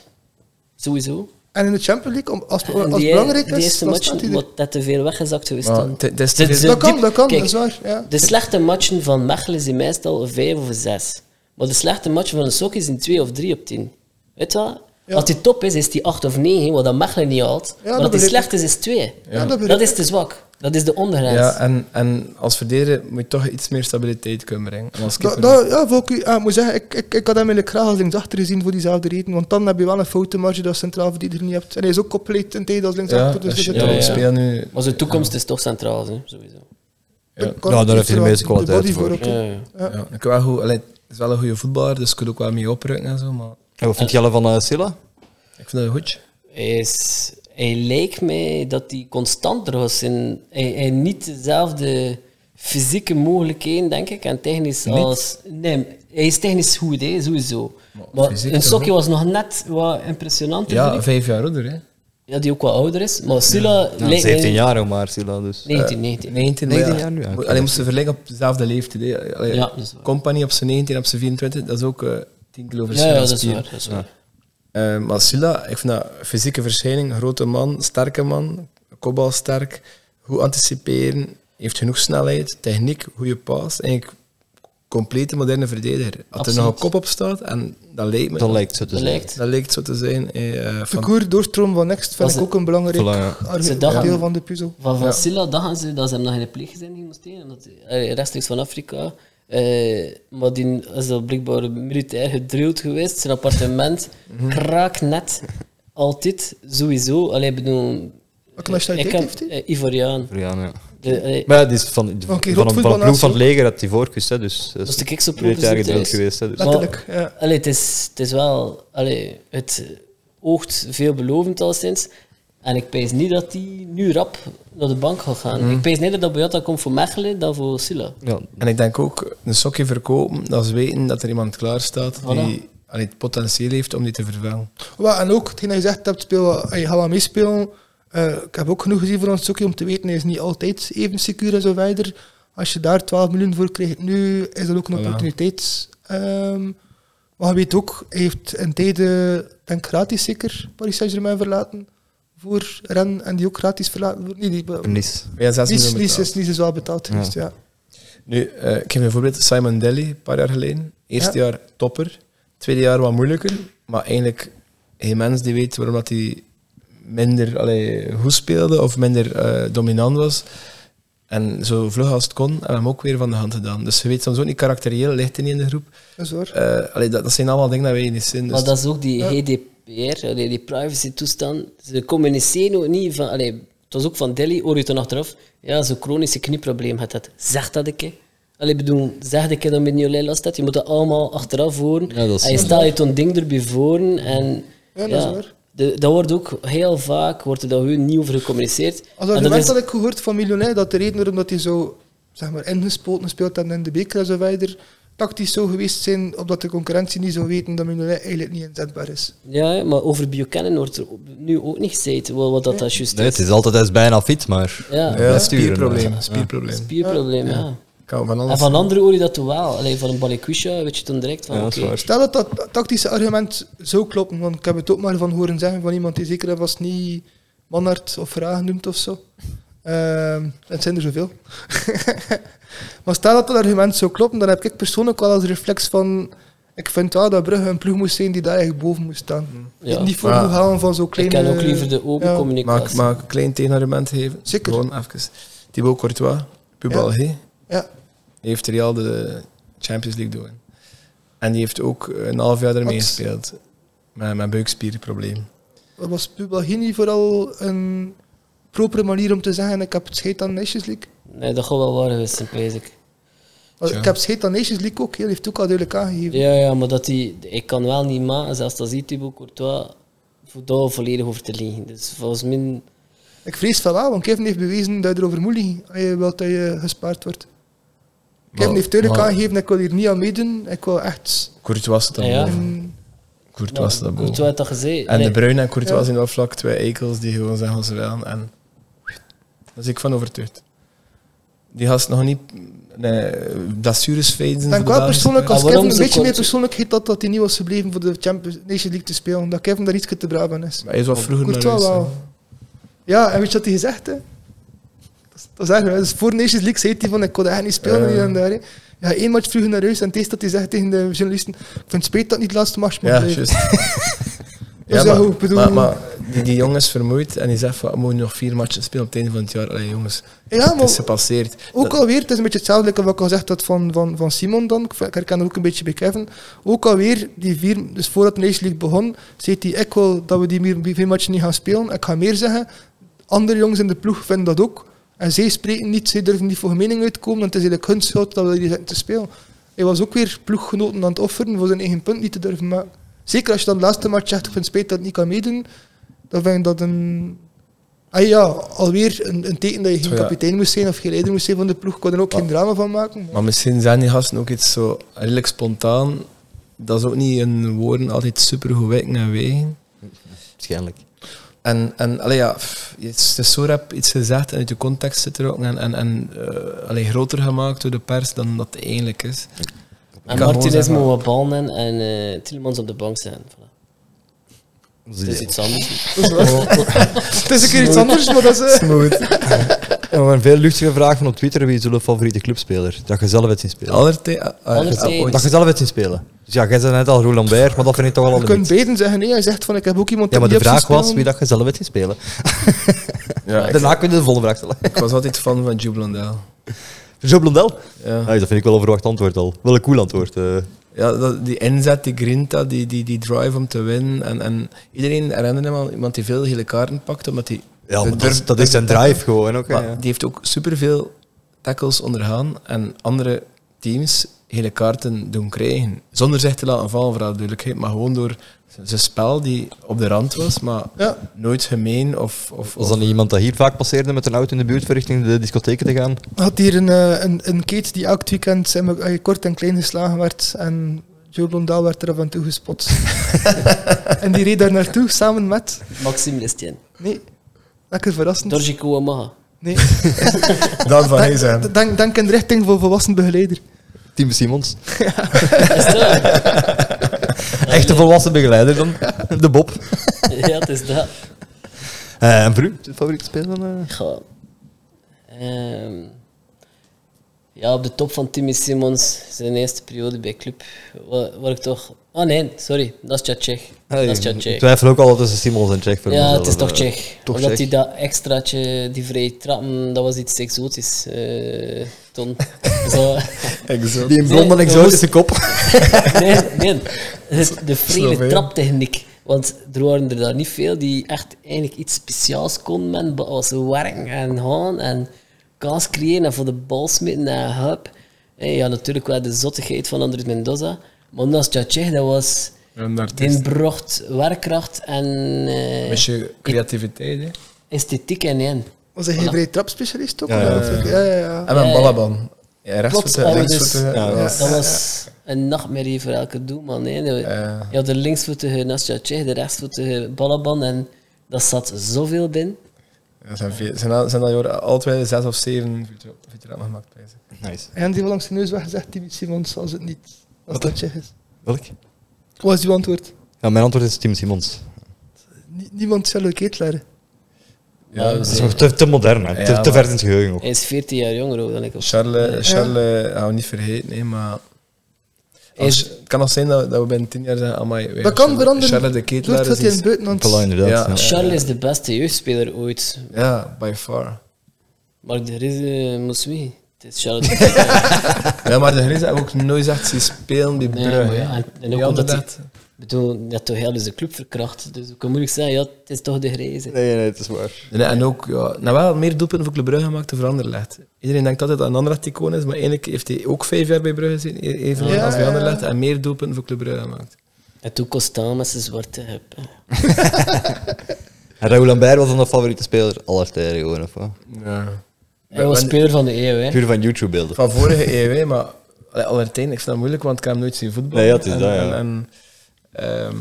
Speaker 3: Sowieso.
Speaker 1: En in de Champions League, om- als, als
Speaker 3: En
Speaker 1: het
Speaker 3: die,
Speaker 1: belangrijk
Speaker 3: die
Speaker 1: is,
Speaker 3: eerste
Speaker 1: dan
Speaker 3: match
Speaker 1: staat hij er.
Speaker 3: wat dat te veel weggezakt geweest
Speaker 4: Maar
Speaker 3: dan.
Speaker 4: het- het is-
Speaker 3: De-
Speaker 4: het is-
Speaker 3: de-
Speaker 1: Dat kan,
Speaker 3: diep-
Speaker 1: dat kan,
Speaker 3: kijk,
Speaker 1: dat is waar. Ja.
Speaker 3: De slechte matchen van Mechelen zijn meestal vijf of zes. Maar de slechte matchen van een sok zijn twee of drie op tien. Weet je wat?
Speaker 1: Ja.
Speaker 3: Als die top is, is die acht of negen, wat dat Mechelen niet haalt.
Speaker 1: dat
Speaker 3: maar als die
Speaker 1: begrijp
Speaker 3: slecht is, is twee.
Speaker 1: Ja, dat begrijp
Speaker 3: dat is te zwak. Dat is de ondergrens.
Speaker 4: Ja, en, en als verdediger moet je toch iets meer stabiliteit kunnen brengen. En als
Speaker 1: Dat,
Speaker 4: keeper...
Speaker 1: dat, ja, Volk, ja, ik moet zeggen, ik, ik, ik had hem eigenlijk graag als linksachter gezien voor diezelfde reden. Want dan heb je wel een foutenmarge dat centraal verdediger niet hebt. En hij is ook compleet in tijd als
Speaker 4: ja,
Speaker 1: linksachter. dus
Speaker 4: als je
Speaker 1: dat
Speaker 4: dat
Speaker 1: is-
Speaker 3: ja,
Speaker 4: ook
Speaker 3: ja.
Speaker 4: speelt nu...
Speaker 3: Maar zijn toekomst is toch centraal, hè, sowieso.
Speaker 4: Ja.
Speaker 1: kan
Speaker 2: Nou,
Speaker 1: het
Speaker 2: daar heeft hij de meeste
Speaker 1: wel- de
Speaker 2: kwaliteiten
Speaker 1: body
Speaker 2: voor.
Speaker 1: ook, hè.
Speaker 3: Ja, ja.
Speaker 4: Ja. ik wel goed, allee, het is wel een goede voetballer, dus ik kan ook wel mee oprukken en zo, maar
Speaker 2: En wat vind jij van eh, Silla?
Speaker 4: ik vind dat goed.
Speaker 3: is, hij lijkt mij dat hij constanter was. En hij, hij niet dezelfde fysieke mogelijkheden, denk ik, en technisch als... Nee, hij is technisch goed, hè, sowieso. Maar,
Speaker 4: fysiek
Speaker 3: een
Speaker 4: toch
Speaker 3: sokje was nog net wat impressionanter,
Speaker 4: Ja,
Speaker 3: vind ik.
Speaker 4: vijf jaar ouder, hè.
Speaker 3: Ja, die ook wat ouder is. Maar Silla
Speaker 2: Ja,
Speaker 3: lijkt
Speaker 2: 17
Speaker 3: mij...
Speaker 2: jaar ook maar, Silla. Dus.
Speaker 3: 19, 19.
Speaker 4: 19,
Speaker 2: maar ja.
Speaker 4: jaar nu.
Speaker 2: Ja,
Speaker 4: Moet-
Speaker 2: oké.
Speaker 4: Allee, moesten verleggen op dezelfde leeftijd. Hè. Allee,
Speaker 3: Ja, dat is waar.
Speaker 4: Company op zijn 19 en op zijn 24, dat is ook eh 10 kilo
Speaker 3: Ja,
Speaker 4: verschil.
Speaker 3: ja,
Speaker 4: aan
Speaker 3: dat is
Speaker 4: spier.
Speaker 3: waar. Dat is waar.
Speaker 4: Eh, maar Silla, ik vind dat fysieke verschijning, grote man, sterke man, kopbal sterk, goed anticiperen, heeft genoeg snelheid, techniek, goede paas. Eigenlijk complete moderne verdediger. Als
Speaker 3: Absoluut.
Speaker 4: er nog een kop op staat, en dat lijkt me...
Speaker 2: Dat lijkt dus zo te
Speaker 3: Dat
Speaker 2: zijn.
Speaker 3: lijkt.
Speaker 4: dat lijkt zo te zijn. eh, eh,
Speaker 1: De
Speaker 4: van,
Speaker 1: koer doorstroom van Next vind
Speaker 3: Was
Speaker 1: ik
Speaker 3: het-
Speaker 1: ook een belangrijk
Speaker 2: Voilà, ja.
Speaker 1: argu-
Speaker 3: Ze dachten-
Speaker 1: deel van de puzzel.
Speaker 3: Van, van Silla dachten ze dat ze hem nog in de pleeggezin ging steken, omdat hij eh, rechtstreeks van Afrika. eh, maar die is al blijkbaar militair gedrild geweest. Zijn
Speaker 1: <laughs>
Speaker 3: appartement
Speaker 1: Mhm.
Speaker 3: kraaknet. Altijd, sowieso. Allee, ik bedoel...
Speaker 1: Welke nationaliteit
Speaker 3: ik
Speaker 1: heeft hij?
Speaker 3: eh, Ivoriaan.
Speaker 2: Ja, ja.
Speaker 3: De, allee,
Speaker 2: Maar ja, die is van, van,
Speaker 1: Oké,
Speaker 2: een-
Speaker 1: rot
Speaker 2: van, een
Speaker 1: voetbalnatie
Speaker 2: ploeg van
Speaker 1: ook.
Speaker 2: het leger uit Ivoorkust, hè, dus...
Speaker 3: dat is de kikse
Speaker 2: militair gedrild geweest, hè, dus.
Speaker 3: Maar-
Speaker 1: Letterlijk, ja.
Speaker 3: Allee, het, is, het is wel... Allee, het oogt veelbelovend al sinds. En ik pees niet dat die nu rap naar de bank gaat gaan.
Speaker 1: Mhm.
Speaker 3: Ik pees niet dat dat Boyata komt voor Mechelen dan voor Silla.
Speaker 2: Ja,
Speaker 4: En ik denk ook, een sokje verkopen, dat is weten dat er iemand klaar staat die allee, het potentieel heeft om die te vervangen.
Speaker 1: Wel, en ook, hetgeen dat je zegt hebt, speel, wat- hey, ga wel meespelen. Eh, ik heb ook genoeg gezien voor ons Soki om te weten, hij is niet altijd even secuur en zo verder. Als je daar 12 miljoen voor krijgt nu, is dat ook een
Speaker 4: Voilà.
Speaker 1: opportuniteit. Ehm, maar je weet ook, hij heeft een tijden, denk ik, gratis zeker, Paris Saint-Germain verlaten voor Ren en die ook gratis verlaten. Nee, die,
Speaker 2: Nice.
Speaker 4: Ja, zes
Speaker 1: Nice,
Speaker 4: miljoen
Speaker 1: Nice
Speaker 4: betaald.
Speaker 1: is, Nice is wel betaald geweest, ja.
Speaker 4: Nu, eh, ik geef een voorbeeld. Simon Deli, een paar jaar geleden. Eerste
Speaker 1: Ja.
Speaker 4: jaar topper. Tweede jaar wat moeilijker. Maar eigenlijk geen mens die weet waarom dat hij minder allee, goed speelde of minder eh, dominant was. En zo vlug als het kon, hebben we hem ook weer van de hand gedaan. Dus je weet soms ook niet karakterieel, ligt hij niet in de groep.
Speaker 1: Dat is waar.
Speaker 4: Eh, allee, dat, dat zijn allemaal dingen die wij niet zien. Dus
Speaker 3: Maar dat is ook die
Speaker 1: Ja.
Speaker 3: GDPR, allee, die privacy-toestand. Ze communiceren ook niet van. Allee, het was ook van Delhi, hoor je dan achteraf. Ja, zo'n chronische knieprobleem had dat. Zeg dat ik. hè. Allee, bedoel, zeg ik dat met je last had. Je moet dat allemaal achteraf horen.
Speaker 2: Ja, dat is-
Speaker 3: en je staat je toen ding erbij voor. En,
Speaker 1: Ja, dat is waar.
Speaker 3: de- dat wordt ook heel vaak, wordt er daar gewoon niet over gecommuniceerd.
Speaker 1: Als
Speaker 3: En
Speaker 1: argument
Speaker 3: dat is-
Speaker 1: had ik gehoord van Miljonair dat de reden waarom dat hij zo zeg maar, ingespoten speelt en in de beker en zo verder tactisch zou geweest zijn, omdat de concurrentie niet zou weten dat Miljonair eigenlijk niet inzetbaar is.
Speaker 3: Ja, maar over Buchanan wordt er nu ook niet gezegd wat wat dat, dat juist
Speaker 2: Nee,
Speaker 3: is.
Speaker 2: het is altijd, hij is bijna fit, maar...
Speaker 3: Ja,
Speaker 4: ja,
Speaker 2: blijft sturen,
Speaker 4: spierprobleem.
Speaker 2: maar-
Speaker 4: spierprobleem.
Speaker 3: spierprobleem, ja.
Speaker 4: Kan van
Speaker 3: En
Speaker 4: alles.
Speaker 3: Ah, van anderen hoor je dat toch wel. Alleen van een Balikwisha weet je dan direct van
Speaker 2: Ja, dat
Speaker 3: oké.
Speaker 2: is waar.
Speaker 1: Stel dat dat tactische argument zou kloppen, want ik heb het ook maar van horen zeggen van iemand die zeker en vast niet Manhart of Vragen noemt of zo. Ehm, het zijn er zoveel. <laughs> maar stel dat dat argument zou kloppen, dan heb ik persoonlijk wel als reflex van ik vind wel dat Brugge een ploeg moest zijn die daar echt boven moest staan.
Speaker 3: Ja.
Speaker 1: Niet voor
Speaker 4: Maar-
Speaker 1: moet gaan van zo'n
Speaker 3: ik
Speaker 1: kleine...
Speaker 3: kan ook liever de open
Speaker 1: ja.
Speaker 4: Mag,
Speaker 3: communicatie.
Speaker 4: mag ik een klein tegenargument geven?
Speaker 1: Zeker.
Speaker 4: Gewoon even. Thibaut Courtois, Pubal G.
Speaker 1: Ja,
Speaker 4: heeft Real de Champions League doen. En die heeft ook een half jaar ermee
Speaker 1: Wat?
Speaker 4: gespeeld. met, met buikspierprobleem.
Speaker 1: Was Publagini vooral een propere manier om te zeggen ik heb het scheet aan Nations League?
Speaker 3: Nee, dat gaat wel waar geweest zijn, pijs ik.
Speaker 1: Want
Speaker 4: Tja.
Speaker 1: Ik heb scheet aan Nations League ook, heel heeft ook al duidelijk aangegeven.
Speaker 3: Ja, ja, maar dat die, ik kan wel niet maken, zelfs dat ziet Thibaut Courtois, voor daar volledig over te liegen. Dus volgens mij...
Speaker 1: Ik vrees van wel, want Kevin heeft bewezen dat je erover moet liegen als je wilt dat je gespaard wordt. Kevin
Speaker 2: Maar-
Speaker 1: heeft duidelijk
Speaker 2: maar-
Speaker 1: aangegeven ik wil hier niet aan meedoen, ik wil echt...
Speaker 4: Courtois staat
Speaker 3: Ja, ja.
Speaker 4: boven.
Speaker 1: een-
Speaker 4: Courtois staat boven.
Speaker 3: Courtois had dat gezegd.
Speaker 4: En
Speaker 3: Nee.
Speaker 4: de Bruin en Courtois
Speaker 1: Ja.
Speaker 4: zijn wel vlak twee eikels die gewoon zeggen wat ze willen. En daar zit ik van overtuigd. Die gast nog niet nee, blessures faden.
Speaker 1: Ik denk wel persoonlijk, als
Speaker 3: Maar
Speaker 1: Kevin
Speaker 3: waarom
Speaker 1: een
Speaker 3: zo
Speaker 1: beetje
Speaker 3: kort?
Speaker 1: meer persoonlijkheid had, dat hij niet was gebleven voor de Champions Nations League te spelen. Omdat Kevin daar iets te braaf aan is.
Speaker 4: Maar hij is wat vroeger naar
Speaker 1: Courtois
Speaker 4: huis.
Speaker 1: wel. Ja, en weet je wat hij gezegd heeft? Dat is- Dat is erg, hè. Dus voor Nations League zei hij van ik kon dat echt niet spelen
Speaker 4: Ja.
Speaker 1: hier en daar. hè. Ja, één match vroeg naar huis en het is dat hij zegt tegen de journalisten ik vind het spijt dat het niet de laatste match
Speaker 4: hè.
Speaker 1: mag
Speaker 4: Ja,
Speaker 1: blijven.
Speaker 4: juist.
Speaker 1: Dus ja, goed, ik bedoel-
Speaker 4: maar, maar die, die jongen is vermoeid en die zegt van, we moeten nog vier matchen spelen op het einde van het jaar. Allee jongens,
Speaker 1: Ja,
Speaker 4: het is
Speaker 1: maar
Speaker 4: gepasseerd.
Speaker 1: ook alweer, het is een beetje hetzelfde als wat ik al gezegd had van, van, van Simon dan. Ik herken dat ook een beetje bij Kevin. Ook alweer, die vier, dus voordat de Nations League begon, zei hij ik wil dat we die meer- die vier matchen niet gaan spelen. Ik ga meer zeggen, andere jongens in de ploeg vinden dat ook. En zij spreken niet, zij durven niet voor hun mening uitkomen. En het is eigenlijk hun schuld dat we hier zitten te spelen. Hij was ook weer ploeggenoten aan het offeren voor zijn eigen punt niet te durven maken. Zeker als je dan de laatste match zegt, ik vind het spijt dat ik niet kan meedoen. Dan vind ik dat een... Ah ja, alweer een, een teken dat je geen
Speaker 4: Ja.
Speaker 1: kapitein moest zijn of geen leider moest zijn van de ploeg. Ik kon er ook
Speaker 2: Ah.
Speaker 1: geen drama van maken.
Speaker 4: Maar misschien zijn die gasten ook iets zo redelijk spontaan. Dat is ook niet hun woorden altijd super goed wijken en wegen.
Speaker 2: Waarschijnlijk.
Speaker 4: En, en allee, ja, pff, het is het is zo rap iets gezegd en uit de context getrokken en, en, en eh, allee, groter gemaakt door de pers dan dat het eigenlijk is.
Speaker 3: En
Speaker 4: kan gewoon
Speaker 3: Martinez
Speaker 4: zeggen-
Speaker 3: moet wat ballen hebben en eh Tielemans op de bank zijn. Voilà. Het is iets anders.
Speaker 1: Het is een keer iets anders, maar dat is... eh, <laughs>
Speaker 2: Ja, maar een veel luchtige vraag van op Twitter. Wie is jullie favoriete clubspeler? Dat je zelf hebt zien spelen.
Speaker 4: Allertij- eh, eh,
Speaker 3: Allertij-
Speaker 4: dat ooit-
Speaker 2: Dat je zelf hebt zien spelen. Dus ja, jij zei net al Roel Lambert, maar dat vind ik toch wel al
Speaker 1: Je
Speaker 2: een
Speaker 1: kunt
Speaker 2: beetje...
Speaker 1: beiden zeggen, nee, hij zegt van ik heb ook iemand
Speaker 2: Ja, maar
Speaker 1: die
Speaker 2: de
Speaker 1: op zich
Speaker 2: vraag was
Speaker 1: speelt.
Speaker 2: wie dat je zelf hebt zien spelen.
Speaker 4: Ja, ik,
Speaker 2: Daarna kun je de volgende vraag stellen. <laughs>
Speaker 4: ik was altijd fan van Joe Blondel.
Speaker 2: Joe Blondel?
Speaker 4: Ja.
Speaker 2: Ah, dat vind ik wel een verwacht antwoord al. Wel een cool antwoord. eh.
Speaker 4: Ja, dat, die inzet, die grinta, die, die, die drive om te winnen. En, en iedereen herinnert hem aan iemand die veel gele kaarten pakt, omdat hij...
Speaker 2: Ja, maar
Speaker 4: durf-
Speaker 2: dat, is- dat
Speaker 4: durf-
Speaker 2: is zijn drive gewoon ook. hè,
Speaker 4: Maar
Speaker 2: ja.
Speaker 4: die heeft ook superveel tackles ondergaan en andere teams hele kaarten doen krijgen. Zonder zich te laten vallen, voor alle duidelijkheid, maar gewoon door zijn spel die op de rand was, maar
Speaker 1: Ja,
Speaker 4: nooit gemeen of... of,
Speaker 2: Was
Speaker 4: of
Speaker 2: dan niet iemand dat hier vaak passeerde met een auto in de buurt voor richting de discotheken te gaan?
Speaker 1: had hier een, eh, een, een keet die elk weekend in elkaar- eh, kort en klein geslagen werd. En Joe Blondal werd er af en toe
Speaker 2: <laughs>
Speaker 1: gespot. en die reed daar naartoe samen met.
Speaker 3: Maxime Lestien.
Speaker 1: Nee, lekker verrassend.
Speaker 3: Dorjico Amaha.
Speaker 2: <laughs>
Speaker 1: Nee,
Speaker 4: dan van hij zijn.
Speaker 1: denk, denk, denk in de richting voor volwassen begeleider.
Speaker 2: Tim Simons.
Speaker 3: Is dat?
Speaker 2: <laughs> Echte volwassen begeleider dan. De Bob.
Speaker 3: <laughs> ja, het is dat.
Speaker 2: Eh, en voor u? Zijn favoriete speler? eh?
Speaker 3: Goh. Ehm, ja, op de top van Timmy Simons, zijn eerste periode bij club, waar, waar ik toch... Oh nee, sorry, dat is Tjatjech. Dat is
Speaker 2: ik
Speaker 3: Tjatjech.
Speaker 2: twijfel ook al tussen Simons en Czech. voor
Speaker 3: Ja,
Speaker 2: mezelf,
Speaker 3: het is toch
Speaker 2: eh.
Speaker 3: Tsjech.
Speaker 2: toch
Speaker 3: Omdat
Speaker 2: Tsjech.
Speaker 3: hij dat extraatje, die vrije trappen, dat was iets exotisch. eh
Speaker 2: <laughs>
Speaker 3: ton. Zo.
Speaker 2: Die in blonde
Speaker 3: Nee,
Speaker 2: en
Speaker 3: we
Speaker 2: exotische kop.
Speaker 3: <laughs> Nee, nee. Het- De vrije
Speaker 4: Sloveen.
Speaker 3: traptechniek. Want er waren er daar niet veel die echt eigenlijk iets speciaals konden men, behalve werken en gaan en kans creëren en voor de bal smitten en hup. En ja, natuurlijk wel de zottigheid van Andres Mendoza. Maar naast Tjatjech, dat was... Die bracht werkkracht en eh,
Speaker 4: Beetje creativiteit, hè.
Speaker 3: esthetiek in één.
Speaker 1: Was hij geen vrije trapspecialist ook?
Speaker 2: Ja,
Speaker 1: Ja,
Speaker 2: ja,
Speaker 1: ja, ja. ja.
Speaker 4: En met Balaban. Ja, rechts
Speaker 3: Klopt,
Speaker 4: voor de-
Speaker 3: alles
Speaker 4: links voor de-
Speaker 3: is-
Speaker 4: ja.
Speaker 2: ja.
Speaker 3: Dat was een nachtmerrie voor elke doelman. hè. De-
Speaker 4: Ja.
Speaker 3: Je had de linksvoetige Nastja Tjech, de rechtsvoetige Balaban en dat zat zoveel binnen.
Speaker 4: Ja, zijn, veel, zijn, dat, zijn dat jaren alle twee zes of zeven veteranen gemaakt? bij ze.
Speaker 2: Nice.
Speaker 1: En die van langs de neus weggezegd, Timmy Simons, als het niet. Als
Speaker 2: Wat?
Speaker 1: dat Tsjech is.
Speaker 2: Welk?
Speaker 1: Wat was uw antwoord?
Speaker 2: Ja, mijn antwoord is Tim Simons.
Speaker 1: Nie- niemand zal het leren.
Speaker 4: Ja,
Speaker 3: Ja,
Speaker 2: Dat
Speaker 4: ze-
Speaker 2: is nog te, te modern, hè. te,
Speaker 4: Ja,
Speaker 2: te
Speaker 4: maar-
Speaker 2: ver in het geheugen ook.
Speaker 3: Hij is 14 jaar jonger ook dan ik. of-
Speaker 4: Charles, Charles gaan we niet vergeten, nee, maar. Als,
Speaker 3: Is-
Speaker 4: het kan nog zijn dat, dat we binnen tien jaar zijn. Amai,
Speaker 1: Dat
Speaker 4: wij-
Speaker 1: kan
Speaker 4: Charles-
Speaker 1: veranderen.
Speaker 4: Charles de
Speaker 1: Doordat
Speaker 4: Ketelaar
Speaker 1: dat
Speaker 4: is
Speaker 1: hij in het
Speaker 4: iets,
Speaker 1: buitenland...
Speaker 2: Voilà, inderdaad.
Speaker 4: Ja.
Speaker 2: ja.
Speaker 3: Charles is de beste jeugdspeler ooit.
Speaker 4: Ja, by far.
Speaker 3: Maar de eh, Rizze moest wie? Het is
Speaker 4: <laughs>
Speaker 3: Charles. de-
Speaker 4: Ja, maar de Grijze hebben we ook nooit echt zien spelen bij
Speaker 3: Nee,
Speaker 4: Brugge.
Speaker 3: maar ja,
Speaker 4: hè.
Speaker 3: en- en ook
Speaker 4: Die
Speaker 3: omdat
Speaker 4: hadden dat.
Speaker 3: Ik bedoel, je hebt toch heel eens de club verkracht. Dus ik kan moeilijk zeggen, ja, het is toch de grijze.
Speaker 2: Nee, nee, het is waar.
Speaker 4: En, en ook, ja, nou wel meer doelpunten voor Club Brugge gemaakt dan voor Anderlecht. Iedereen denkt altijd dat een Anderlecht icoon is, maar eigenlijk heeft hij ook vijf jaar bij Brugge gezeten, e- evenveel
Speaker 1: Ja,
Speaker 4: als bij
Speaker 1: ja, ja.
Speaker 4: Anderlecht, en meer doelpunten voor Club Brugge gemaakt.
Speaker 3: En toen kost het aan met zijn zwarte hub. hè.
Speaker 2: En Raoul Lambert was dan de favoriete speler aller tijden gewoon, of wat?
Speaker 4: Ja.
Speaker 3: Hij was speler van de eeuw, hè.
Speaker 2: Puur van YouTube-beelden.
Speaker 4: Van vorige <laughs> eeuw, hè, maar allee, allertijden, ik vind dat moeilijk, want ik heb hem nooit zien voetballen.
Speaker 2: Nee, ja, het is
Speaker 4: en,
Speaker 2: dat, ja.
Speaker 4: En, en, ehm,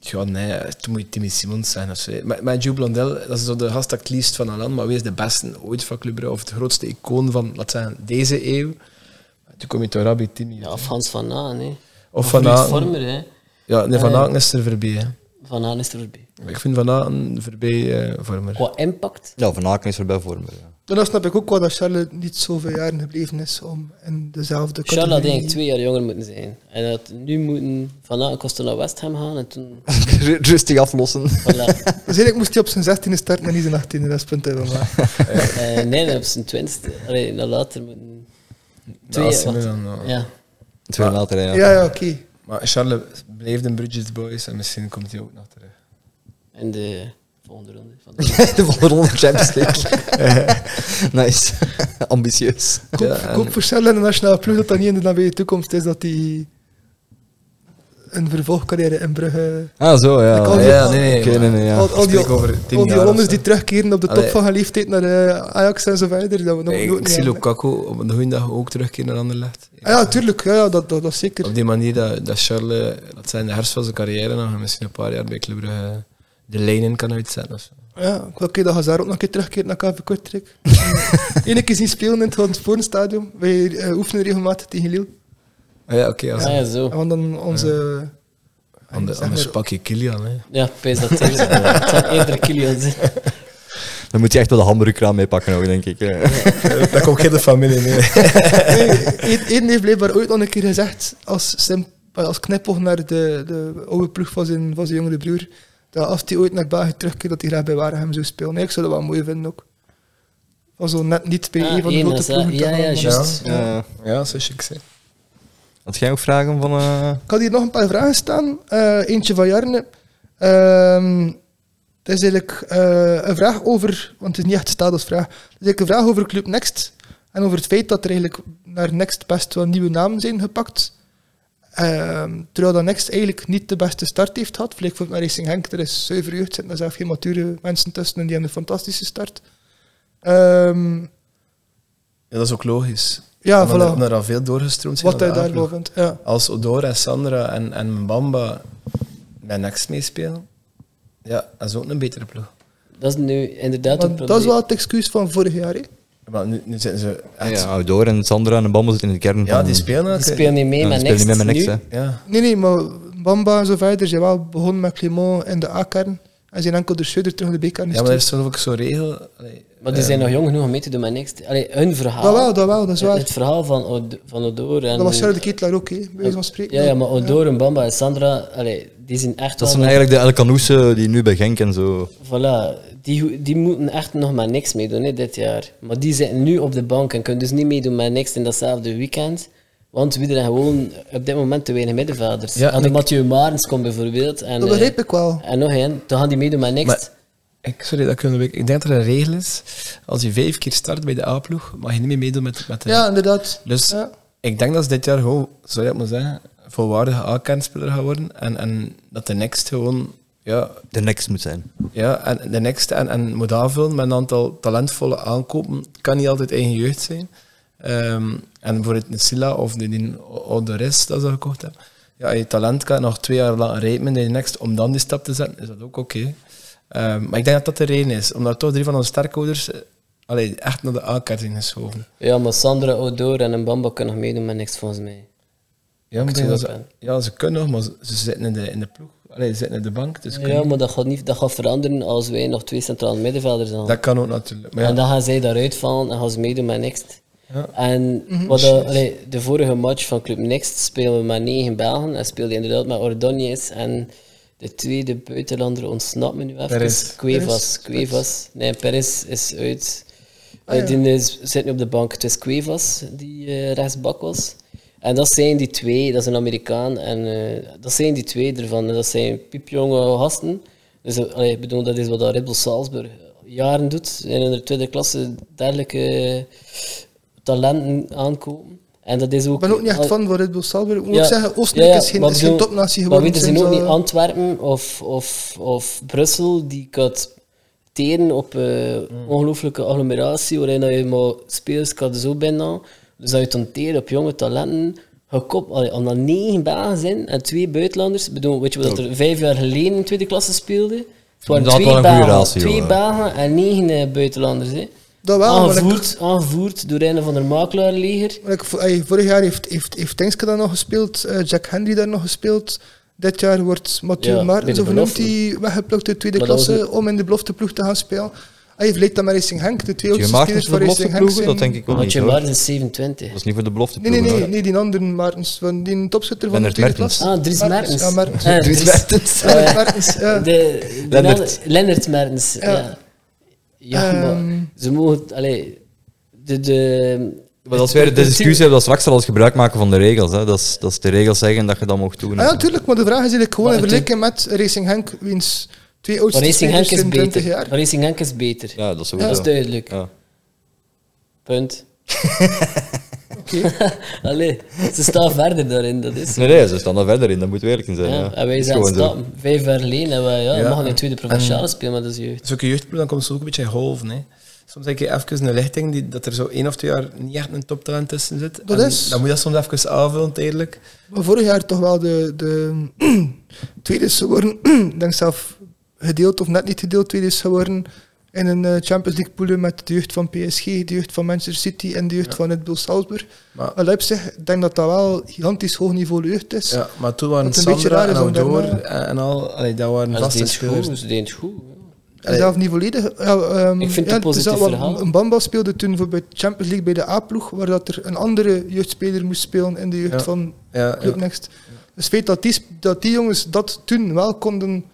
Speaker 4: ja, nee, toen moet je Timmy Simons zijn. Of zo. Maar, maar Joe Blondel, dat is zo de gast dat ik het liefst van Alan, maar wie is de beste ooit van Club Brugge, of de grootste icoon van, laat zeggen, deze eeuw? Toen kom je toch Rabbi Timmy.
Speaker 3: Ja, of Hans van Aan, hè.
Speaker 4: of
Speaker 3: Van
Speaker 4: Van Aken.
Speaker 3: Vormer, hè.
Speaker 4: Ja, nee, Van
Speaker 3: Eh.
Speaker 4: Aken is er voorbij. hè.
Speaker 3: Van Aan is er voorbij.
Speaker 4: Ik vind Van Aken voorbij eh Vormer.
Speaker 3: Qua impact,
Speaker 2: Ja, Van Aken is er bij voor me. Ja.
Speaker 1: En dan snap ik ook wel dat Charles niet zoveel jaren gebleven is om in dezelfde
Speaker 3: Charles had
Speaker 1: categorie-
Speaker 3: eigenlijk twee jaar jonger moeten zijn. En had nu moeten Van Aan kosten naar West Ham gaan en toen...
Speaker 2: <laughs>
Speaker 3: <laughs>
Speaker 2: Rustig aflossen.
Speaker 3: Voilà.
Speaker 1: Dus eigenlijk moest hij op zijn 16e starten en niet zijn 18e, dat is punt hebben.
Speaker 4: <laughs>
Speaker 1: Maar.
Speaker 3: Eh, nee, op zijn twintigste. Allee, nou later moeten... Twee
Speaker 4: als ze
Speaker 3: jaar...
Speaker 4: nu
Speaker 3: wacht.
Speaker 4: dan,
Speaker 1: Ah.
Speaker 4: ja.
Speaker 3: Ja.
Speaker 2: Twee later, Ah. ja.
Speaker 1: Ja, ja, oké.
Speaker 4: Maar Charles bleef een Bridges Boys en misschien komt hij ook nog terug.
Speaker 3: In de volgende ronde. Van
Speaker 1: <laughs>
Speaker 3: de...
Speaker 2: <laughs> De volgende ronde Champions League. <laughs> nice. <laughs> Ambitieus.
Speaker 1: Koop,
Speaker 4: Ja, en-
Speaker 1: koop voor Charles en de nationale ploeg dat dat niet in de nabije toekomst is dat hij een vervolgcarrière in Brugge...
Speaker 2: Ah, zo, ja.
Speaker 1: Ik kan
Speaker 2: ja.
Speaker 1: niet-
Speaker 4: ja, nee, nee.
Speaker 2: Oké,
Speaker 4: maar-
Speaker 2: nee, nee, ja.
Speaker 1: al, al
Speaker 4: Spreek
Speaker 1: die,
Speaker 4: over tien
Speaker 1: al die
Speaker 4: jaar
Speaker 1: Hollanders
Speaker 4: of zo.
Speaker 1: die terugkeren op de top
Speaker 4: Allee.
Speaker 1: van hun leeftijd naar eh, Ajax en zo verder, dat we nog
Speaker 4: Nee,
Speaker 1: nooit
Speaker 4: ik zie
Speaker 1: hebben.
Speaker 4: Lukaku op een goede dag ook terugkeren naar Anderlecht.
Speaker 1: Ah, ja, tuurlijk, ja, ja, dat, dat, dat zeker.
Speaker 4: Op die manier dat, dat Charles, dat zijn de herfst van zijn carrière, nog en misschien een paar jaar bij Club Brugge eh, de lijnen kan uitzetten. Of zo.
Speaker 1: Ja, ik wil keer dat Hazard ook nog een keer terugkeert naar KV
Speaker 3: <laughs>
Speaker 1: Kortrijk. Eén keer zien spelen in het Hans Stadion. Wij eh, oefenen regelmatig tegen Lille.
Speaker 4: Ah ja, oké. als
Speaker 3: Ah ja, zo.
Speaker 1: En want dan onze... eh,
Speaker 4: ander-
Speaker 1: zeg
Speaker 4: anders
Speaker 1: maar-
Speaker 4: pak je Kilian. Hè. <laughs>
Speaker 3: Ja, pees
Speaker 1: <laughs>
Speaker 3: dat tegen. Het zijn eerder Kilian zijn.
Speaker 2: Dan moet je echt wel de hamburgerkraam meepakken ook, denk ik. ja.
Speaker 4: Daar komt geen familie mee. <laughs>
Speaker 1: Eén- Eén heeft blijkbaar ooit nog een keer gezegd, als, sim- eh, als knipoog naar de, de oude ploeg van zijn, van zijn jongere broer, dat als hij ooit naar België terugkeert, dat hij graag bij Waregem zou spelen. Nee, ik zou dat wel mooi vinden ook. Van zo net niet bij
Speaker 3: Ah,
Speaker 1: een van de
Speaker 3: één
Speaker 1: grote
Speaker 3: is dat.
Speaker 1: ploegen te
Speaker 3: Ja,
Speaker 1: gaan,
Speaker 3: ja,
Speaker 1: maar-
Speaker 3: juist.
Speaker 2: <laughs> Eh,
Speaker 4: Ja, zo chic zijn.
Speaker 2: had jij ook vragen van... eh,
Speaker 1: Ik had hier nog een paar vragen staan. Eh, eentje van Jarne. Ehm, het is eigenlijk eh, een vraag over, want het is niet echt een vraag. Het is eigenlijk een vraag over Club Next. En over het feit dat er eigenlijk naar Next best wel nieuwe namen zijn gepakt. Ehm, terwijl dat Next eigenlijk niet de beste start heeft gehad. Vlek voor Racing Henk, er is zuiver jeugd, zitten daar zelf geen mature mensen tussen en die hebben een fantastische start. Ehm,
Speaker 4: Ja, dat is ook logisch.
Speaker 1: ja,
Speaker 4: Omdat er-
Speaker 1: voilà.
Speaker 4: er al veel doorgestroomd zijn.
Speaker 1: Wat
Speaker 4: aan
Speaker 1: hij
Speaker 4: de
Speaker 1: daar
Speaker 4: aanvloer.
Speaker 1: wel vindt. Ja.
Speaker 4: Als Odora, Sandra en, en Mbamba bij Next meespelen, ja, dat is ook een betere ploeg.
Speaker 3: Dat is nu inderdaad een
Speaker 1: Want
Speaker 3: probleem.
Speaker 1: dat is wel het excuus van vorig jaar. hè.
Speaker 4: Maar nu, nu zitten ze echt...
Speaker 2: ja, Oudor en Sandra en de Bambo zitten in de kern
Speaker 4: Ah, Ja,
Speaker 2: van-
Speaker 4: die spelen ook.
Speaker 3: Die speelt niet mee,
Speaker 2: Ja,
Speaker 3: maar
Speaker 2: die spelen
Speaker 3: niks.
Speaker 2: niet meer met niks,
Speaker 3: nu.
Speaker 2: hè.
Speaker 4: Ja.
Speaker 1: Nee, nee, maar Bamba en zo verder zijn wel begonnen met Clément in de A-kern. En zijn enkel de Schudder terug in de B-kern
Speaker 4: ja, maar er
Speaker 1: gestuurd.
Speaker 4: is toch ook zo'n regel... allee,
Speaker 3: Maar die
Speaker 4: eh,
Speaker 3: zijn nog jong genoeg om mee te doen met niks. Allee, hun verhaal.
Speaker 1: Dat wel, dat wel, dat is
Speaker 3: Het-
Speaker 1: waar.
Speaker 3: Het verhaal van, Od van Odor en...
Speaker 1: Dat was Charles de Ketelaar ook, hè, bij wijze van spreken.
Speaker 3: Ja, ja, maar Odor en Bamba en Sandra, allee, die zijn echt
Speaker 2: Dat
Speaker 3: wel...
Speaker 2: zijn eigenlijk de El Canoese die nu bij Genk en zo...
Speaker 3: Voilà, die, ho- die moeten echt nog maar niks meedoen hè, dit jaar. Maar die zitten nu op de bank en kunnen dus niet meedoen met niks in datzelfde weekend. Want we hebben gewoon op dit moment te weinig middenvelders.
Speaker 4: Ja,
Speaker 3: en
Speaker 4: en
Speaker 3: de
Speaker 4: ik-
Speaker 3: Mathieu Marens komt bijvoorbeeld. En,
Speaker 1: Dat
Speaker 3: eh,
Speaker 1: begrijp ik wel.
Speaker 3: En nog één, dan gaan die meedoen met niks.
Speaker 4: Maar- Ik, sorry, dat kunnen we, ik denk dat er een regel is. Als je vijf keer start bij de A-ploeg, mag je niet meer meedoen met, met de...
Speaker 1: Ja, inderdaad.
Speaker 4: Dus
Speaker 1: Ja.
Speaker 4: ik denk dat ze dit jaar gewoon, sorry dat ik moet zeggen, volwaardige A-kernspeler gaan worden. En, en dat de next gewoon... Ja,
Speaker 2: De next moet zijn.
Speaker 4: ja en de next en, en moet aanvullen met een aantal talentvolle aankopen. Het kan niet altijd eigen jeugd zijn. Ehm, en voor het Silla of de, die Odoris dat ze gekocht hebben. Ja, als je talent kan nog twee jaar lang rijpen in de next om dan die stap te zetten, is dat ook oké. Ehm, maar ik denk dat dat de reden is, omdat toch drie van onze sterkhouders eh, allee, echt naar de A-kaart zijn geschoven.
Speaker 3: Ja, maar Sandra, Odor en een Bamba kunnen nog meedoen met niks volgens mij.
Speaker 4: Ja,
Speaker 3: Ik
Speaker 4: maar ik denk dat
Speaker 3: zie
Speaker 4: ze, ja, ze kunnen nog, maar ze, ze zitten in de, in de ploeg. Allee, ze zitten in de bank, dus
Speaker 3: ja,
Speaker 4: kunnen-
Speaker 3: maar dat gaat, niet, dat gaat veranderen als wij nog twee centrale middenvelders hebben.
Speaker 4: dat kan ook natuurlijk. Maar ja,
Speaker 3: En dan gaan zij daaruit vallen en gaan ze meedoen met Next.
Speaker 4: Ja.
Speaker 3: En wat de, allee, de vorige match van Club Next speelden we met negen Belgen en speelde inderdaad met Ordóñez en de tweede buitenlander ontsnapt me nu even.
Speaker 4: Perez.
Speaker 3: Cuevas. Cuevas. Nee, Perez is uit. Eh, Die is- zit nu op de bank. Het was Cuevas die eh, rechtsbak was. En dat zijn die twee, dat is een Amerikaan, en eh, dat zijn die twee ervan. En dat zijn piepjonge gasten. Dus eh, allee, ik bedoel, dat is wat dat Red Bull Salzburg eh, jaren doet. En in de tweede klasse dergelijke eh, talenten aankopen. En dat is ook...
Speaker 1: Ik ben ook niet echt fan van Red Bull Salzburg. Ik moet ook zeggen, Oostenrijk
Speaker 3: ja, ja,
Speaker 1: is geen,
Speaker 3: maar
Speaker 1: is geen
Speaker 3: bedoel,
Speaker 1: topnatie
Speaker 3: Maar
Speaker 1: geworden.
Speaker 3: weten ze
Speaker 1: sinds,
Speaker 3: ook niet
Speaker 1: eh,
Speaker 3: Antwerpen of, of, of Brussel, die kan teren op eh
Speaker 2: Mm.
Speaker 3: ongelooflijke agglomeratie, waarin dat je maar spelers kan zo bijna. Dus dat je dan teren op jonge talenten. Gekoppeld, omdat er negen Belgen zijn en twee buitenlanders. Ik bedoel, weet je wat dat er vijf jaar geleden in tweede klasse speelde? Het waren
Speaker 2: Dat had
Speaker 3: twee
Speaker 2: wel een goede
Speaker 3: Belgen,
Speaker 2: ratio,
Speaker 3: twee
Speaker 2: hè.
Speaker 3: Belgen en negen eh, buitenlanders. Hè.
Speaker 1: Dat wel, maar ik-
Speaker 3: aangevoerd, aangevoerd door een van der makelaarleger.
Speaker 1: Maar ik- vo- ey, vorig jaar heeft, heeft, heeft Tengske daar nog gespeeld, eh, Jack Henry daar nog gespeeld. Dit jaar wordt Mathieu
Speaker 3: Ja,
Speaker 1: Maartens,
Speaker 3: in de
Speaker 1: of hoe noemt
Speaker 3: belofte.
Speaker 1: hij, weggeplukt uit tweede
Speaker 3: Maar dat was
Speaker 1: klasse om in de belofteploeg te gaan spelen. Hij vergelijkt dat met Racing Henk, de twee
Speaker 2: Heb je
Speaker 1: oudste
Speaker 2: Maartens
Speaker 1: spelers
Speaker 2: voor
Speaker 1: van
Speaker 2: de
Speaker 1: Racing
Speaker 2: belofte
Speaker 1: Henk
Speaker 2: ploegen?
Speaker 1: zijn...
Speaker 2: Dat denk ik ook
Speaker 3: Want
Speaker 2: niet.
Speaker 3: je
Speaker 2: hoor.
Speaker 3: maar is 27.
Speaker 2: Dat is niet voor de belofte
Speaker 1: Nee, nee,
Speaker 2: ploegen,
Speaker 1: nee,
Speaker 2: hoor.
Speaker 1: nee, die andere Maartens, van die topschutter van de
Speaker 2: Lennart
Speaker 1: tweede
Speaker 2: Mertens.
Speaker 1: klasse.
Speaker 3: Ah, Dries Mertens.
Speaker 1: Ja, Mertens.
Speaker 3: Eh,
Speaker 2: Dries
Speaker 1: Lennart
Speaker 2: Mertens.
Speaker 1: Mertens, ja.
Speaker 3: De, de
Speaker 2: Lennert.
Speaker 3: Lennart. Lennart Mertens. Ja, ja.
Speaker 1: Ehm.
Speaker 3: maar ze mogen... Allee, de, de,
Speaker 2: Maar dat is weer de discussie hebben dat straks al als gebruik maken van de regels. Hè. Dat, is, dat is de regels zeggen dat je dat mocht doen.
Speaker 1: Ah, ja, natuurlijk, maar de vraag is eigenlijk gewoon in
Speaker 3: Maar het-
Speaker 1: vergelijking met Racing Henk, wiens twee
Speaker 3: Maar
Speaker 1: oudste
Speaker 3: Racing Henk
Speaker 1: spelers
Speaker 3: is
Speaker 1: in 20
Speaker 3: beter.
Speaker 1: jaar.
Speaker 3: Maar Racing Henk is beter.
Speaker 2: Ja, dat is
Speaker 3: Dat is
Speaker 2: sowieso.
Speaker 3: duidelijk.
Speaker 2: Ja.
Speaker 3: Punt. <laughs>
Speaker 1: Oké.
Speaker 3: Allee, ze staan verder daarin, dat is.
Speaker 2: Nee, nee, ze staan daar verder in, dat moet we eerlijk in zijn.
Speaker 3: Ja,
Speaker 2: Ja,
Speaker 3: En wij
Speaker 2: Is
Speaker 3: zijn
Speaker 2: gewoon zo.
Speaker 3: stappen. Vijf jaar geleden hebben wij, ja,
Speaker 4: Ja,
Speaker 3: we mogen in
Speaker 4: en-
Speaker 3: tweede provinciale spelen, maar dat is jeugd.
Speaker 4: Zulke jeugdploeg, dan komt ze ook een beetje geholven. Hè. Soms heb je even een lichting die, dat er zo één of twee jaar niet echt een toptalent tussen zit.
Speaker 1: Dat
Speaker 4: En
Speaker 1: is-
Speaker 4: Dan moet je dat soms even aanvullen, tijdelijk.
Speaker 1: Maar vorig jaar toch wel de, de <clears throat> tweede is geworden. <clears throat> Ik denk zelf gedeeld of net niet gedeeld tweede is geworden. In een eh, Champions League pool met de jeugd van PSG, de jeugd van Manchester City en de jeugd van Red Bull Salzburg.
Speaker 4: Maar,
Speaker 1: Maar Leipzig, ik denk dat dat wel gigantisch hoog niveau jeugd is.
Speaker 4: ja, maar toen waren
Speaker 1: Wat een beetje
Speaker 4: Sandra
Speaker 1: raar
Speaker 4: en
Speaker 1: is om daar
Speaker 4: Oudor
Speaker 1: maar-
Speaker 4: en, en al, allee, dat waren
Speaker 3: Dat
Speaker 4: vaste
Speaker 3: is
Speaker 4: spelers.
Speaker 3: goed, ze deed het goed. ja.
Speaker 1: En zelf niet volledig. Ja, ehm,
Speaker 3: Ik vind het
Speaker 1: ja,
Speaker 3: een
Speaker 1: het is
Speaker 3: positief
Speaker 1: wel-
Speaker 3: verhaal.
Speaker 1: Een Bamba speelde toen voor bij de Champions League bij de A-ploeg, waar dat er een andere jeugdspeler moest spelen in de jeugd
Speaker 4: Ja.
Speaker 1: van
Speaker 4: Ja, ja.
Speaker 1: Club Next. Dus het feit dat die, sp- dat die jongens dat toen wel konden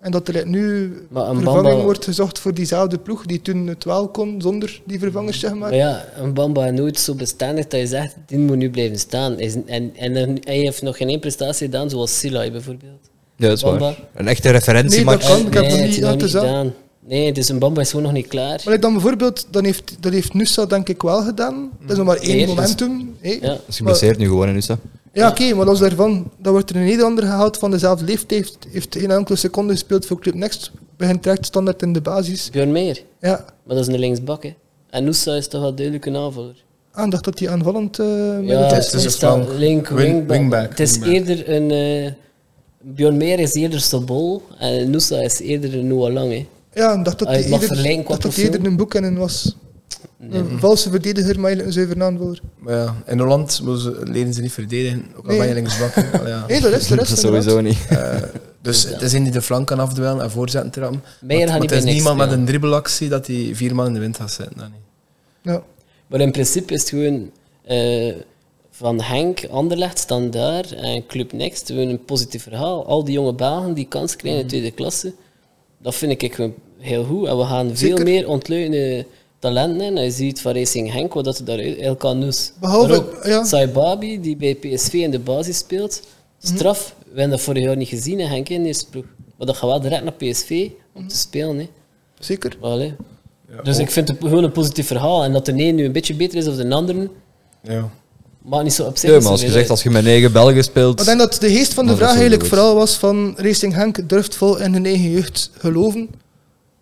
Speaker 1: en dat er nu
Speaker 3: Maar een
Speaker 1: vervanging
Speaker 3: Bamba-
Speaker 1: wordt gezocht voor diezelfde ploeg die toen het wel kon zonder die vervangers, zeg maar.
Speaker 3: Maar ja, een Bamba nooit zo bestendig dat je zegt, die moet nu blijven staan. Is- En, en er- hij heeft nog geen één prestatie gedaan, zoals Silai bijvoorbeeld.
Speaker 2: Ja, dat is
Speaker 3: Bamba.
Speaker 2: waar. Een echte referentiematch.
Speaker 1: Nee, dat kan. ik heb
Speaker 3: Nee,
Speaker 1: hem
Speaker 3: het
Speaker 1: niet
Speaker 3: is nog
Speaker 1: laten
Speaker 3: niet
Speaker 1: zien.
Speaker 3: gedaan. Nee, dus een Bamba is gewoon nog niet klaar.
Speaker 1: Maar ik dan bijvoorbeeld, dan heeft, dat heeft Nusa denk ik wel gedaan. Dat is nog maar één
Speaker 3: Zeer.
Speaker 1: momentum. hè.
Speaker 3: Ja.
Speaker 2: Dat is geblesseerd Dus nu gewoon in Usta.
Speaker 1: Ja, oké, maar los daarvan, dan wordt er een Nederlander gehaald van dezelfde leeftijd, heeft geen enkele seconde gespeeld voor Club Next, begint direct standaard in de basis.
Speaker 3: Björn Meer,
Speaker 1: Ja,
Speaker 3: maar dat is een linksbak, hè. En Noosa is toch wel duidelijk een aanvaller.
Speaker 1: aandacht ah, dat hij aanvallend eh
Speaker 3: Ja,
Speaker 1: middenveld
Speaker 3: het
Speaker 1: is.
Speaker 4: dus een
Speaker 3: is dan
Speaker 4: flank.
Speaker 3: link,
Speaker 4: Wing-
Speaker 3: wingback.
Speaker 4: wingback,
Speaker 3: Het is
Speaker 4: wingback.
Speaker 3: eerder een... eh Björn Meer is eerder Sobol en Noosa is eerder een Noah Lang, hè.
Speaker 1: Ja, en dacht dat
Speaker 3: Hij
Speaker 1: hij
Speaker 3: Ah, mag
Speaker 1: eerder,
Speaker 3: verlengen qua
Speaker 1: dacht dat hij
Speaker 3: profiel.
Speaker 1: eerder een boekhennen was. Een valse verdediger, maar eigenlijk een zuiver aanvaller.
Speaker 4: Maar ja, in Holland moeten ze- leren ze niet verdedigen, ook al
Speaker 1: Nee.
Speaker 4: ben je
Speaker 1: <laughs>
Speaker 4: linksbak. hè. Allee, ja.
Speaker 1: Nee, dat is de
Speaker 2: Ah, Dat
Speaker 1: rest.
Speaker 2: is sowieso niet.
Speaker 4: Eh, dus het is een die de flank kan afdwellen en voorzetten trappen.
Speaker 3: Meijer
Speaker 4: Maar-
Speaker 3: gaat
Speaker 4: maar
Speaker 3: niet
Speaker 4: het is
Speaker 3: bij niks
Speaker 4: niemand met
Speaker 3: spelen.
Speaker 4: een dribbelactie dat hij vier man in de wind gaat zitten. Dat niet.
Speaker 1: Ja.
Speaker 3: Maar in principe is het gewoon eh, van Henk, Anderlecht staan daar en Club Next. Gewoon een positief verhaal. Al die jonge Belgen die kans krijgen
Speaker 1: Mhm.
Speaker 3: in de tweede klasse, dat vind ik gewoon heel goed. En we gaan veel
Speaker 1: Zeker.
Speaker 3: meer ontleunende talenten in. En je ziet van Racing Henk wat dat er daar El Canoes.
Speaker 1: Behalve-
Speaker 3: Maar ook
Speaker 1: ja.
Speaker 3: Saibabi, die bij PSV in de basis speelt.
Speaker 1: Mhm.
Speaker 3: Straf, we hebben dat vorig jaar niet gezien, hè, Henk in de eerste ploeg. Maar dat gaat wel direct naar PSV
Speaker 1: Mhm.
Speaker 3: om te spelen. Hè.
Speaker 1: Zeker.
Speaker 3: Allee.
Speaker 4: Ja,
Speaker 3: Dus
Speaker 4: ook-
Speaker 3: ik vind het gewoon een positief verhaal. En dat de een nu een beetje beter is dan de ander,
Speaker 4: Ja.
Speaker 3: maakt niet zo op zich.
Speaker 2: Ja,
Speaker 3: niet
Speaker 2: maar als je
Speaker 3: zoveel
Speaker 2: zegt,
Speaker 3: uit.
Speaker 2: als je met negen Belgen
Speaker 1: Maar ik
Speaker 2: speelt...
Speaker 1: denk dat de geest van de
Speaker 2: Maar
Speaker 1: vraag
Speaker 2: dat is sowieso
Speaker 1: eigenlijk
Speaker 2: goed.
Speaker 1: vooral was van Racing Henk durft vol in hun eigen jeugd geloven.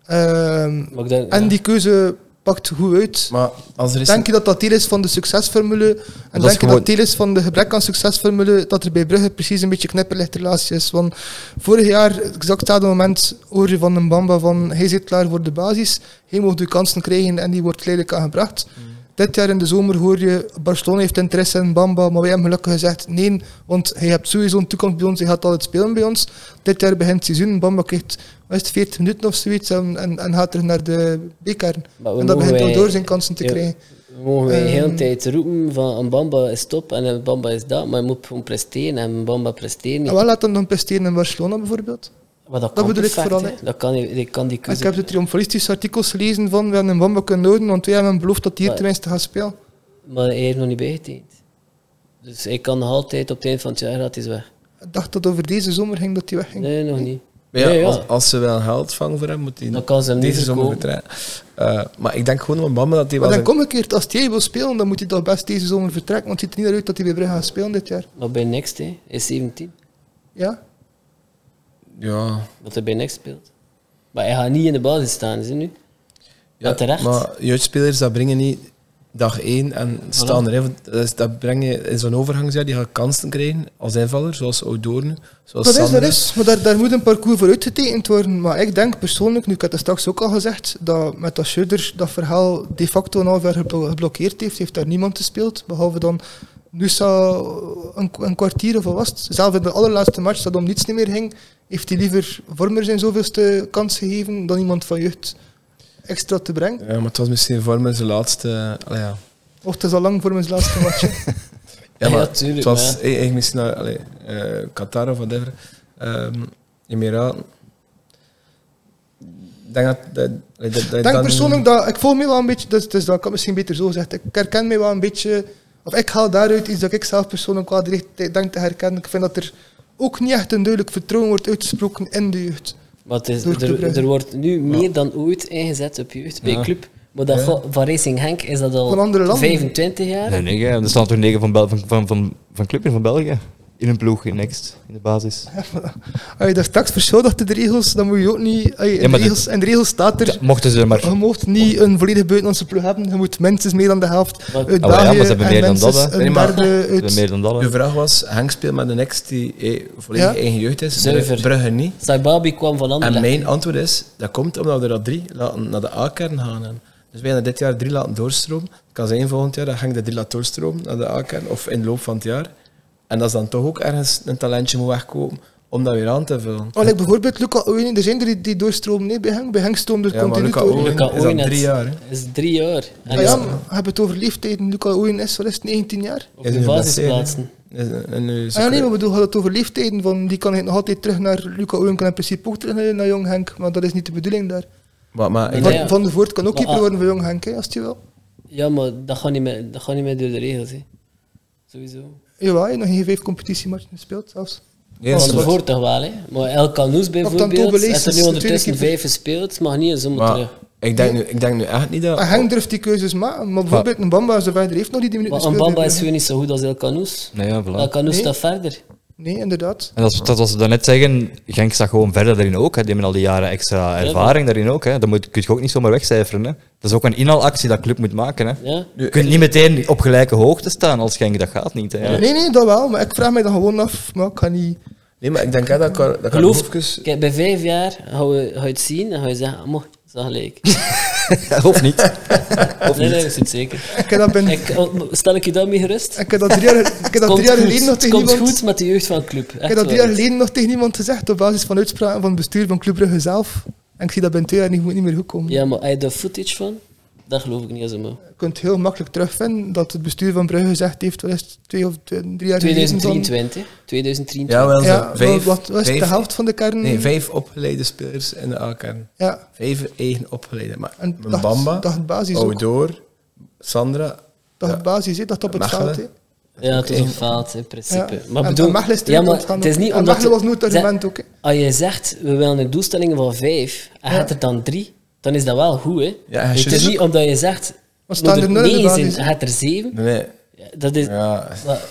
Speaker 1: Ehm,
Speaker 3: Maar ik denk,
Speaker 1: En
Speaker 3: ja.
Speaker 1: die keuze pakt goed uit.
Speaker 4: Maar als er is
Speaker 1: Denk je dat dat deel is van de succesformule? En
Speaker 2: is
Speaker 1: denk je
Speaker 2: gewoon-
Speaker 1: dat deel is van de gebrek aan succesformule? Dat er bij Brugge precies een beetje knipperlicht relatie is. Want vorig jaar, exact hetzelfde moment, hoor je van een Bamba van hij zit klaar voor de basis. Hij mocht de kansen krijgen en die wordt geleidelijk aangebracht. Dit jaar in de zomer hoor je Barcelona heeft interesse in Bamba, maar wij hebben gelukkig gezegd nee, want hij hebt sowieso een toekomst bij ons, hij gaat altijd spelen bij ons. Dit jaar begint het seizoen, Bamba krijgt wat is het, 40 minuten of zoiets en, en, en gaat terug naar de B-kern.
Speaker 3: Maar we
Speaker 1: En dat
Speaker 3: mogen
Speaker 1: begint al
Speaker 3: wij-
Speaker 1: door zijn kansen te
Speaker 3: Ja.
Speaker 1: krijgen.
Speaker 3: mogen wij de hele
Speaker 1: Ehm.
Speaker 3: tijd roepen van een Bamba is top en een Bamba is dat, maar je moet gewoon presteren en een Bamba presteert niet.
Speaker 1: En Ah, wel laat hem dan presteren in Barcelona bijvoorbeeld.
Speaker 3: maar dat,
Speaker 1: dat
Speaker 3: kan
Speaker 1: bedoel ik
Speaker 3: perfect,
Speaker 1: vooral,
Speaker 3: hè.
Speaker 1: hè.
Speaker 3: Dat kan, die- die kan die
Speaker 1: En ik
Speaker 3: keuze.
Speaker 1: heb de triomfalistische artikels gelezen van we hebben een Bamba kunnen houden, want wij hebben hem beloofd dat hij hier
Speaker 3: Maar-
Speaker 1: tenminste gaat spelen.
Speaker 3: Maar hij heeft nog niet bijgetekend. Dus ik kan nog altijd op het eind van het jaar gratis weg.
Speaker 1: Ik dacht dat over deze zomer ging dat hij wegging.
Speaker 3: Nee, nog niet.
Speaker 4: Maar ja,
Speaker 3: Nee, ja.
Speaker 4: Als, als ze wel geld vangen voor hem, moet hij
Speaker 3: Dan kan ze hem niet
Speaker 4: deze zomer
Speaker 3: verkopen.
Speaker 4: vertrekken. Eh, maar ik denk gewoon met Bamba dat hij wel...
Speaker 1: Maar dan
Speaker 4: zijn-
Speaker 1: omgekeerd, als jij wil spelen, dan moet hij toch best deze zomer vertrekken, want het ziet er niet naar uit dat hij bij Brugge gaat spelen dit jaar.
Speaker 3: Maar bij Next, hè. Hij is 17.
Speaker 1: Ja?
Speaker 4: Ja,
Speaker 3: Dat hij bij Next speelt. Maar hij gaat niet in de basis staan, is het nu? Ja, terecht.
Speaker 4: Maar jeugdspelers, dat brengen niet dag één en staan er. hè. Want Dat, is- dat breng je in zo'n overgangsjaar, die gaan kansen krijgen als invaller, zoals Oudoorn, zoals
Speaker 1: Dat is, dat
Speaker 4: Sander.
Speaker 1: is. Maar daar, daar moet een parcours voor uitgetekend worden. Maar ik denk persoonlijk, nu ik had het straks ook al gezegd, dat met dat Schudder dat verhaal de facto een half jaar geblo- geblokkeerd heeft. Heeft daar niemand gespeeld, behalve dan Nusa eh, een, een kwartier of wat was het. Zelfs in de allerlaatste match, dat om niets niet meer ging, heeft hij liever Vormer zijn zoveelste kans gegeven dan iemand van jeugd extra te brengen.
Speaker 4: Ja, maar het was misschien voor me zijn laatste... allee, ja.
Speaker 1: Of het is al lang voor mijn laatste match. hè.
Speaker 4: Ja,
Speaker 3: Ja,
Speaker 4: maar
Speaker 3: tuurlijk,
Speaker 4: het was e-
Speaker 3: maar-
Speaker 4: eigenlijk misschien naar allee, eh, Qatar of whatever. Ehm Emiraten. Ik denk dat... dat, allee, dat, dat je
Speaker 1: Ik denk
Speaker 4: dan-
Speaker 1: persoonlijk dat ik voel me wel een beetje, dus, dus dat kan misschien beter zo gezegd. Ik herken mij wel een beetje, of ik haal daaruit iets dat ik zelf persoonlijk wel direct denk te herkennen. Ik vind dat er ook niet echt een duidelijk vertrouwen wordt uitgesproken in de jeugd. <laughs>
Speaker 3: Maar het is,
Speaker 1: Door te
Speaker 3: er,
Speaker 1: brengen.
Speaker 3: er wordt nu meer dan ooit ingezet op jeugd bij
Speaker 4: Ja.
Speaker 3: club. Maar dat
Speaker 4: Ja.
Speaker 3: gaat- van Racing Henk is dat al
Speaker 1: Van andere landen.
Speaker 3: 25 jaar.
Speaker 2: Nee, nee, ja, er staan toch negen van, Bel van, van, van, van club in van België. In een ploeg, in Next, in de basis.
Speaker 1: Als je dat straks verschuldigt in de regels, dan moet je ook niet. als je in,
Speaker 2: Ja,
Speaker 1: de
Speaker 2: maar dit-
Speaker 1: regels, in de regels staat er.
Speaker 2: Ja, Dus mochten ze er maar...
Speaker 1: Je mocht niet een volledige buitenlandse ploeg hebben. Je moet minstens meer dan de helft
Speaker 3: Wat-
Speaker 1: uit
Speaker 2: Ah, maar ja, maar ze
Speaker 1: België
Speaker 2: hebben
Speaker 1: en
Speaker 2: meer dan
Speaker 1: minstens
Speaker 2: dat, hè.
Speaker 1: een
Speaker 4: Nee, maar-
Speaker 1: derde
Speaker 2: Ze hebben
Speaker 1: uit...
Speaker 2: meer dan dat.
Speaker 4: Uw
Speaker 2: hè.
Speaker 4: vraag was, Henk speelt met een ex die eh, volledig
Speaker 1: Ja.
Speaker 4: eigen jeugd is.
Speaker 3: Zuiver.
Speaker 4: Brugge niet.
Speaker 3: Saibabi kwam van
Speaker 4: En
Speaker 3: Anderlecht.
Speaker 4: mijn antwoord is, dat komt omdat we er al drie laten naar de A-kern gaan. hebben. Dus wij hebben dit jaar drie laten doorstromen. Het kan zijn volgend jaar, dan ga ik de drie laten doorstromen naar de A-kern, of in de loop van het jaar. En dat is dan toch ook ergens een talentje moet wegkomen om dat weer aan te vullen.
Speaker 1: Oh, like bijvoorbeeld Luca Owen, er zijn er die, die doorstromen nee, bij Henk. Bij Henk stroomt er
Speaker 4: Ja, maar
Speaker 1: continu
Speaker 4: Luca
Speaker 1: door.
Speaker 4: Owen
Speaker 3: Luca
Speaker 4: is
Speaker 3: Owen
Speaker 4: al drie
Speaker 3: is-
Speaker 4: jaar. hè.
Speaker 3: is drie jaar. En
Speaker 1: Ah
Speaker 3: is
Speaker 1: ja, maar we hebben het over leeftijden. Luca Owen is wel eens 19 jaar.
Speaker 3: op
Speaker 4: Is
Speaker 3: de
Speaker 4: nu geblesseerd,
Speaker 3: basisplaatsen.
Speaker 4: hè. Is- En nu is
Speaker 1: Ah ja, nee, maar we doen het over leeftijden. Van, die kan hij nog altijd terug naar Luca Owen, kan in principe ook terug naar, naar Jong Henk. Maar dat is niet de bedoeling daar.
Speaker 4: maar, maar ik
Speaker 3: Nee,
Speaker 1: Van,
Speaker 3: ja.
Speaker 1: van de Voort kan ook
Speaker 3: Maar,
Speaker 1: keeper
Speaker 3: ah.
Speaker 1: worden voor Jong Henk, hè, als hij wil.
Speaker 3: Ja, maar dat gaat niet meer, dat gaat niet meer door de regels. Hè. Sowieso.
Speaker 1: Jawel, hij heeft nog geen vijf competitiematchen gespeeld zelfs.
Speaker 4: Ja,
Speaker 3: Van
Speaker 4: is
Speaker 3: de
Speaker 4: goed.
Speaker 3: voor toch wel, hè? Maar El Canoes bijvoorbeeld,
Speaker 1: Tobelees
Speaker 3: heeft er
Speaker 1: is
Speaker 3: nu
Speaker 1: de
Speaker 3: ondertussen
Speaker 1: tweede keeper.
Speaker 3: vijf gespeeld, mag niet in zomer
Speaker 4: maar
Speaker 3: terug.
Speaker 4: ik denk, nu, ik denk nu echt niet dat...
Speaker 1: Maar Ah, Henk durft die keuzes maken. Maar bijvoorbeeld een Bamba, zijn verder heeft nog niet die minuten
Speaker 3: Maar een
Speaker 1: gespeeld.
Speaker 3: Bamba
Speaker 1: bij
Speaker 3: is
Speaker 1: Brugge.
Speaker 3: gewoon niet zo goed als El Canoes.
Speaker 2: Nee, Nou ja,
Speaker 3: El
Speaker 2: voilà.
Speaker 3: Canoes
Speaker 1: Nee.
Speaker 3: staat verder.
Speaker 1: Nee, inderdaad.
Speaker 2: En dat, is- dat was ze daarnet zeggen, Genk staat gewoon verder daarin ook. Hè. Die hebben al die jaren extra ervaring daarin ook. Hè. Dat moet, kun je ook niet zomaar wegcijferen. Hè. Dat is ook een inhaalactie dat club moet maken. Hè.
Speaker 3: Ja?
Speaker 2: Je kunt niet meteen op gelijke hoogte staan als Genk, dat gaat niet. Hè.
Speaker 1: Nee, nee, dat wel. Maar ik vraag mij dan gewoon af. Maar ik ga niet...
Speaker 4: Nee, maar ik denk hè, dat ik... haar- Dat ik haar
Speaker 3: Geloof,
Speaker 4: hoefjes-
Speaker 3: kijk, bij vijf jaar gaan we- ga je het zien en ga je zeggen, mooi, dat is gelijk.
Speaker 2: <laughs> of niet.
Speaker 3: nee, nee, dat is het zeker.
Speaker 1: Ik heb dat, ben,
Speaker 3: Ik, oh, stel ik je daarmee gerust?
Speaker 1: ik heb dat drie jaar, ik heb dat drie jaar
Speaker 3: goed.
Speaker 1: geleden nog
Speaker 3: Het
Speaker 1: tegen
Speaker 3: komt
Speaker 1: iemand...
Speaker 3: goed met de jeugd van de club.
Speaker 1: Ik heb dat drie jaar geleden nog tegen iemand gezegd op basis van uitspraken van het bestuur van Club Brugge zelf. En ik zie dat binnen twee jaar niet, moet niet meer goed komen.
Speaker 3: Ja, maar heb je daar footage van? Dat geloof ik niet als een man.
Speaker 1: Je kunt heel makkelijk terugvinden dat het bestuur van Brugge gezegd heeft, wel eens twee of twee- drie jaar geleden. van-
Speaker 3: 2023. 2023.
Speaker 4: Ja, wel zo.
Speaker 1: Ja,
Speaker 4: vijf,
Speaker 1: wat was
Speaker 4: vijf-
Speaker 1: de helft van de kern?
Speaker 4: Nee, vijf opgeleide spelers in de A-kern.
Speaker 1: Ja,
Speaker 4: Vijf eigen opgeleide. Maar
Speaker 1: en
Speaker 4: een
Speaker 1: dat,
Speaker 4: Bamba,
Speaker 1: dat het
Speaker 3: Oh,
Speaker 1: basis ook.
Speaker 4: Oudoor, Sandra.
Speaker 1: Dat
Speaker 4: ja.
Speaker 1: het basis zit, dat op het
Speaker 4: Mechelen.
Speaker 1: veld. hè.
Speaker 3: Ja, het is een
Speaker 4: Oké.
Speaker 3: fout in principe.
Speaker 1: Ja.
Speaker 3: Maar
Speaker 1: En-
Speaker 3: bedoel,
Speaker 1: en Mechelen is terug
Speaker 3: ja, maar
Speaker 1: ontgaan
Speaker 3: het is
Speaker 1: ook.
Speaker 3: niet
Speaker 1: En
Speaker 3: omdat...
Speaker 1: Mechelen was nooit het
Speaker 3: Zij-
Speaker 1: argument ook, hè.
Speaker 3: Als je zegt, we willen een doelstelling van vijf, en je
Speaker 1: Ja.
Speaker 3: hebt er dan drie, dan is dat wel goed, hè.
Speaker 4: Ja, en
Speaker 3: het
Speaker 4: juist-
Speaker 3: is niet omdat je zegt, we
Speaker 1: staan er
Speaker 3: moeten
Speaker 1: nul in de
Speaker 3: negen zijn,
Speaker 1: basis.
Speaker 3: je hebt er zeven.
Speaker 4: Nee,
Speaker 3: Ja, dat is...
Speaker 4: ja.
Speaker 3: maar-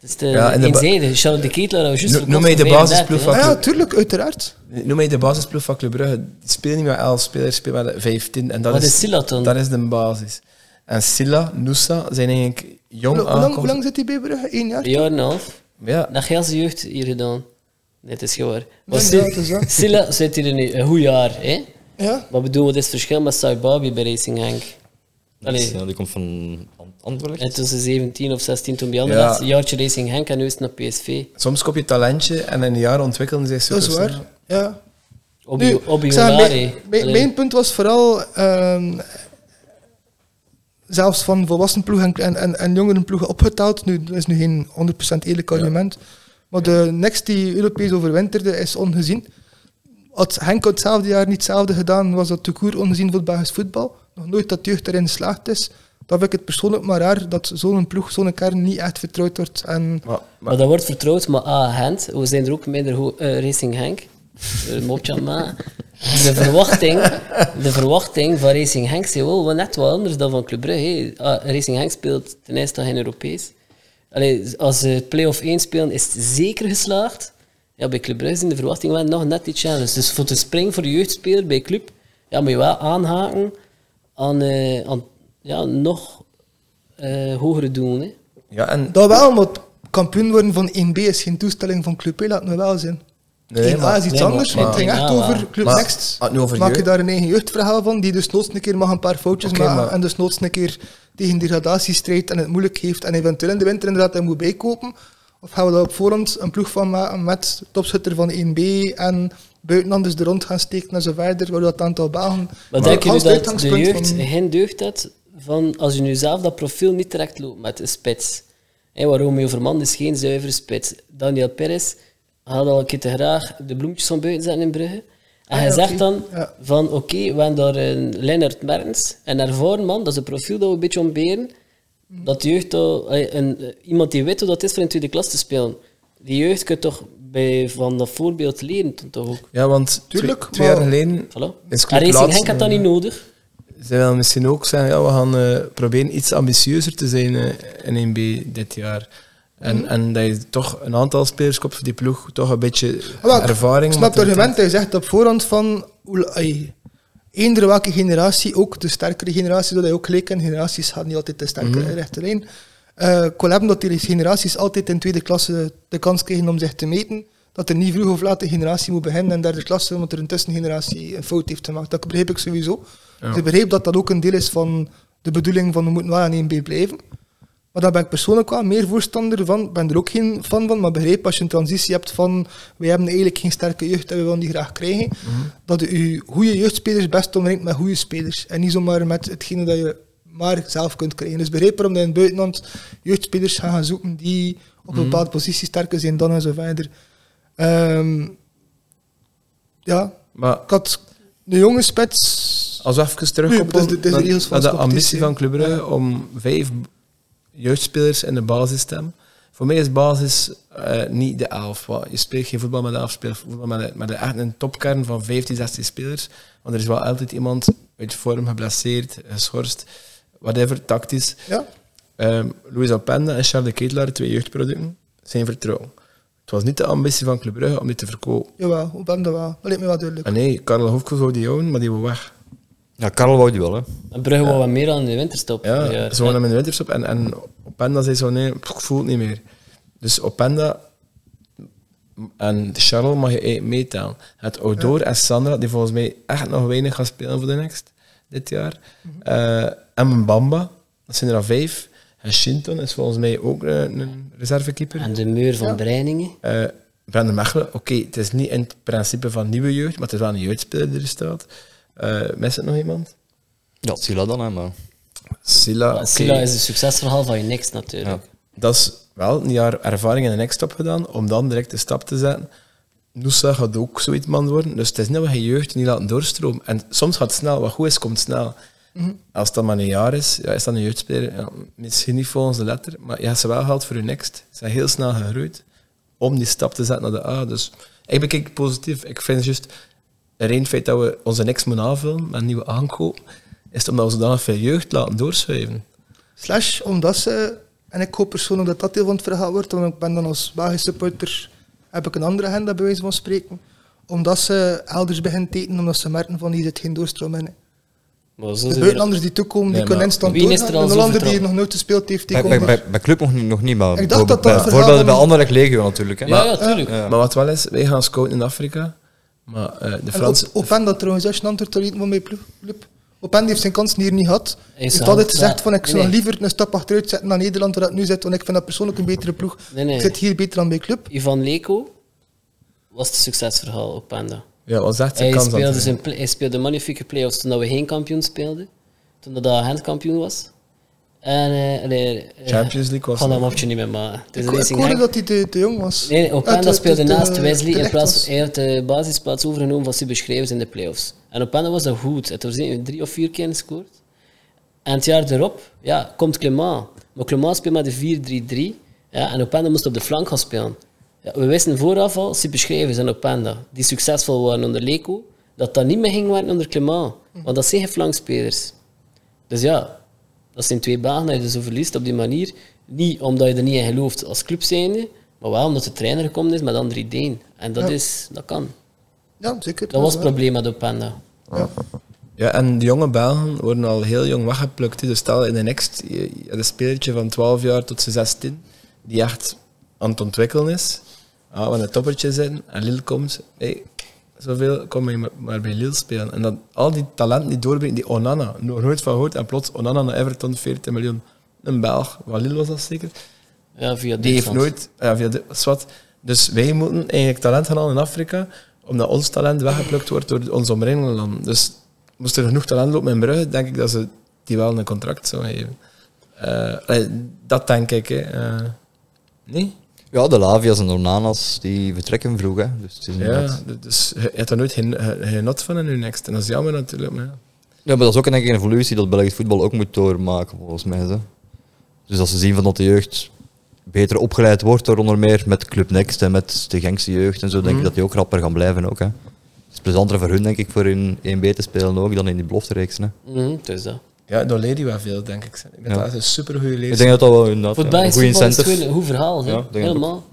Speaker 3: Het is te
Speaker 4: Ja, en de ba-
Speaker 3: eenzijdig. Charles de Ketelaar had juist
Speaker 4: Noem-
Speaker 3: verkocht
Speaker 4: noem mij
Speaker 3: voor
Speaker 4: de
Speaker 3: 35,
Speaker 4: basisploeg
Speaker 3: hè.
Speaker 4: van-
Speaker 1: Ah ja, tuurlijk, uiteraard.
Speaker 4: Noem mij de basisploeg van Club Brugge. Die spelen niet met elf spelers, spelen met vijftien. En dat
Speaker 3: Wat is Silla dan?
Speaker 4: Dat is de basis. En Silla, Nusa zijn eigenlijk
Speaker 1: Hoe
Speaker 4: jong ah,
Speaker 1: lang- hoe lang, hoe lang
Speaker 4: aangekomen.
Speaker 1: zit die bij Brugge? Eén jaar?
Speaker 3: Een jaar en een half.
Speaker 4: Ja,
Speaker 3: Dat Gelse jeugd hier gedaan. Nee, het is gewoon. Maar
Speaker 1: Nee,
Speaker 3: Sil-
Speaker 1: ja, het is dat.
Speaker 3: Silla zit hier een, een goed jaar, hè?
Speaker 1: Ja.
Speaker 3: Maar bedoel, wat is het verschil met Saibabi bij Racing Henk? Allee,
Speaker 2: Ja, die komt van Ant- Antwerpen.
Speaker 3: en tussen 17 of 16 toen bij Anderlecht,
Speaker 4: Ja.
Speaker 3: een jaartje Racing Henk en nu is het naar PSV.
Speaker 4: soms koop je talentje en in een jaar ontwikkelen ze zich
Speaker 1: Dat is
Speaker 4: supersnel.
Speaker 1: waar. Ja.
Speaker 3: Obi-
Speaker 1: Nu,
Speaker 3: Obi
Speaker 1: ik zeg, mijn-
Speaker 3: Onari.
Speaker 1: mijn,
Speaker 3: Allee.
Speaker 1: mijn punt was vooral, ehm, zelfs van volwassen ploeg en, en, en, en jongeren ploegen opgeteld, nu, dat is nu geen 100% eerlijk argument, maar de next die Europees overwinterde is ongezien. Had Henk hetzelfde jaar niet hetzelfde gedaan, was dat te koer ongezien voor het Belgisch voetbal. Nog nooit dat jeugd erin geslaagd is Dat vind ik het persoonlijk maar raar dat zo'n ploeg, zo'n kern niet echt vertrouwd wordt. En
Speaker 4: Maar,
Speaker 3: Maar dat wordt vertrouwd, maar ah, Gent, we zijn er ook minder goed, eh, Racing Henk. Eh, Mopje aan het maken. De verwachting, de verwachting van Racing Henk is wel wel net wat anders dan van Club Brugge. hè. Ah, Racing Henk speelt ten eerste geen Europees. Allee, als ze play-off 1 spelen, is het zeker geslaagd. Ja, bij Club Brugge zijn de verwachtingen wel nog net iets anders. Dus voor de spring voor de jeugdspeler bij Club, ja, moet je wel aanhaken aan, eh, aan ja, nog eh, hogere doelen. hè.
Speaker 4: ja, en...
Speaker 1: dat wel, maar kampioen worden van 1B is geen toestelling van Club B, laat me wel zijn.
Speaker 4: Nee,
Speaker 1: 1A
Speaker 4: maar-
Speaker 1: is iets
Speaker 3: nee, maar-
Speaker 1: anders,
Speaker 3: maar-
Speaker 1: het ging echt
Speaker 3: maar-
Speaker 1: over Club
Speaker 4: maar-
Speaker 1: Next.
Speaker 4: ah, nu over
Speaker 1: Maak je
Speaker 4: jeugd.
Speaker 1: daar een eigen jeugdverhaal van, die dus noods een keer mag een paar foutjes
Speaker 4: Oké,
Speaker 1: maken
Speaker 4: maar-
Speaker 1: en dus noods een keer tegen degradatie strijdt en het moeilijk heeft en eventueel in de winter inderdaad hij moet bijkopen? Of gaan we daar op voorhand een ploeg van maken met topschutter van 1B en buitenlanders er rond gaan steken en zo verder, waardoor dat aantal banen...
Speaker 3: Maar denk je nu
Speaker 1: Hans
Speaker 3: dat de
Speaker 1: uitgangspunt
Speaker 3: jeugd
Speaker 1: van-
Speaker 3: geen deugd had van als je nu zelf dat profiel niet direct loopt met de spits? Hé, want Romeo Vermand is geen zuivere spits. Daniel Perez had al een keer te graag de bloemetjes van buiten zetten in Brugge. En
Speaker 1: Ah,
Speaker 3: hij
Speaker 1: ja,
Speaker 3: zegt
Speaker 1: oké.
Speaker 3: dan
Speaker 1: Ja.
Speaker 3: van oké, we hebben daar een Lennart Mertens en daarvoor man, dat is een profiel dat we een beetje ontberen. Dat de jeugd, al- allee, een, eh, iemand die weet hoe dat is voor in tweede klas te spelen. Die jeugd kunt toch bij, van dat voorbeeld leren, toch ook.
Speaker 4: Ja, want
Speaker 1: Tuurlijk,
Speaker 4: twee, twee
Speaker 1: maar-
Speaker 4: jaar geleden
Speaker 3: Voilà.
Speaker 4: Is Club
Speaker 3: En Racing
Speaker 4: laatste,
Speaker 3: Henk had dat
Speaker 1: eh,
Speaker 4: ja.
Speaker 3: niet nodig.
Speaker 4: ze willen misschien ook zeggen, ja, we gaan eh, proberen iets ambitieuzer te zijn eh, in 1B dit jaar. En,
Speaker 1: Mm.
Speaker 4: en dat je toch een aantal spelers kopt voor die ploeg, toch een beetje
Speaker 1: Ah, wel,
Speaker 4: ervaring.
Speaker 1: Ik snap het
Speaker 4: maturiteit.
Speaker 1: argument dat je zegt op voorhand van... oel, ai, Eender welke generatie, ook de sterkere generatie, zodat je ook gelijk in generaties gaat, niet altijd de sterkere rechterlijn. Eh, ik wil hebben dat die generaties altijd in tweede klasse de kans krijgen om zich te meten. Dat er niet vroeg of laat een generatie moet beginnen in derde klasse, omdat er een tussengeneratie een fout heeft gemaakt. Dat begreep ik sowieso. Dus ik begreep dat dat ook een deel is van de bedoeling van we moeten wel aan 1B blijven. Maar daar ben ik persoonlijk wel meer voorstander van. ben er ook geen fan van, maar begrijp als je een transitie hebt van we hebben eigenlijk geen sterke jeugd en we willen die graag krijgen, dat je goede jeugdspelers best omringt met goede spelers. En niet zomaar met hetgene dat je maar zelf kunt krijgen. Dus begrijp waarom dat in het buitenland jeugdspelers gaan, gaan zoeken die op een bepaalde positie sterker zijn dan en zo verder. Ehm, ja,
Speaker 4: Maar
Speaker 1: ik had een jonge spits...
Speaker 4: als we even terugkomen
Speaker 1: Nee, dat is de- dat is de
Speaker 4: naar-
Speaker 1: regels van
Speaker 4: naar de
Speaker 1: competitie,
Speaker 4: ambitie van Club Brugge om vijf jeugdspelers in de basis te hebben. Voor mij is basis eh, niet de elf. want Je speelt geen voetbal met de elf, je speelt voetbal met, de- met de- echt een topkern van 15, 16 spelers. Want er is wel altijd iemand uit vorm, geblesseerd, geschorst, whatever, tactisch.
Speaker 1: Ja,
Speaker 4: Ehm Louis Alpenda en Charles de Ketelaar, twee jeugdproducten, zijn vertrouwen. Het was niet de ambitie van Club Brugge om dit te verkopen.
Speaker 1: jawel, ik ben dat wel. Dat lijkt me wel duidelijk.
Speaker 4: Ah nee, Karel Hofkes wou die houden, maar die wil weg.
Speaker 2: Ja, Karel wou die wel, hè.
Speaker 3: En Brugge wou wat meer aan de winterstop. eh,
Speaker 4: Ja,
Speaker 3: Ja,
Speaker 4: ze wonen hem in de winterstop. En, en Openda zei zo, nee, pff, ik voel het niet meer. Dus Openda en Charles mag je eigenlijk meetellen. Het Odor en Sandra, die volgens mij echt nog weinig gaan spelen voor de next, dit jaar. Eh, en Mbamba, dat zijn er al vijf. En Shinton is volgens mij ook een, een reservekeeper.
Speaker 3: En eh, de muur van Breiningen.
Speaker 4: Eh Brandon Mechelen, oké, het is niet in het principe van nieuwe jeugd, maar het is wel een jeugdspeler die er staat. Eh mist het nog iemand?
Speaker 2: Ja, Silla dan, hè, maar...
Speaker 4: Silla,
Speaker 3: Maar
Speaker 4: oké.
Speaker 3: Silla is een succesverhaal van je niks natuurlijk.
Speaker 4: Dat is wel een jaar ervaring in de next-stop gedaan, om dan direct de stap te zetten. Noosa gaat ook zoiets man worden, dus het is niet dat we je jeugd niet laten doorstromen. En soms gaat het snel, wat goed is, komt snel. Als dat maar een jaar is, ja, is dat een jeugdspeler. Ja, misschien niet volgens de letter, maar je hebt ze wel gehad voor je next. Ze zijn heel snel gegroeid om die stap te zetten naar de A. Dus ik bekijk het positief. Ik vind juist, er één feit dat we onze next moeten aanvullen met een nieuwe aankoop, is het omdat we zodanig veel jeugd laten doorschuiven.
Speaker 1: Slash omdat ze, en ik hoop persoonlijk dat dat deel van het verhaal wordt, want ik ben dan als Belgische supporter, heb ik een andere agenda bij wijze van spreken. Omdat ze elders beginnen tekenen, omdat ze merken van hier zit geen doorstroom in.
Speaker 3: Maar zo
Speaker 1: De
Speaker 3: zijn er-
Speaker 1: buitenlanders die toekomen, die
Speaker 4: Nee,
Speaker 1: kunnen
Speaker 4: maar
Speaker 1: instant
Speaker 3: wie is er
Speaker 1: doorgaan.
Speaker 3: al
Speaker 1: En de
Speaker 3: zo
Speaker 1: landen die hier
Speaker 3: vertrouwd?
Speaker 1: nog nooit gespeeld heeft, die
Speaker 2: Bij,
Speaker 1: komen
Speaker 2: bij,
Speaker 1: er.
Speaker 2: bij, bij club nog niet, nog niet maar
Speaker 1: Ik dacht dat dat
Speaker 2: bij-
Speaker 1: het verhaal
Speaker 2: voorbeelden bij
Speaker 1: van-
Speaker 2: andere legio natuurlijk. Hè.
Speaker 3: Ja, ja, tuurlijk.
Speaker 2: Ja.
Speaker 4: Maar wat wel is, wij gaan scouten in Afrika. Maar eh, de
Speaker 1: En op,
Speaker 4: Fransen.
Speaker 1: Openda trouwens, als je een antwoord alleen van mijn ploeg- club. Openda heeft zijn kansen hier niet gehad.
Speaker 3: Hij
Speaker 1: Hij heeft
Speaker 3: zou-
Speaker 1: altijd gezegd van ik zou
Speaker 3: Nee.
Speaker 1: liever een stap achteruit zetten naar Nederland waar dat nu zit, want ik vind dat persoonlijk een betere ploeg.
Speaker 3: Nee, nee.
Speaker 1: Ik zit hier beter dan bij club.
Speaker 3: Ivan Leko was het succesverhaal op Panda.
Speaker 4: Ja, wat zegt de
Speaker 3: Hij dus
Speaker 4: kans
Speaker 3: speelde,
Speaker 4: dat
Speaker 3: zijn pla- hij speelde magnifieke play-offs toen dat we geen kampioen speelden. Toen dat hij hand kampioen was. En eh, allee, eh,
Speaker 4: Champions League was
Speaker 3: Ik ga dat
Speaker 4: het.
Speaker 3: mopje niet meer maken. Het Dus is
Speaker 1: Ik,
Speaker 3: een
Speaker 1: ik
Speaker 3: Racing
Speaker 1: hoorde
Speaker 3: Henk.
Speaker 1: dat hij te, te jong was.
Speaker 3: Nee, nee,
Speaker 1: Ah,
Speaker 3: Openda
Speaker 1: te-
Speaker 3: speelde
Speaker 1: te- te-
Speaker 3: naast Wesley
Speaker 1: te
Speaker 3: in
Speaker 1: licht
Speaker 3: plaats
Speaker 1: was.
Speaker 3: hij heeft de basisplaats overgenomen van Sibbe Schrijvers in de playoffs. En Openda was dat goed. Het was drie of vier keer gescoord. En het jaar erop ja, komt Clément. Maar Clément speelt met de 4-3-3. Ja, en Openda moest op de flank gaan spelen. Ja, we wisten vooraf al, superschrijvers en Openda, die succesvol waren onder Leco, dat dat niet meer ging werken onder Clément. Want dat zijn geen flankspelers. Dus ja, dat zijn twee banen dat je zo verliest op die manier. Niet omdat je er niet in gelooft als club zijnde, maar wel omdat de trainer gekomen is met André Deen. En dat,
Speaker 1: Ja.
Speaker 3: is, dat kan.
Speaker 1: Ja, zeker.
Speaker 3: Dat was het
Speaker 1: waar.
Speaker 3: probleem met Openda.
Speaker 4: Ja, en de jonge Belgen worden al heel jong weggeplukt. hè. Dus stel in de next, je je hebt een spelertje van 12 jaar tot zijn 16, die echt aan het ontwikkelen is. Ah, we aan het toppertje zitten en Lille komt. Hey, zoveel kom je maar- maar bij Lille spelen. En dat al die talenten die doorbrengen, die Onana, nog nooit van gehoord. En plots Onana naar Everton, 14 miljoen. Een Belg, van Lille was dat zeker.
Speaker 3: Ja, via
Speaker 4: Die heeft
Speaker 3: Duitsland.
Speaker 4: nooit, ja, via de, zwart. Dus wij moeten eigenlijk talent gaan halen in Afrika, omdat ons talent weggeplukt wordt door onze omringende landen. Dus moest er genoeg talent lopen in Brugge, denk ik dat ze die wel een contract zouden geven. Eh, eh, dat denk ik. Hè. Eh, nee?
Speaker 2: Ja, de Lavia's en de Onanas die vertrekken vroeg. Hè. Dus het is
Speaker 4: Ja,
Speaker 2: inderdaad-
Speaker 4: d- dus je je hebt er nooit geen, geen- geen not van in je next. En dat is jammer natuurlijk. Maar ja.
Speaker 2: ja, maar dat is ook denk ik, een evolutie dat Belgisch voetbal ook moet doormaken, volgens mij. Hè. Dus als ze zien van dat de jeugd beter opgeleid wordt, door onder meer met Club Next en met de Genkse jeugd en zo,
Speaker 3: Mhm.
Speaker 2: denk ik dat die ook rapper gaan blijven. Ook, hè. Het is plezanter voor hun, denk ik, voor in 1B te spelen ook, dan in die beloftereeks. Hè.
Speaker 3: Mhm, het is dat.
Speaker 4: ja, daar leer je wel veel, denk ik. Ik ben
Speaker 2: Ja.
Speaker 4: een supergoeie lezer.
Speaker 2: Ik denk dat dat wel inderdaad,
Speaker 3: Voor het
Speaker 2: ja, een
Speaker 3: Belgisch
Speaker 2: goede
Speaker 3: voetbal is het gewoon
Speaker 2: incentive...
Speaker 3: een goed verhaal. hè.
Speaker 2: Ja, denk ik
Speaker 3: Helemaal.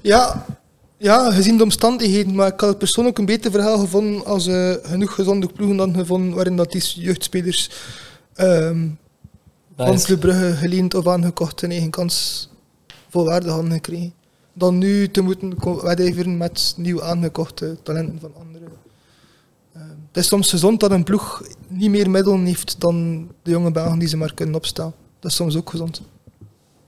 Speaker 1: Ja, ja, gezien de omstandigheden, maar ik had persoonlijk een beter verhaal gevonden als eh, genoeg gezonde ploegen dan gevonden waarin dat die jeugdspelers ehm van
Speaker 3: Belgisch-
Speaker 1: Club Brugge geleend of aangekocht hun eigen kans volwaardig hadden gekregen. Dan nu te moeten ko- wedijveren met nieuw aangekochte talenten van anderen. Eh, het is soms gezond dat een ploeg niet meer middelen heeft dan de jonge Belgen die ze maar kunnen opstaan. Dat is soms ook gezond.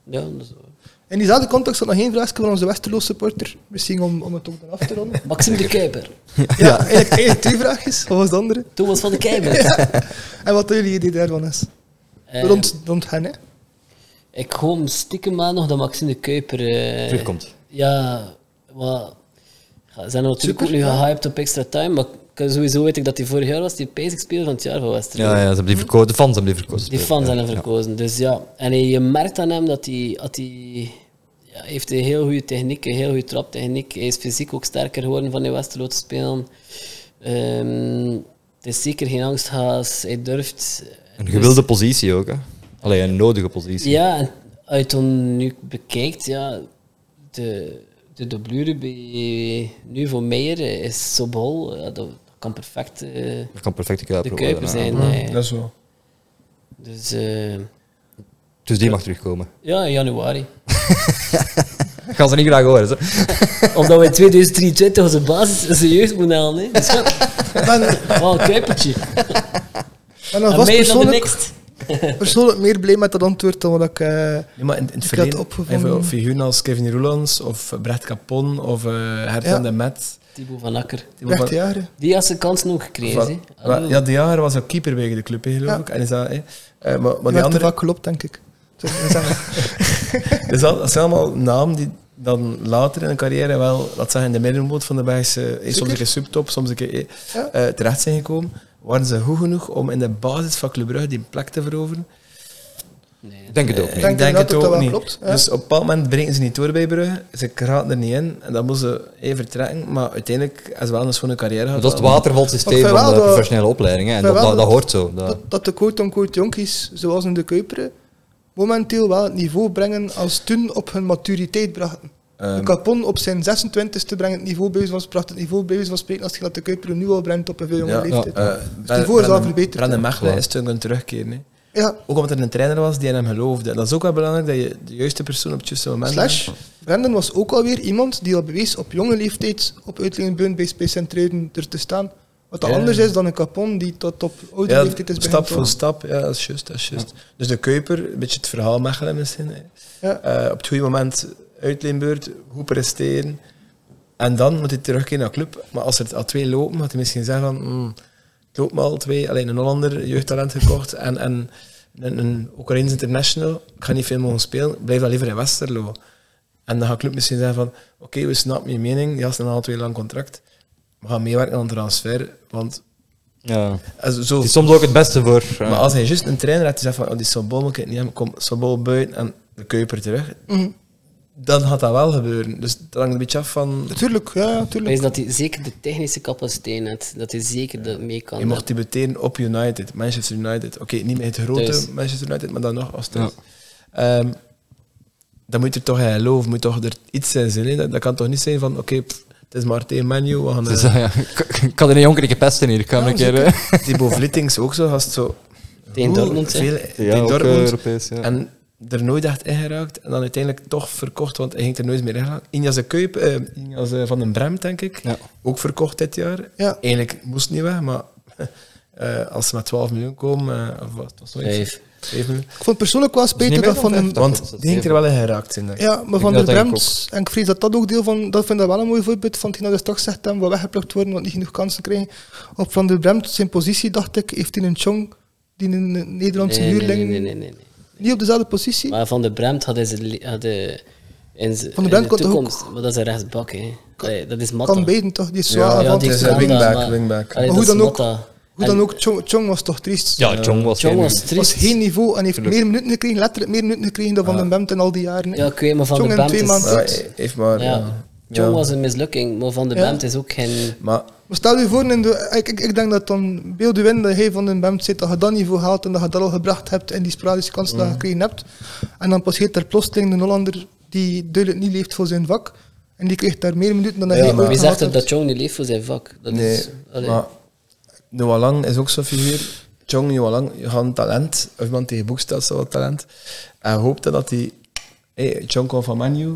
Speaker 3: Ja, dat is waar.
Speaker 1: In diezelfde context had nog één vraagje van onze Westerlo supporter. Misschien om, om het ook dan af te
Speaker 3: <laughs>
Speaker 1: ronden.
Speaker 3: Maxime de Kuiper.
Speaker 1: Ja, Eigenlijk, eigenlijk twee vraagjes. Wat was de andere?
Speaker 3: Thomas van de Kuiper.
Speaker 1: <laughs> En wat jullie idee daarvan is.
Speaker 3: Eh,
Speaker 1: rond, rond hen, hè.
Speaker 3: Ik hoop stiekem aan nog dat Maxime de Kuiper... eh,
Speaker 2: Terugkomt.
Speaker 3: Ja, maar... ja, Ze zijn natuurlijk
Speaker 1: Super,
Speaker 3: ook nu
Speaker 1: ja.
Speaker 3: gehyped op extra time, maar ik- sowieso weet ik dat hij vorig jaar was die basic speler van het jaar van Westerlo.
Speaker 2: Ja, ja, ze hebben die verko- de fans hebben die verkozen.
Speaker 3: Mhm. Die fans
Speaker 2: Ja,
Speaker 3: zijn hem
Speaker 2: ja.
Speaker 3: verkozen. Dus ja, en hij- je merkt aan hem dat hij, dat hij ja, hij heeft een heel goede techniek, een heel goede traptechniek. Hij is fysiek ook sterker geworden van in Westerlo te spelen. Ehm, het is zeker geen angsthaas. Hij durft.
Speaker 2: Een gewilde positie ook, hè? Alleen een nodige positie.
Speaker 3: Ja, en als je het dan nu bekijkt, ja, de, de dublure bij nu voor Meijer is zo bol. Ja, dat, dat kan perfect eh,
Speaker 2: Dat kan perfect de Kuiper
Speaker 3: de
Speaker 2: worden,
Speaker 3: Kuiper
Speaker 2: ja.
Speaker 3: zijn. eh.
Speaker 4: Mm, Dat is wel.
Speaker 3: Dus eh,
Speaker 2: Dus die mag terugkomen.
Speaker 3: ja, in januari. <laughs>
Speaker 2: Gaan ze niet graag horen. Ze.
Speaker 3: Omdat we in 2023 onze basis onze jeugd moeten halen. Hè. Dus ja, <laughs>
Speaker 1: Ben,
Speaker 3: wel een kuipertje.
Speaker 1: ben
Speaker 3: En
Speaker 1: alvast
Speaker 3: meer dan de
Speaker 1: persoonlijk,
Speaker 3: next.
Speaker 1: persoonlijk meer blij met dat antwoord dan wat ik... eh,
Speaker 4: Nee, maar in, in
Speaker 1: Ik
Speaker 4: het
Speaker 1: had
Speaker 4: verleden,
Speaker 1: opgevonden-
Speaker 4: even figuren als Kevin Roelans of Brett Capon of eh Hertan
Speaker 1: Ja.
Speaker 4: de Met.
Speaker 3: Thibaut van Akker.
Speaker 4: Die
Speaker 1: Rechte
Speaker 4: waren-
Speaker 1: jaren.
Speaker 3: Die had zijn kansen ook
Speaker 4: Van-
Speaker 3: gekregen. hè.
Speaker 4: maar-
Speaker 3: Hallo.
Speaker 2: Ah.
Speaker 4: ja, de jager was ook keeper bij de club, hè, geloof
Speaker 1: Ja.
Speaker 4: ik. En is dat, hè. Eh, maar, maar
Speaker 1: Maar die
Speaker 4: die
Speaker 1: andere
Speaker 4: andere,
Speaker 1: vaak klopt, denk ik. Zeg, dat
Speaker 4: <laughs>
Speaker 1: zeggen we.
Speaker 4: dus dat, dat zijn allemaal namen die dan later in de carrière wel, dat zeggen, in de middenboot van de Belgische, eh, soms
Speaker 1: Zeker.
Speaker 4: een keer subtop, soms een keer eh,
Speaker 1: Ja.
Speaker 4: eh, terecht zijn gekomen. Waren ze goed genoeg om in de basis van Club Brugge die plek te veroveren?
Speaker 3: Nee.
Speaker 2: Ik denk het ook niet.
Speaker 1: Denk inderdaad dat dat wel
Speaker 4: niet.
Speaker 1: klopt, ja.
Speaker 4: Dus op een bepaald moment breken ze niet door bij Brugge. Ze kraten er niet in. En dan moeten ze even vertrekken. Maar uiteindelijk hebben ze wel een schone carrière gehad.
Speaker 2: Dat is het watervalsysteem
Speaker 1: Ik
Speaker 2: van
Speaker 1: vind wel
Speaker 2: de
Speaker 1: dat-
Speaker 2: professionele opleidingen. En
Speaker 1: ik vind
Speaker 2: dat,
Speaker 1: wel
Speaker 2: dat, dat
Speaker 1: dat-
Speaker 2: hoort zo. Dat,
Speaker 1: dat, dat de quote-unquote jonkies, zoals in de Kuiperen, momenteel wel het niveau brengen als toen op hun maturiteit brachten. de
Speaker 4: Ehm,
Speaker 1: Capon op zijn 26e brengt het niveau bij wijze van, bracht het niveau bij wijze van spreken als je dat de Kuiperen nu al brengt op een veel jongere
Speaker 4: Ja,
Speaker 1: leeftijd.
Speaker 4: eh,
Speaker 1: dus die voor is al verbeterd.
Speaker 4: Brandon Mechelen
Speaker 2: Ja.
Speaker 4: is toen kunnen terugkeren. hè.
Speaker 1: ja,
Speaker 4: Ook omdat er een trainer was die aan hem geloofde. En dat is ook wel belangrijk dat je de juiste persoon op het juiste moment
Speaker 1: Slash, Brendan was ook alweer iemand die al bewees op jonge leeftijd op uitleenbeun bij Space Centruiden er te staan. Wat dat
Speaker 4: Ja.
Speaker 1: anders is dan een Capon die tot op oude
Speaker 4: Ja,
Speaker 1: leeftijd is
Speaker 4: stap
Speaker 1: begonnen.
Speaker 4: voor stap, ja, dat is juist. Dat is juist. Dus de Kuiper, een beetje het verhaal Mechelen misschien. hè.
Speaker 1: Ja.
Speaker 4: Eh, op het goede moment uitleenbeurt, goed presteren. En dan moet hij terugkeren naar de club. Maar als er al twee lopen, had hij misschien zeggen van... "Hmm, het loopt me al twee, alleen een Hollander, jeugdtalent gekocht. En, en een, een Oekraïns international, ik ga niet veel mogen spelen. Blijf dan liever in Westerlo. En dan gaat de club misschien zeggen van... Oké, we snappen je mening, je had een aantal twee lang contract. We gaan meewerken aan een transfer, want
Speaker 2: Ja.
Speaker 4: Also, zo,
Speaker 2: Het is soms ook het beste voor. eh,
Speaker 4: maar als hij juist een trainer had die zegt van oh, die Sobol moet ik niet hebben, kom Sobol buiten en de Kuiper terug, dan gaat dat wel gebeuren. Dus dat hangt een beetje af van...
Speaker 1: Natuurlijk, ja,
Speaker 3: Maar is
Speaker 1: natuurlijk.
Speaker 3: dat hij zeker de technische capaciteit heeft, dat hij zeker dat mee kan.
Speaker 4: Je mocht debuteren op United, Manchester United. Oké, niet meer het grote
Speaker 3: Thuis.
Speaker 4: Manchester United, maar dan nog als
Speaker 2: Ja.
Speaker 4: thuis. Ehm, dan moet je er toch in geloven, moet toch er iets in zijn. hè. Dat, dat kan toch niet zijn van, oké, pff, het is maar tegen Manu. We gaan,
Speaker 2: het is,
Speaker 4: eh,
Speaker 2: eh, ja, ik- Ik kan er een jonker een keer pesten hier. Ik ga hem een keer. eh,
Speaker 4: Thibaut Vlietings ook zo, gast zo...
Speaker 3: Tegen
Speaker 4: Oeh,
Speaker 3: Dortmund, hè?
Speaker 4: veel-
Speaker 2: Ja,
Speaker 4: tegen
Speaker 2: ook, eh,
Speaker 4: Dortmund.
Speaker 2: Europees. Ja.
Speaker 4: En er nooit echt in geraakt. En dan uiteindelijk toch verkocht, want hij ging er nooit meer in geraakt. Injas de Kuip, eh, Injas eh, van den Bremt, denk ik.
Speaker 2: Ja.
Speaker 4: Ook verkocht dit jaar.
Speaker 1: Ja.
Speaker 4: Eigenlijk moest niet weg, maar <laughs> eh, als ze met 12 miljoen komen, eh, of wat was het?
Speaker 3: Vijf.
Speaker 4: 5 miljoen.
Speaker 1: Ik vond persoonlijk wel spijtig
Speaker 2: niet
Speaker 1: dat
Speaker 2: meer
Speaker 1: van
Speaker 2: dan
Speaker 1: een...
Speaker 2: vijftig. was
Speaker 4: Want
Speaker 2: het
Speaker 4: die ging er wel in geraakt zijn, denk ik.
Speaker 1: Ja, maar
Speaker 2: Ik
Speaker 1: van
Speaker 2: denk
Speaker 1: der
Speaker 2: dat denk ik
Speaker 1: Bremt, en ik vrees dat dat ook deel van, dat vind ik wel een mooi voorbeeld van die naar de straks zegt, hem wat weggeplukt worden, want niet genoeg kansen krijgen. Op van der Bremt, zijn positie, dacht ik, heeft hij een Chong, die een Nederlandse
Speaker 3: Nee, nee,
Speaker 1: huurling,
Speaker 3: nee, nee, nee, nee, nee.
Speaker 1: niet op dezelfde positie.
Speaker 3: Maar Van de Bremt had hij zijn... li- Had hij in zijn-
Speaker 1: Van de
Speaker 3: in
Speaker 1: Bremt kon toch
Speaker 3: toekomst, maar dat is een rechtsbak, hè. Allee, dat is Matta.
Speaker 1: kan beiden toch, die is zwaar
Speaker 4: Ja,
Speaker 1: ja,
Speaker 3: Ja,
Speaker 1: want
Speaker 3: die
Speaker 4: het is
Speaker 3: kan
Speaker 4: een
Speaker 3: dat,
Speaker 4: wingback,
Speaker 3: maar-
Speaker 4: wingback.
Speaker 3: Allee,
Speaker 1: Maar
Speaker 3: dat
Speaker 1: hoe
Speaker 3: is
Speaker 1: dan ook-
Speaker 3: Matta.
Speaker 1: Hoe
Speaker 3: En
Speaker 1: dan ook, Chong, Chong was toch triest.
Speaker 2: Ja, Jong was
Speaker 3: Jong
Speaker 2: geen-
Speaker 3: was
Speaker 1: Het was
Speaker 3: triest.
Speaker 1: geen niveau en heeft meer minuten gekregen, letterlijk meer minuten gekregen dan Van den Bremt in al die jaren.
Speaker 3: Ja, ik weet, maar Van
Speaker 1: Jong
Speaker 3: de
Speaker 1: in
Speaker 3: Bremt
Speaker 1: twee
Speaker 3: is...
Speaker 1: maanden.
Speaker 4: Maar hij heeft maar...
Speaker 3: Ja,
Speaker 4: Ja.
Speaker 3: Jong
Speaker 4: Ja.
Speaker 3: was een mislukking, maar Van de
Speaker 1: Ja.
Speaker 3: Bremt is ook geen...
Speaker 4: Maar
Speaker 1: Maar stel je voor, in de, ik, ik, ik denk dat dan beelden winnen dat hij van den Bemt zit, dat je dat niveau haalt en dat je dat al gebracht hebt en die sporadische kansen dat je
Speaker 3: Mhm.
Speaker 1: gekregen hebt. En dan passeert er plotseling een Hollander die duidelijk niet leeft voor zijn vak. En die krijgt daar meer minuten dan dat
Speaker 4: Ja,
Speaker 1: hij
Speaker 4: maar-
Speaker 1: ooit
Speaker 3: Wie
Speaker 1: gehad
Speaker 3: zegt er
Speaker 1: heeft.
Speaker 3: dat Jong niet leeft voor zijn vak? Dat
Speaker 4: nee,
Speaker 3: is, allee.
Speaker 4: maar Noah Lang is ook zo'n figuur. Jong Noah Lang, je gaat een talent. Of iemand tegen boekstelt zo wat talent. En hoopte dat hij... Hey, Jong kwam van Manu.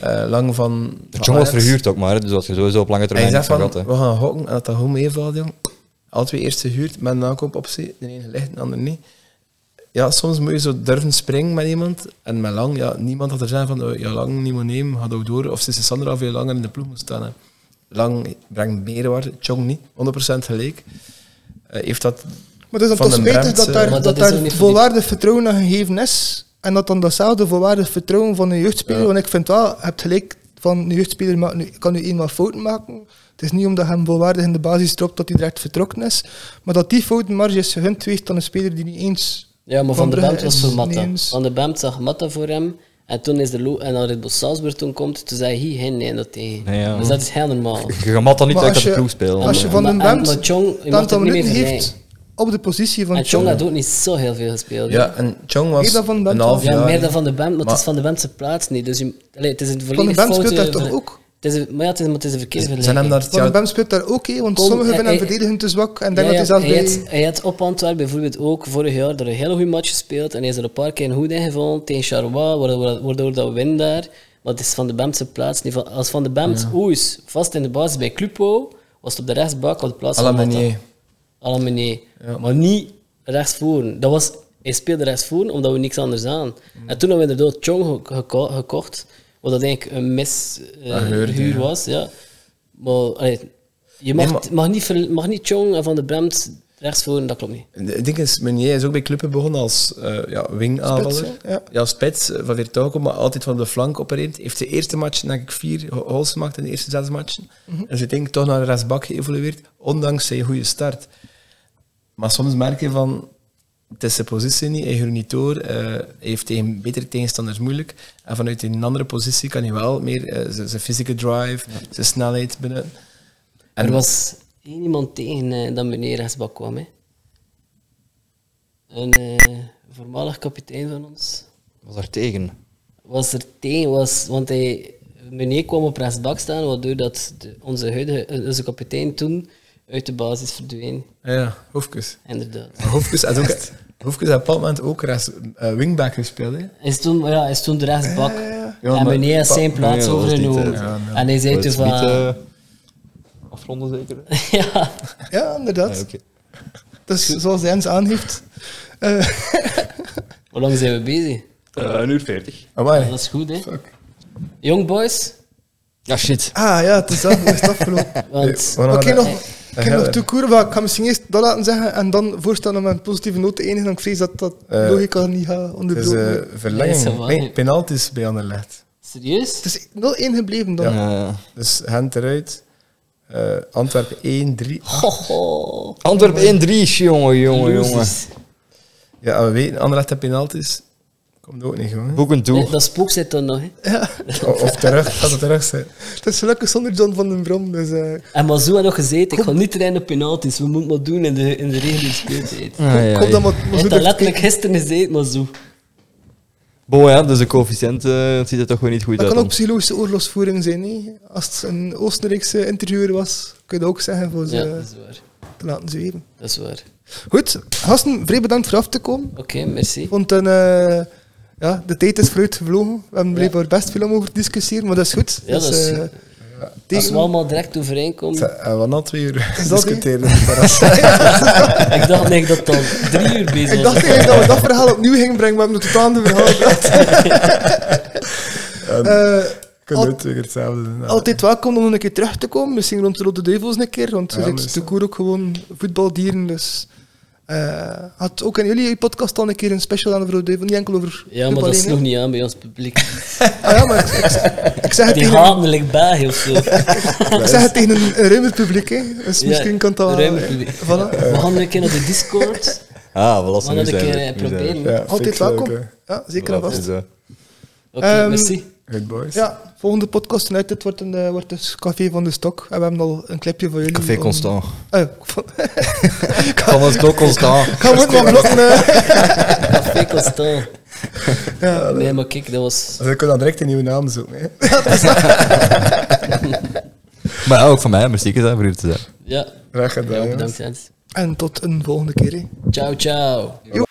Speaker 4: eh, Lang van... van
Speaker 2: Jong was
Speaker 4: Ajax.
Speaker 2: verhuurd ook maar, hè, dus dat je sowieso op lange
Speaker 4: En hij
Speaker 2: termijn
Speaker 4: zegt
Speaker 2: niks aan
Speaker 4: van,
Speaker 2: gehad, hè.
Speaker 4: we gaan gokken. En dat dat goed meevalt, jong. Alle twee eerst gehuurd, met een aankoopoptie. De ene ligt, de ander niet. Ja, soms moet je zo durven springen met iemand. En met Lang, ja, niemand had er zijn van, oh, ja, Lang niet meer nemen, gaat ook door. Of sinds Sander al veel langer in de ploeg moet staan. hè. Lang brengt meerwaarde, Chong niet, 100% gelijk. Eh, heeft dat...
Speaker 1: Maar het is dan
Speaker 4: Van
Speaker 1: toch
Speaker 4: den
Speaker 1: spijtig
Speaker 4: Bremt,
Speaker 1: dat
Speaker 4: eh,
Speaker 1: daar,
Speaker 3: Maar
Speaker 1: dat
Speaker 3: dat is ook
Speaker 1: daar
Speaker 3: niet
Speaker 1: volwaardig vertrouwen aan gegeven is. En dat dan datzelfde volwaardig vertrouwen van een jeugdspeler. Want ik vind wel, je hebt gelijk, van een jeugdspeler maakt nu, kan nu eenmaal fouten maken. Het is niet omdat hij hem volwaardig in de basis dropt dat hij direct vertrokken is. Maar dat die foutenmarge is gegund geweest aan een speler die niet eens...
Speaker 3: Ja, maar Van, de
Speaker 1: Brugge
Speaker 3: Bemt was
Speaker 1: is
Speaker 3: voor
Speaker 1: niet
Speaker 3: Matta.
Speaker 1: eens-
Speaker 3: Van de Bemt zag Matta voor hem. En toen is de Lo en dan Red Bull Salzburg toen komt, toen zei hij geen nee dat tegen.
Speaker 2: Nee, ja.
Speaker 3: Dus dat is heel normaal.
Speaker 2: Je gaat dan niet
Speaker 1: Maar
Speaker 2: uit
Speaker 1: als
Speaker 2: dat de
Speaker 1: je-
Speaker 2: ploeg spelen.
Speaker 1: Als je
Speaker 3: Maar-
Speaker 1: van den
Speaker 3: maar- en-
Speaker 1: Bremt
Speaker 3: maar Tjong, je
Speaker 1: een
Speaker 3: mag
Speaker 1: aantal
Speaker 3: het niet
Speaker 1: minuten
Speaker 3: meer
Speaker 1: heeft op de positie van
Speaker 3: En Chong
Speaker 1: Chong.
Speaker 3: had ook niet zo heel veel gespeeld.
Speaker 4: eh, Ja, en Chong
Speaker 1: Meer
Speaker 4: was
Speaker 1: dan Van den Bent,
Speaker 4: een half
Speaker 3: Ja,
Speaker 4: jaar...
Speaker 3: meer dan Van de Bemt, maar,
Speaker 4: Maar-
Speaker 3: het is Van de Bemt zijn plaats niet. Dus je, allee, het is een
Speaker 1: Van den
Speaker 3: volledig
Speaker 1: Bremt speelt
Speaker 3: foute
Speaker 1: daar toch
Speaker 3: ver-
Speaker 1: ook?
Speaker 3: Het is een, maar ja, het is, maar het is een verkeerde
Speaker 4: Ze hebben hem daar het
Speaker 1: Van den
Speaker 4: jaar
Speaker 1: Bem speelt daar ook, hè, want
Speaker 3: Kom,
Speaker 1: sommigen
Speaker 3: eh,
Speaker 1: vinden hem
Speaker 3: eh,
Speaker 1: verdedigend te zwak. En
Speaker 3: Ja,
Speaker 1: denken
Speaker 3: ja,
Speaker 1: dat hij zelf
Speaker 3: hij,
Speaker 1: bij...
Speaker 3: had, hij had op Antwerpen bijvoorbeeld ook vorig jaar er een hele goede match gespeeld. En hij is er een paar keer goed ingevallen tegen Charlois, waardoor, waardoor dat we winnen daar. Maar het is Van de Bemtse plaats. niet van- Als Van de Bemt ooit vast in de basis bij Club wou, was het op de rechtsbak op de plaats van Matta.
Speaker 4: Alamanier.
Speaker 3: Alle meneer. Maar niet rechtsvoor. Dat was, hij speelde rechtsvoor omdat we niks anders aan.
Speaker 4: Mm.
Speaker 3: En toen hebben we inderdaad Chong geko- geko- gekocht, wat dat eigenlijk een
Speaker 4: Een huur,
Speaker 3: mishuur
Speaker 4: ja.
Speaker 3: was. Ja. Maar allee, je mag,
Speaker 4: Nee, maar-
Speaker 3: mag, niet, ver- mag niet Chong en Van de Bremt rechtsvoor, dat klopt niet.
Speaker 4: Ik denk eens, Meunier is ook bij clubben begonnen als eh ja, wingaanvaller.
Speaker 1: Spits, hè? Ja.
Speaker 4: ja. spits, eh, van Vertauco, maar altijd van de flank opereert. Heeft de eerste match, denk ik, vier go- goals gemaakt in de eerste zes matchen.
Speaker 1: Mhm.
Speaker 4: En ze denk ik toch naar de rechtsbak geëvolueerd, ondanks zijn goede start. Maar soms merk je van, het is zijn positie niet, hij groeit niet door, eh, hij heeft tegen betere tegenstanders moeilijk. En vanuit een andere positie kan hij wel meer eh, zijn zijn fysieke drive, zijn snelheid binnen. En
Speaker 3: er was één iemand tegen eh, dat meneer rechtsbak kwam. Hè. Een eh, voormalig kapitein van ons.
Speaker 2: was daar tegen.
Speaker 3: was er tegen, was, want hij, meneer kwam op rechtsbak staan, waardoor dat de- onze, huidige, eh, onze kapitein toen uit de basis verdween.
Speaker 4: ja, hoefkes.
Speaker 3: Inderdaad.
Speaker 4: Hoefkes had ook... Hoefkes had op dat moment ook rechts, eh, wingback gespeeld. Hè.
Speaker 3: Hij is toen, ja, hij is toen de rechtsbak.
Speaker 4: Ja,
Speaker 3: en
Speaker 4: maar-
Speaker 3: meneer heeft zijn plaats
Speaker 2: Nee, dat was niet,
Speaker 3: overgenomen.
Speaker 2: eh,
Speaker 4: ja, nee.
Speaker 3: En hij zei
Speaker 2: Maar
Speaker 3: toen
Speaker 2: het
Speaker 3: van...
Speaker 2: is niet, eh, afronden zeker?
Speaker 3: <laughs>
Speaker 2: hè?
Speaker 3: ja,
Speaker 1: Ja, inderdaad.
Speaker 2: Ja, oké.
Speaker 1: Dus zoals Jens aangeeft... eh,
Speaker 3: hoe lang zijn we bezig?
Speaker 2: Eh, Een uur veertig.
Speaker 4: Amai.
Speaker 3: Dat is goed, hè? Young boys?
Speaker 2: Ja, shit.
Speaker 1: Ah ja, het is dat, het is
Speaker 4: <laughs>
Speaker 1: afgelopen.
Speaker 3: Want
Speaker 4: Voilà,
Speaker 1: Oké,
Speaker 4: dat-
Speaker 1: nog,
Speaker 4: eh,
Speaker 1: ik heb nog toekoer, maar ik ga misschien eerst dat laten zeggen en dan voorstellen om met een positieve noot te eindigen. want Ik vrees dat dat
Speaker 4: Eh,
Speaker 1: logica niet gaat
Speaker 4: Het is
Speaker 1: onderbroken
Speaker 4: eh,
Speaker 1: worden.
Speaker 3: Nee, is
Speaker 4: verlenging.
Speaker 3: wel-
Speaker 4: Nee, penalties bij Anderlecht.
Speaker 3: serieus?
Speaker 1: Het is 0-1 gebleven dan.
Speaker 2: Ja, ja.
Speaker 4: Dus hen eruit. Eh, eh, Antwerpen 1, 3.
Speaker 3: Hoho.
Speaker 2: Antwerpen 1-3, jongen, jongen, jongen.
Speaker 3: Losers.
Speaker 4: Ja, we weten, Anderlecht heeft penalties. Komt ook niet gewoon.
Speaker 2: Boeken toe.
Speaker 3: Nee, Eh, dat spook zit dan nog. Hè.
Speaker 4: O- Of terug, als het terug zit.
Speaker 1: Het is gelukkig zonder John van den Brom, dus... eh,
Speaker 3: En Mazou had nog gezeten, ik ga niet trainen op penalties. We moeten maar doen in de, in de reguliere
Speaker 2: <laughs>
Speaker 3: speeltijd. Hij
Speaker 2: Ah, ja,
Speaker 1: ik hoop dat
Speaker 2: ja.
Speaker 1: Mo-
Speaker 3: heeft
Speaker 1: Mazoud
Speaker 3: dat
Speaker 1: heeft
Speaker 3: letterlijk
Speaker 1: gekeken.
Speaker 3: gisteren gezeten, Mazou.
Speaker 2: Bon, ja, dus de coëfficiënt eh, dat ziet er toch weer niet goed
Speaker 1: Dat
Speaker 2: uit.
Speaker 1: kan ook
Speaker 2: dan.
Speaker 1: psychologische oorlogsvoering zijn, niet? Als het een Oostenrijkse interieur was, kun je dat ook zeggen voor ze
Speaker 3: Ja,
Speaker 1: eh,
Speaker 3: dat is waar.
Speaker 1: te laten zweven.
Speaker 3: Dat is waar.
Speaker 1: Goed, gasten, vrij bedankt voor af te komen.
Speaker 3: Oké, merci.
Speaker 1: Want een, eh, ja, de tijd is vooruit gevlogen. We hebben blijkbaar best veel om over te discussiëren, maar dat is goed.
Speaker 3: Ja, dat is-
Speaker 1: eh,
Speaker 3: Als
Speaker 1: tegen-
Speaker 3: we allemaal direct overeenkomen.
Speaker 4: En eh, we na twee <laughs> uur dus
Speaker 1: Is dat die?
Speaker 4: discussiëren. op het terras.
Speaker 3: Ik dacht eigenlijk dat het al drie uur bezig
Speaker 1: Ik
Speaker 3: was.
Speaker 1: dacht eigenlijk dat we dat verhaal opnieuw gingen brengen, maar we hebben een totaal ander verhaal gebracht.
Speaker 3: <laughs>
Speaker 1: Eh,
Speaker 4: Ik kan
Speaker 1: Al-
Speaker 4: nooit weer hetzelfde doen.
Speaker 1: altijd welkom om nog een keer terug te komen. Misschien rond de Rode Duivels een keer, want we
Speaker 4: Ja,
Speaker 1: zijn
Speaker 4: maar is
Speaker 1: natuurlijk ook gewoon voetbaldieren. Dus eh, had ook in jullie podcast al een keer een special aan de Rode Duivel, niet enkel over
Speaker 3: Ja, maar
Speaker 1: voetbal
Speaker 3: dat
Speaker 1: alleen, hè?
Speaker 3: sloeg niet aan bij ons
Speaker 1: <laughs>
Speaker 3: publiek.
Speaker 1: Ah, ja, maar ik, ik- ik zeg het
Speaker 3: Die
Speaker 1: tegen,
Speaker 3: haten er bij heel
Speaker 1: <laughs>
Speaker 3: veel.
Speaker 1: ik zeg het tegen een, een ruimer publiek, hè. dus
Speaker 3: Ja,
Speaker 1: misschien kan dat... eh,
Speaker 3: ruimer publiek.
Speaker 1: Voilà.
Speaker 3: We gaan een keer naar de
Speaker 1: <laughs>
Speaker 3: Discord.
Speaker 2: Ah, wel
Speaker 3: We
Speaker 2: als
Speaker 3: gaan
Speaker 2: we nu
Speaker 3: dat een
Speaker 2: zijn.
Speaker 3: keer
Speaker 2: we-
Speaker 3: eh,
Speaker 2: nu zijn we.
Speaker 3: proberen. Oké,
Speaker 4: Ja,
Speaker 1: Altijd
Speaker 4: vind ik leuk,
Speaker 1: welkom.
Speaker 4: hè.
Speaker 1: Ja, zeker en
Speaker 2: Dat
Speaker 1: vast.
Speaker 2: is, eh,
Speaker 1: Ehm,
Speaker 3: merci.
Speaker 4: Good boys.
Speaker 1: Ja, volgende podcast en uit dit wordt, een, eh, wordt dus Café van de Stok. En we hebben al een clipje voor jullie.
Speaker 2: Café
Speaker 1: om-
Speaker 2: Constant.
Speaker 1: Eh, <laughs> van-
Speaker 2: Van ons toch
Speaker 1: <laughs>
Speaker 2: Constant.
Speaker 1: Ik ga ook maar blokken. eh.
Speaker 3: Café
Speaker 1: <laughs>
Speaker 3: Constant. Nee, maar kijk, dat was...
Speaker 4: Dus ik kan dan direct een nieuwe naam zoeken. Hè.
Speaker 2: Maar ja, ook van mij, merci hè, voor hier te zijn.
Speaker 3: Ja,
Speaker 4: Graag
Speaker 3: ja
Speaker 4: gedaan, jongens.
Speaker 3: bedankt Jens.
Speaker 1: En tot een volgende keer. hè.
Speaker 3: Ciao, ciao.
Speaker 1: Joep.